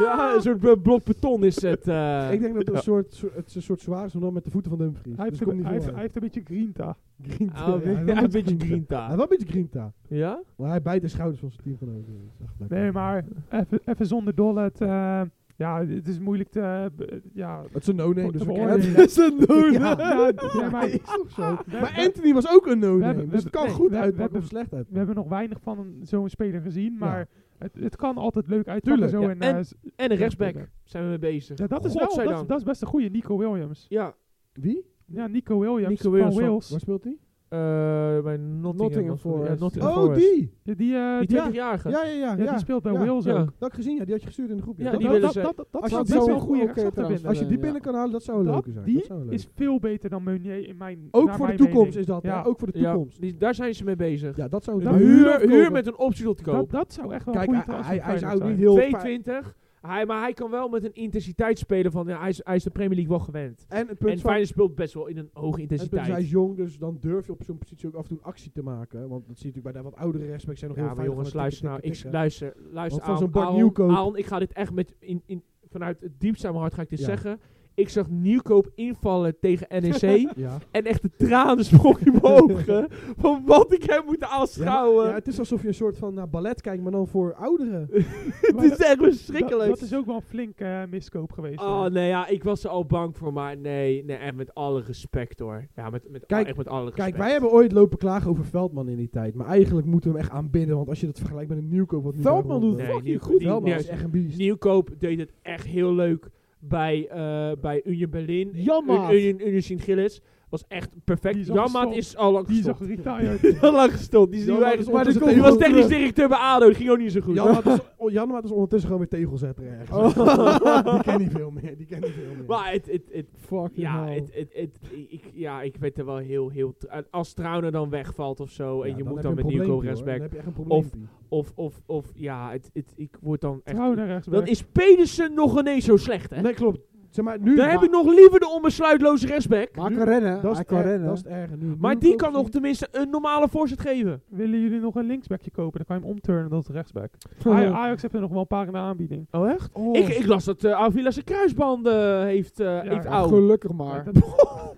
S1: ja, een soort eh, blok beton is het. eh.
S2: Ik denk dat het een soort, soort- het is een soort zwaar is, maar dan met de voeten van Dumfries.
S4: Hij heeft,
S2: dus komt
S4: een,
S2: niet
S4: hij, heeft,
S2: veel
S4: hij
S2: uit.
S4: heeft een beetje grinta.
S2: Green
S1: Ah,
S2: tea, Oh, ja, hij
S1: een
S2: wel
S1: beetje- een beetje
S2: Hij heeft
S1: grinta.
S2: wel een beetje grinta.
S1: Ja?
S2: Maar hij bijt de schouders van zijn teamgenoten. Dat is echt lekker.
S4: Nee, maar even- even zonder dollet. eh, ja, het is moeilijk te... eh, be- ja,
S2: Het is een no-name,
S4: Voor-
S2: dus we
S4: voor
S2: kennen
S4: oordeel.
S2: het.
S4: Dat
S2: is een no-name.
S4: Ja, ja, maar-
S2: is toch zo.
S4: we-
S2: Maar
S4: we-
S2: Anthony was ook een
S4: we
S2: no-name.
S4: hebben-
S2: Dus het kan
S4: nee,
S2: goed
S4: we- we
S2: uitpakken
S4: hebben-
S2: of slecht
S4: we
S2: uitpakken.
S4: hebben nog weinig van een- zo'n speler gezien, maar
S2: Ja.
S4: het, het kan altijd leuk uitpakken.
S2: Tuurlijk,
S4: zo
S1: ja.
S4: en,
S1: En-
S4: eh, s-
S1: En een rechtsback zijn we mee bezig.
S4: ja, dat, is wel, dat, is-
S1: Godzijdank.
S4: dat is best een goede Nico Williams.
S1: Ja,
S2: Wie?
S4: Ja, Nico Williams
S1: Nico
S4: van
S1: Williams van-
S4: Wales.
S2: Waar speelt hij?
S1: eh bij Nottingham.
S3: Nottingham
S1: was het.
S3: Forest.
S1: Ja, Nottingham
S2: Oh,
S1: Forest.
S2: die!
S4: Ja, die, eh,
S1: Die
S4: die- ja,
S1: 20-jarige.
S2: Ja, ja, ja.
S4: die
S2: ja.
S4: speelt bij
S2: Ja.
S4: Wales
S1: Ja.
S4: ook.
S2: Dat had ik gezien, ja. Die had je gestuurd in de groep.
S1: Ja,
S4: Dat-
S1: die
S4: dat-
S1: willen
S4: dat-
S1: ze-
S4: dat- dat- Dat
S2: Als
S4: zou
S2: je
S4: best
S2: het zo
S4: wel een
S2: een
S4: goede
S3: goede
S4: rechtsachter
S3: keeper
S4: vinden.
S2: Als je die
S3: Ja.
S2: binnen kan halen, dat zou een
S4: Dat-
S2: leuke zijn.
S4: die
S2: Dat zou een
S4: is
S2: leuke.
S4: veel beter dan Meunier in mijn
S2: Ook
S4: naar
S2: voor de
S4: mijn
S2: toekomst
S4: mening.
S2: is dat.
S4: Ja.
S2: hè? Ook voor de
S1: Ja,
S2: toekomst.
S1: die- daar zijn ze mee bezig.
S2: Ja, Oh, dat zou
S1: Een
S2: dat-
S1: huur,
S2: kopen.
S1: huur met een optie tot
S4: Dat,
S1: koop.
S4: dat zou echt wel
S2: Kijk,
S4: een goede
S2: hij-
S4: transfer
S2: hij, hij is
S4: voor
S2: ook
S4: Feyenoord
S2: niet
S4: zijn.
S2: heel... fijn.
S1: 22. Hij, maar hij kan wel met een intensiteit spelen van... Ja, hij, is, hij is de Premier League wel gewend.
S2: En het
S1: En
S2: punt van...
S1: Feyenoord speelt best wel in een hoge
S2: Het punt is, hij
S1: intensiteit.
S2: is jong, dus dan durf je op zo'n positie ook af en toe een actie te maken. Want dat zie je natuurlijk bij de wat oudere rechtsbacks zijn nog
S1: Ja,
S2: heel
S1: maar
S2: fijn.
S1: jongens, luister nou. Ik luister, luister
S2: Want van
S1: aan.
S2: zo'n Bart
S1: Aaron,
S2: Nieuwkoop-
S1: Aaron, ik ga dit echt met in, in, vanuit het diepste aan mijn hart ga ik dit
S2: Ja.
S1: zeggen. Ik zag Nieuwkoop invallen tegen NEC.
S2: Ja.
S1: en echt de tranen sprongen in mijn ogen. Van wat ik hem moet aanschouwen.
S2: Ja, het is alsof je een soort van naar ballet kijkt, maar dan voor ouderen.
S4: Maar
S1: het is
S4: dat-
S1: echt
S4: dat,
S1: verschrikkelijk.
S4: dat is ook wel een flink eh, miskoop geweest.
S1: Oh
S4: hoor.
S1: nee, ja, ik was er al bang voor, maar nee, nee echt met alle respect hoor. Ja, met, met,
S2: Kijk,
S1: echt met alle respect.
S2: Kijk, wij hebben ooit lopen klagen over Veldman in die tijd. Maar eigenlijk moeten we hem echt aanbidden, want als je dat vergelijkt met een nieuwkoop... Wat nu
S3: Veldman
S2: daaronder-
S3: doet
S1: Nee,
S3: fucking
S1: Nieuwkoop-
S3: goed.
S1: die-
S2: Veldman
S1: nee,
S2: is echt een beest.
S1: Nieuwkoop deed het echt heel leuk bij, eh, bij Union Berlin.
S3: Jammaat.
S1: Un- Union, Union Sint-Gilles. Was echt
S4: Die
S1: perfect.
S4: is al
S1: Jammaat
S4: gestopt.
S1: is al lang
S4: Die zag
S1: gestopt.
S4: retired.
S1: Al lang gestopt. Die, is nu
S2: Jammaat
S1: eigenlijk-
S2: is
S1: maar die
S2: ondertussen
S1: komt- die was
S2: tegen-
S1: technisch directeur bij ADO. Dat ging ook niet zo goed.
S2: Janmaat is, oh, Janmaat is ondertussen gewoon weer tegelzetter ergens. die ken niet veel meer, die ken niet veel meer.
S1: Oh. Maar het, het, het,
S3: Fucking
S1: ja,
S3: hell.
S1: het, het, het, ik, ja, ik werd er wel heel, heel... tra- Als Trauner dan wegvalt of zo. en
S2: Ja,
S1: je moet
S2: heb
S1: dan
S2: een
S1: met Nieuwkoop
S2: probleempie, hoor. Dan
S1: respect.
S2: heb je echt een probleempie.
S1: Of, of, of, ja, het, het, ik word dan echt...
S4: Trouw naar rechtsback.
S1: Dan is Pedersen nog ineens zo slecht, hè?
S2: Nee, klopt. Zeg maar, nu...
S1: Daar heb ik nog liever de onbesluitloze rechtsback.
S3: Maar hij kan rennen.
S2: Dat is
S3: hij
S2: het
S3: kan
S2: erg-
S3: Ah, rennen.
S2: Dat is het erge nu.
S1: Maar
S2: Nu
S1: die
S2: ook
S1: kan
S2: zien-
S1: nog tenminste een normale voorzet geven.
S4: Willen jullie nog een linksbackje kopen? Dan kan je hem omturnen tot rechtsback. Aj- Ajax heeft er nog wel een paar in de aanbieding.
S1: Oh, echt?
S2: Oh,
S1: Ik, ik las dat eh Avila zijn kruisbanden heeft, eh heeft
S4: ja,
S1: oud.
S3: Gelukkig maar.
S4: Dat-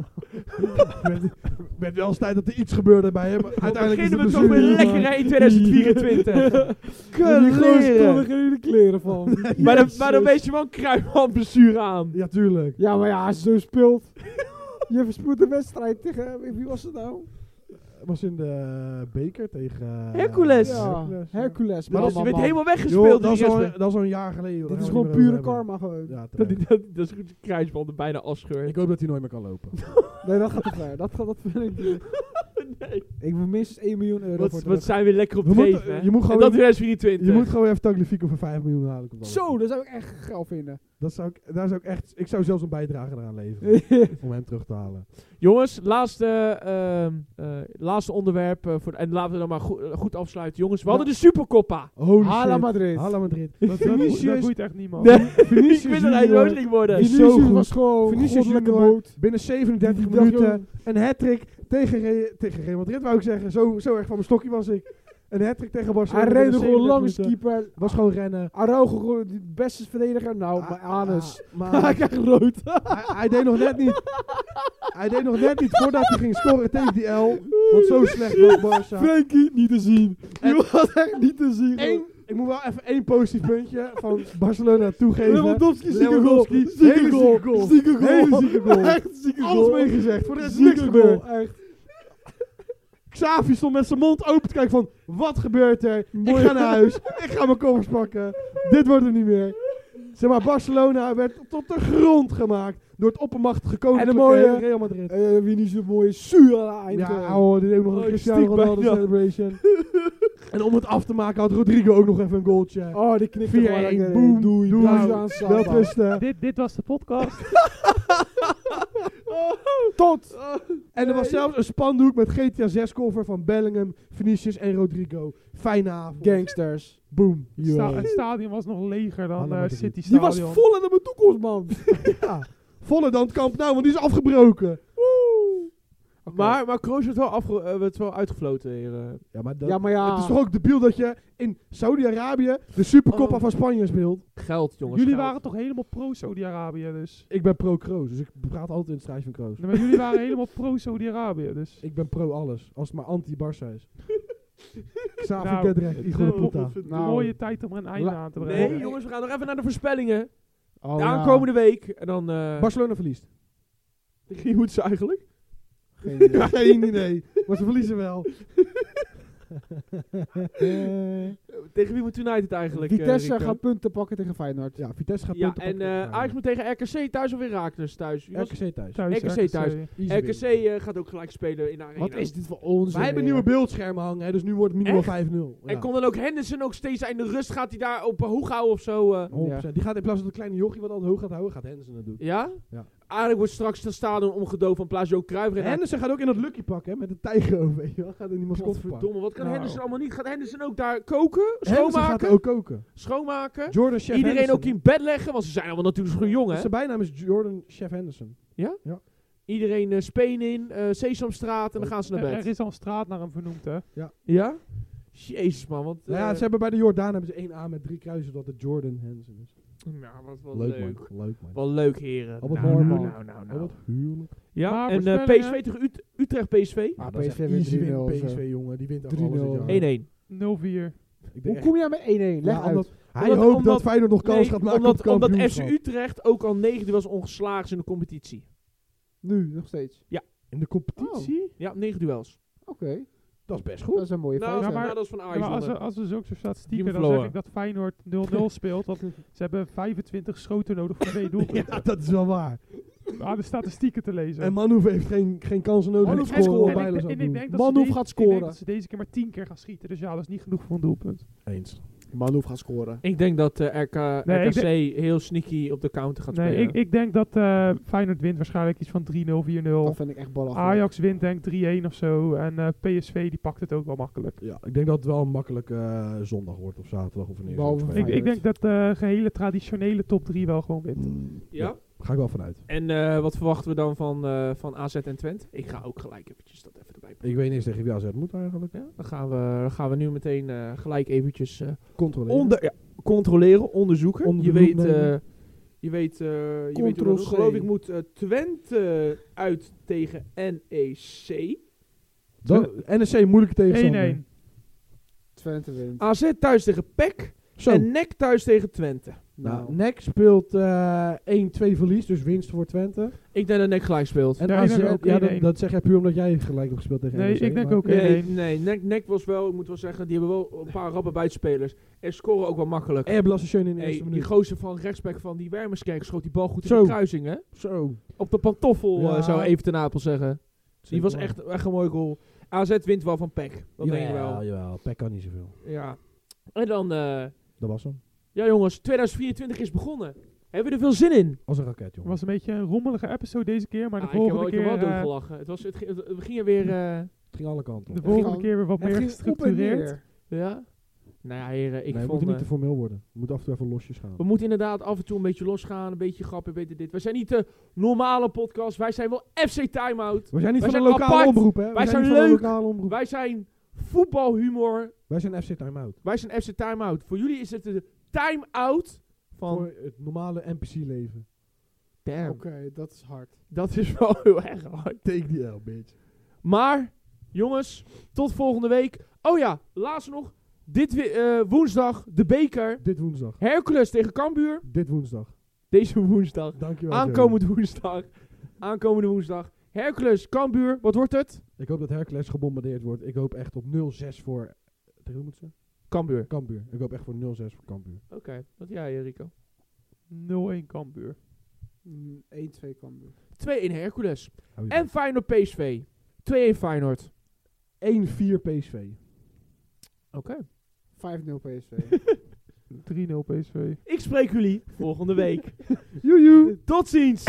S2: Ik ben wel eens tijd dat er iets gebeurde bij hem. Uiteindelijk is
S1: beginnen
S2: het
S1: we
S2: een
S1: toch met
S2: blessure.
S1: lekker hè, in 2024.
S3: Die gozer stond
S1: Kleren.
S3: er geen kleren van.
S1: Maar dan, maar dan weet je wel een kruisbandblessure aan.
S2: Ja, tuurlijk.
S3: Ja, maar ja, als je zo speelt. je verspoelt de wedstrijd tegen... Wie was het nou?
S2: Het was in de beker tegen... eh,
S1: Hercules.
S3: Ja,
S2: Hercules.
S3: Hercules.
S2: Maar
S1: Maar
S3: man,
S1: dus je
S2: dat
S3: man,
S1: bent
S3: man.
S1: helemaal
S2: Joh,
S1: weggespeeld.
S2: dat, is
S1: die
S2: al,
S1: rechtsback.
S2: dat is al een jaar geleden.
S3: Dit
S2: daar
S3: is
S2: gaan we
S3: gewoon
S2: niet meer
S3: pure
S2: over
S3: karma gewoon.
S2: hebben. Ja,
S1: dat,
S2: terecht.
S1: dat, dat is goed, kruisbanden bijna afscheurt.
S2: ik hoop dat hij nooit meer kan lopen.
S3: Nee, dat gaat te ver. Dat gaat dat vind ik niet. Ik wil minstens 1 miljoen euro
S1: Wat,
S3: voor
S1: wat
S3: terug.
S1: zijn we lekker op
S2: We
S1: de
S2: moeten-
S1: hè?
S2: je moet
S1: En
S2: gewoon-
S1: dat 2024.
S2: Je moet gewoon even Tagliafico voor 5 miljoen halen. komt dan.
S3: Zo, dat zou ik echt geil vinden.
S2: Dat zou ik, daar zou ik echt... Ik zou zelfs een bijdrage eraan leveren. om hem terug te halen.
S1: Jongens, laatste, ehm, eh, laatste onderwerp. eh, voor, en laten we dan maar goed, goed afsluiten. Jongens, we
S2: Ja.
S1: hadden de Supercoppa.
S2: Holy
S3: Hala
S2: shit.
S3: Madrid.
S2: Hala Madrid.
S4: Dat, dat, boeit- dat
S2: Vinicius-
S4: boeit echt niemand.
S2: Nee.
S1: Ik wist dat hij
S2: Junior.
S1: rood ging worden.
S2: Die eh, is zo
S3: Vinicius
S2: goed.
S3: was gewoon
S2: Vinicius
S3: goddelijke
S2: Junior.
S3: boot.
S2: Binnen 37
S3: Die dacht,
S2: minuten
S3: joh,
S2: een hat-trick tegen, Re- tegen Real Madrid, wou ik zeggen. Zo, zo erg van mijn stokje was ik. Een hat-trick tegen Barcelona.
S3: Hij rende
S2: binnen 37
S3: gewoon langs
S2: minuten.
S3: keeper.
S2: Was gewoon rennen.
S3: Araujo, gewoon de beste verdediger. Nou,
S2: Ah,
S3: mijn anus.
S2: ah, maar-
S3: krijg rood.
S2: hij, hij deed nog net niet. Hij deed nog net niet voordat hij ging scoren tegen die L. Want zo slecht was Barca.
S3: Frankie, niet te zien.
S2: En-
S3: Die was echt niet te zien.
S2: Eén- ik moet wel even één positief puntje van Barcelona toegeven.
S3: Lewandowski, zieke goal.
S2: Lewandowski, hele
S3: Zieke goal.
S2: zieke goal.
S3: Zieke goal.
S2: Hele zieke goal.
S3: Echt zieke goal.
S2: Alles meegezegd. Voor de rest is niks
S3: Zieke
S2: gebeurd.
S3: goal, echt.
S2: Xavi stond met zijn mond open te kijken van... Wat gebeurt er? Ik ga naar huis. Ik ga mijn koffers pakken. Dit wordt hem niet meer. Zeg maar, Barcelona werd tot de grond gemaakt door het oppermachtige koninklijke
S3: mooie-
S2: Real Madrid.
S3: Eh, wie niet zo'n mooie suara eind.
S2: Ja,
S3: eh.
S2: ouwe, dit ook nog
S1: Oh,
S2: een
S1: ik
S2: Cristiano
S1: stiek
S2: Ronaldo
S1: bijna.
S2: celebration. en om het af te maken had Rodrigo ook nog even een goaltje.
S3: Oh, die knikt
S2: 4-1,
S3: gewoon lekker in.
S2: boem,
S3: doei,
S2: doei,
S3: Braziliaan
S2: Wel
S3: samba.
S2: rusten.
S4: Dit, dit was de podcast.
S3: Tot.
S2: En er was zelfs een spandoek met GTA 6 cover van Bellingham, Vinicius en Rodrigo. Fijne avond.
S3: Gangsters.
S2: Boom.
S4: Sta- het stadion was nog leger dan
S2: Hallo,
S4: eh
S2: Madrid.
S4: City
S3: Die
S4: Stadion.
S3: was vol in mijn toekomst, man.
S2: Ja. Volle dan het kamp nou, want die is afgebroken.
S1: Maar, maar Kroos werd wel, afge eh, werd wel uitgefloten hier. eh.
S2: Ja, maar
S3: ja, maar ja.
S2: Het is toch ook debiel dat je in Saudi-Arabië de Supercoppa
S1: Oh.
S2: van Spanje speelt.
S1: Geld, jongens.
S4: Jullie
S1: geld.
S4: waren toch helemaal pro-Saudi-Arabië dus?
S2: Ik ben pro-Kroos, dus ik praat altijd in het straatje van Kroos.
S4: Nee, maar jullie waren helemaal pro-Saudi-Arabië dus.
S2: Ik ben pro-alles, als het maar anti-Barça is. Xavi
S4: Nou,
S2: Gedrecht,
S4: het,
S2: Igor
S4: eh,
S2: Puta.
S3: Nou.
S4: Mooie tijd om er een einde
S3: La-
S4: aan te brengen.
S1: Nee, jongens, we gaan nog even naar de voorspellingen.
S3: Oh,
S1: de
S3: ja.
S1: aankomende week. En dan... eh
S2: Barcelona verliest.
S1: Wie moet ze eigenlijk?
S3: Geen idee.
S2: Geen idee, maar ze verliezen wel.
S3: Eh,
S1: Tegen wie moet United eigenlijk? eh,
S3: Vitesse
S1: Rico?
S3: gaat punten pakken tegen Feyenoord.
S2: Ja, Vitesse gaat
S1: Ja,
S2: punten
S1: en
S2: pakken.
S1: eh Ajax moet tegen RKC thuis of weer raken dus thuis. Wie was-
S2: RKC thuis.
S4: Thuis, dus,
S1: RKC thuis.
S2: Easy
S1: RKC
S2: win.
S1: eh, gaat ook gelijk spelen in de arena.
S3: Wat is dit voor onzin?
S2: Wij hebben
S3: weer?
S2: nieuwe beeldschermen hangen, hè, dus nu wordt het minimaal 5-0. Ja.
S1: En kon dan ook Henderson ook steeds in de rust, gaat hij daar op hoog houden of zo? eh?
S2: 100%. Die gaat in plaats van de kleine jochie wat altijd hoog gaat houden, gaat Henderson dat doen.
S1: ja?
S2: Ja.
S1: Eigenlijk wordt straks de stadion omgedoofd van plaats Johan Cruijff.
S2: En Henderson gaat ook in dat lucky pak, hè, met de tijger over. weet je wel. Gaat in die mascotte pak.
S1: Godverdomme, wat kan
S4: Nou.
S1: Henderson allemaal niet? Gaat Henderson ook daar koken?
S2: Henderson gaat
S1: Schoonmaken?
S2: ook koken.
S1: Schoonmaken?
S2: Jordan Chef
S1: Iedereen
S2: Henderson.
S1: ook in bed leggen, want ze zijn allemaal natuurlijk gewoon jong, hè?
S2: Zijn bijnaam is Jordan Chef Henderson.
S1: Iedereen eh, speen in, eh, Sesamstraat
S2: Oh,
S1: en dan gaan ze naar
S4: Er, er
S1: bed.
S4: is al een straat naar hem vernoemd hè.
S1: Ja? Jezus, man, eh, want...
S2: Nou ja, ze hebben bij de Jordaan hebben ze één A met drie kruisen dat het Jordan Henderson is.
S1: wat, leuk.
S2: man. Leuk man.
S1: Wat leuk, heren.
S2: Albert
S1: nou, nou,
S2: Norman.
S1: nou, nou, nou.
S2: Wat huwelijk.
S1: Ja,
S4: Maar
S1: en eh,
S4: voorspellingen?
S1: PSV tegen Ut- Utrecht PSV. 1-1.
S3: Ah,
S2: Ja, dat is
S3: PSV
S2: echt
S3: wint
S2: easy win
S3: 3-0 of zo.
S2: PSV jongen, die wint ook
S3: 3-0.
S2: alles dit jaar.
S4: 0-4.
S2: Ik denk
S3: Hoe
S2: echt-
S3: kom jij met 1-1? Leg
S2: Ja,
S3: uit.
S2: omdat- Hij
S1: Omdat-
S2: hoopt
S1: omdat-
S2: dat Feyenoord nog kans
S1: Nee,
S2: gaat maken op
S1: omdat,
S2: het
S1: omdat FC
S2: kampioenschap.
S1: Utrecht ook al negende was ongeslagen in de competitie.
S3: Nu, nog steeds.
S2: In de
S1: Oh.
S2: competitie?
S1: Ja, negen duels.
S3: Oké,
S2: Dat is best
S3: dat
S2: goed.
S3: is een mooie
S1: Nou,
S4: Ja,
S3: feest.
S4: maar-
S1: maar dat is van
S4: Ja,
S1: Ajax.
S4: maar als, we,
S1: wonnen.
S4: als we zulke soort
S1: Die
S4: statistieken,
S1: hebben
S4: dan zeg ik
S1: verloren.
S4: dat Feyenoord 0-0 speelt. Want ze hebben 25 schoten nodig voor twee doelpunten.
S2: Ja, dat is wel waar.
S4: Aan de statistieken te lezen.
S2: En Manhoef heeft geen, geen kansen nodig.
S1: Manhoef
S2: om
S1: gaat
S2: te scoren,
S1: scoren.
S2: wat
S4: En ik,
S2: Bijlo
S4: en
S2: zou
S4: ik
S2: doen.
S4: denk dat
S3: Manhoef
S4: ze deze,
S3: gaat
S4: Ik
S3: scoren.
S4: denk dat ze deze keer maar 10 keer gaan schieten. Dus ja, dat is niet genoeg voor een doelpunt.
S2: Eens.
S3: Manhoef gaat scoren.
S1: Ik denk dat eh, RK,
S4: Nee, ik
S1: RKC heel sneaky op de counter gaat
S4: Nee,
S1: spelen.
S4: ik, ik denk dat eh, Feyenoord wint waarschijnlijk iets van 3-0,
S3: Dat
S4: 4-0.
S3: vind ik echt belachelijk.
S4: Ajax wint denk ik 3-1 of zo. En eh, PSV die pakt het ook wel makkelijk.
S2: Ja, ik denk dat het wel een makkelijke eh, zondag wordt of zaterdag of wanneer. ze
S3: Behalve
S2: ook
S4: Ik,
S2: spelen.
S4: ik
S3: Feyenoord.
S4: denk dat de gehele traditionele top 3 wel gewoon wint.
S1: ja?
S2: Ga ik wel vanuit.
S1: En eh, wat verwachten we dan van, eh, van AZ en Twente? Ik ga ook gelijk eventjes dat even erbij pakken.
S2: Ik weet niet eens tegen wie AZ moet eigenlijk.
S1: Ja, dan, gaan we, dan gaan we nu meteen eh, gelijk eventjes eh,
S2: Controleren.
S1: onder, ja, controleren, onderzoeken.
S2: Onder
S1: je,
S2: de
S1: weet,
S2: loep nemen.
S1: eh, je weet, eh, je weet hoe
S3: Ctrl
S1: dat moet. geloof
S3: C.
S1: ik moet eh, Twente uit tegen E NEC.
S2: Dan, NSC moeilijke tegenstander.
S4: 1-1.
S3: Twente wint.
S1: AZ thuis tegen PEC.
S2: Zo.
S1: En NEC thuis tegen Twente.
S2: nou,
S3: nou,
S2: NEC speelt eh 1-2 verlies, dus winst voor Twente.
S1: Ik denk dat NEC gelijk speelt.
S2: En
S4: Ja, ik
S2: AZ,
S4: denk ook
S2: ja, dat,
S4: 1-1.
S2: dat zeg jij puur omdat jij gelijk hebt gespeeld tegen
S4: Nee,
S2: NEC,
S4: ik denk
S2: maar-
S4: ook 1-1.
S1: Nee, nee NEC, NEC was wel, ik moet wel zeggen, die hebben wel een paar rappe buitenspelers. En scoren ook wel makkelijk.
S2: En je hebt Schön in de
S1: Hey,
S2: eerste
S1: die
S2: minuut.
S1: gozer van rechtsback van die Wermerskerk schoot die bal goed in
S2: Zo.
S1: de kruising, hè?
S2: Zo.
S1: Op de pantoffel,
S2: Ja.
S1: eh, zou even ten Apel zeggen. Die was echt, echt een mooi goal. AZ wint wel van PEC. Dat denk ik
S2: Jawel,
S1: wel.
S2: Jawel, Peck kan niet zoveel.
S1: Ja. En dan, eh,
S2: Dat was hem.
S1: ja jongens, 2024 is begonnen. Hebben we er veel zin in?
S2: Als een raket, jongen.
S4: Het was een beetje een rommelige episode deze keer, maar de
S1: Ah, ik heb wel,
S4: volgende
S1: ik heb
S4: keer...
S1: wel
S4: eh,
S1: doorgelachen. Het was, het, ging- het- we gingen weer, eh,
S2: Het ging alle kanten
S4: de
S2: op.
S3: vol-
S4: volgende
S3: ging-
S4: keer weer wat
S3: Het
S4: meer
S3: ging op en
S4: gestructureerd.
S3: neer.
S1: ja. Nou ja, heren, ik
S2: nee, we
S1: vond...
S2: moeten niet
S1: eh,
S2: te formeel worden. We moeten af en toe even losjes gaan.
S1: we moeten inderdaad af en toe een beetje losgaan, een beetje grappen, weten dit. Wij zijn niet de normale podcast, wij zijn wel FC Timeout.
S2: We zijn niet
S1: Wij
S2: van de
S1: zijn
S2: lokale
S1: apart.
S2: omroep, hè? We
S1: Wij zijn
S2: niet van de
S1: leuk.
S2: lokale omroep.
S1: Wij zijn voetbalhumor,
S2: Wij zijn FC Time-Out.
S1: wij zijn FC Timeout. Voor jullie is het de time-out van...
S2: Voor het normale NPC-leven.
S1: Damn,
S3: Oké, dat is hard.
S1: dat is wel heel erg hard.
S2: Take the L, bitch.
S1: Maar, jongens, tot volgende week. Oh ja, laatst nog. Dit wi- eh, woensdag, de beker.
S2: Dit woensdag.
S1: Hercules tegen Cambuur.
S2: Dit woensdag.
S1: Deze woensdag.
S2: Dankjewel.
S1: Aankomend woensdag. Aankomende woensdag. Hercules, Cambuur. Wat wordt het?
S2: Jerry. Ik hoop dat Hercules gebombardeerd wordt. Ik hoop echt op 0-6 voor... Tegen wie moet ze?
S1: Cambuur.
S2: Kambuur. Ik hoop echt voor 0-6 voor Kambuur.
S1: Oké, wat jij, Rico?
S4: 0-1 Kambuur.
S3: Mm, 1-2 Cambuur.
S1: 2-1 Hercules.
S2: Hou je
S1: En Feyenoord PSV. 2-1 Feyenoord.
S2: van. 1-4 PSV.
S1: Oké.
S3: 5-0 PSV.
S4: 3-0 PSV.
S1: Ik spreek jullie volgende week.
S2: Joejoe.
S1: Tot ziens!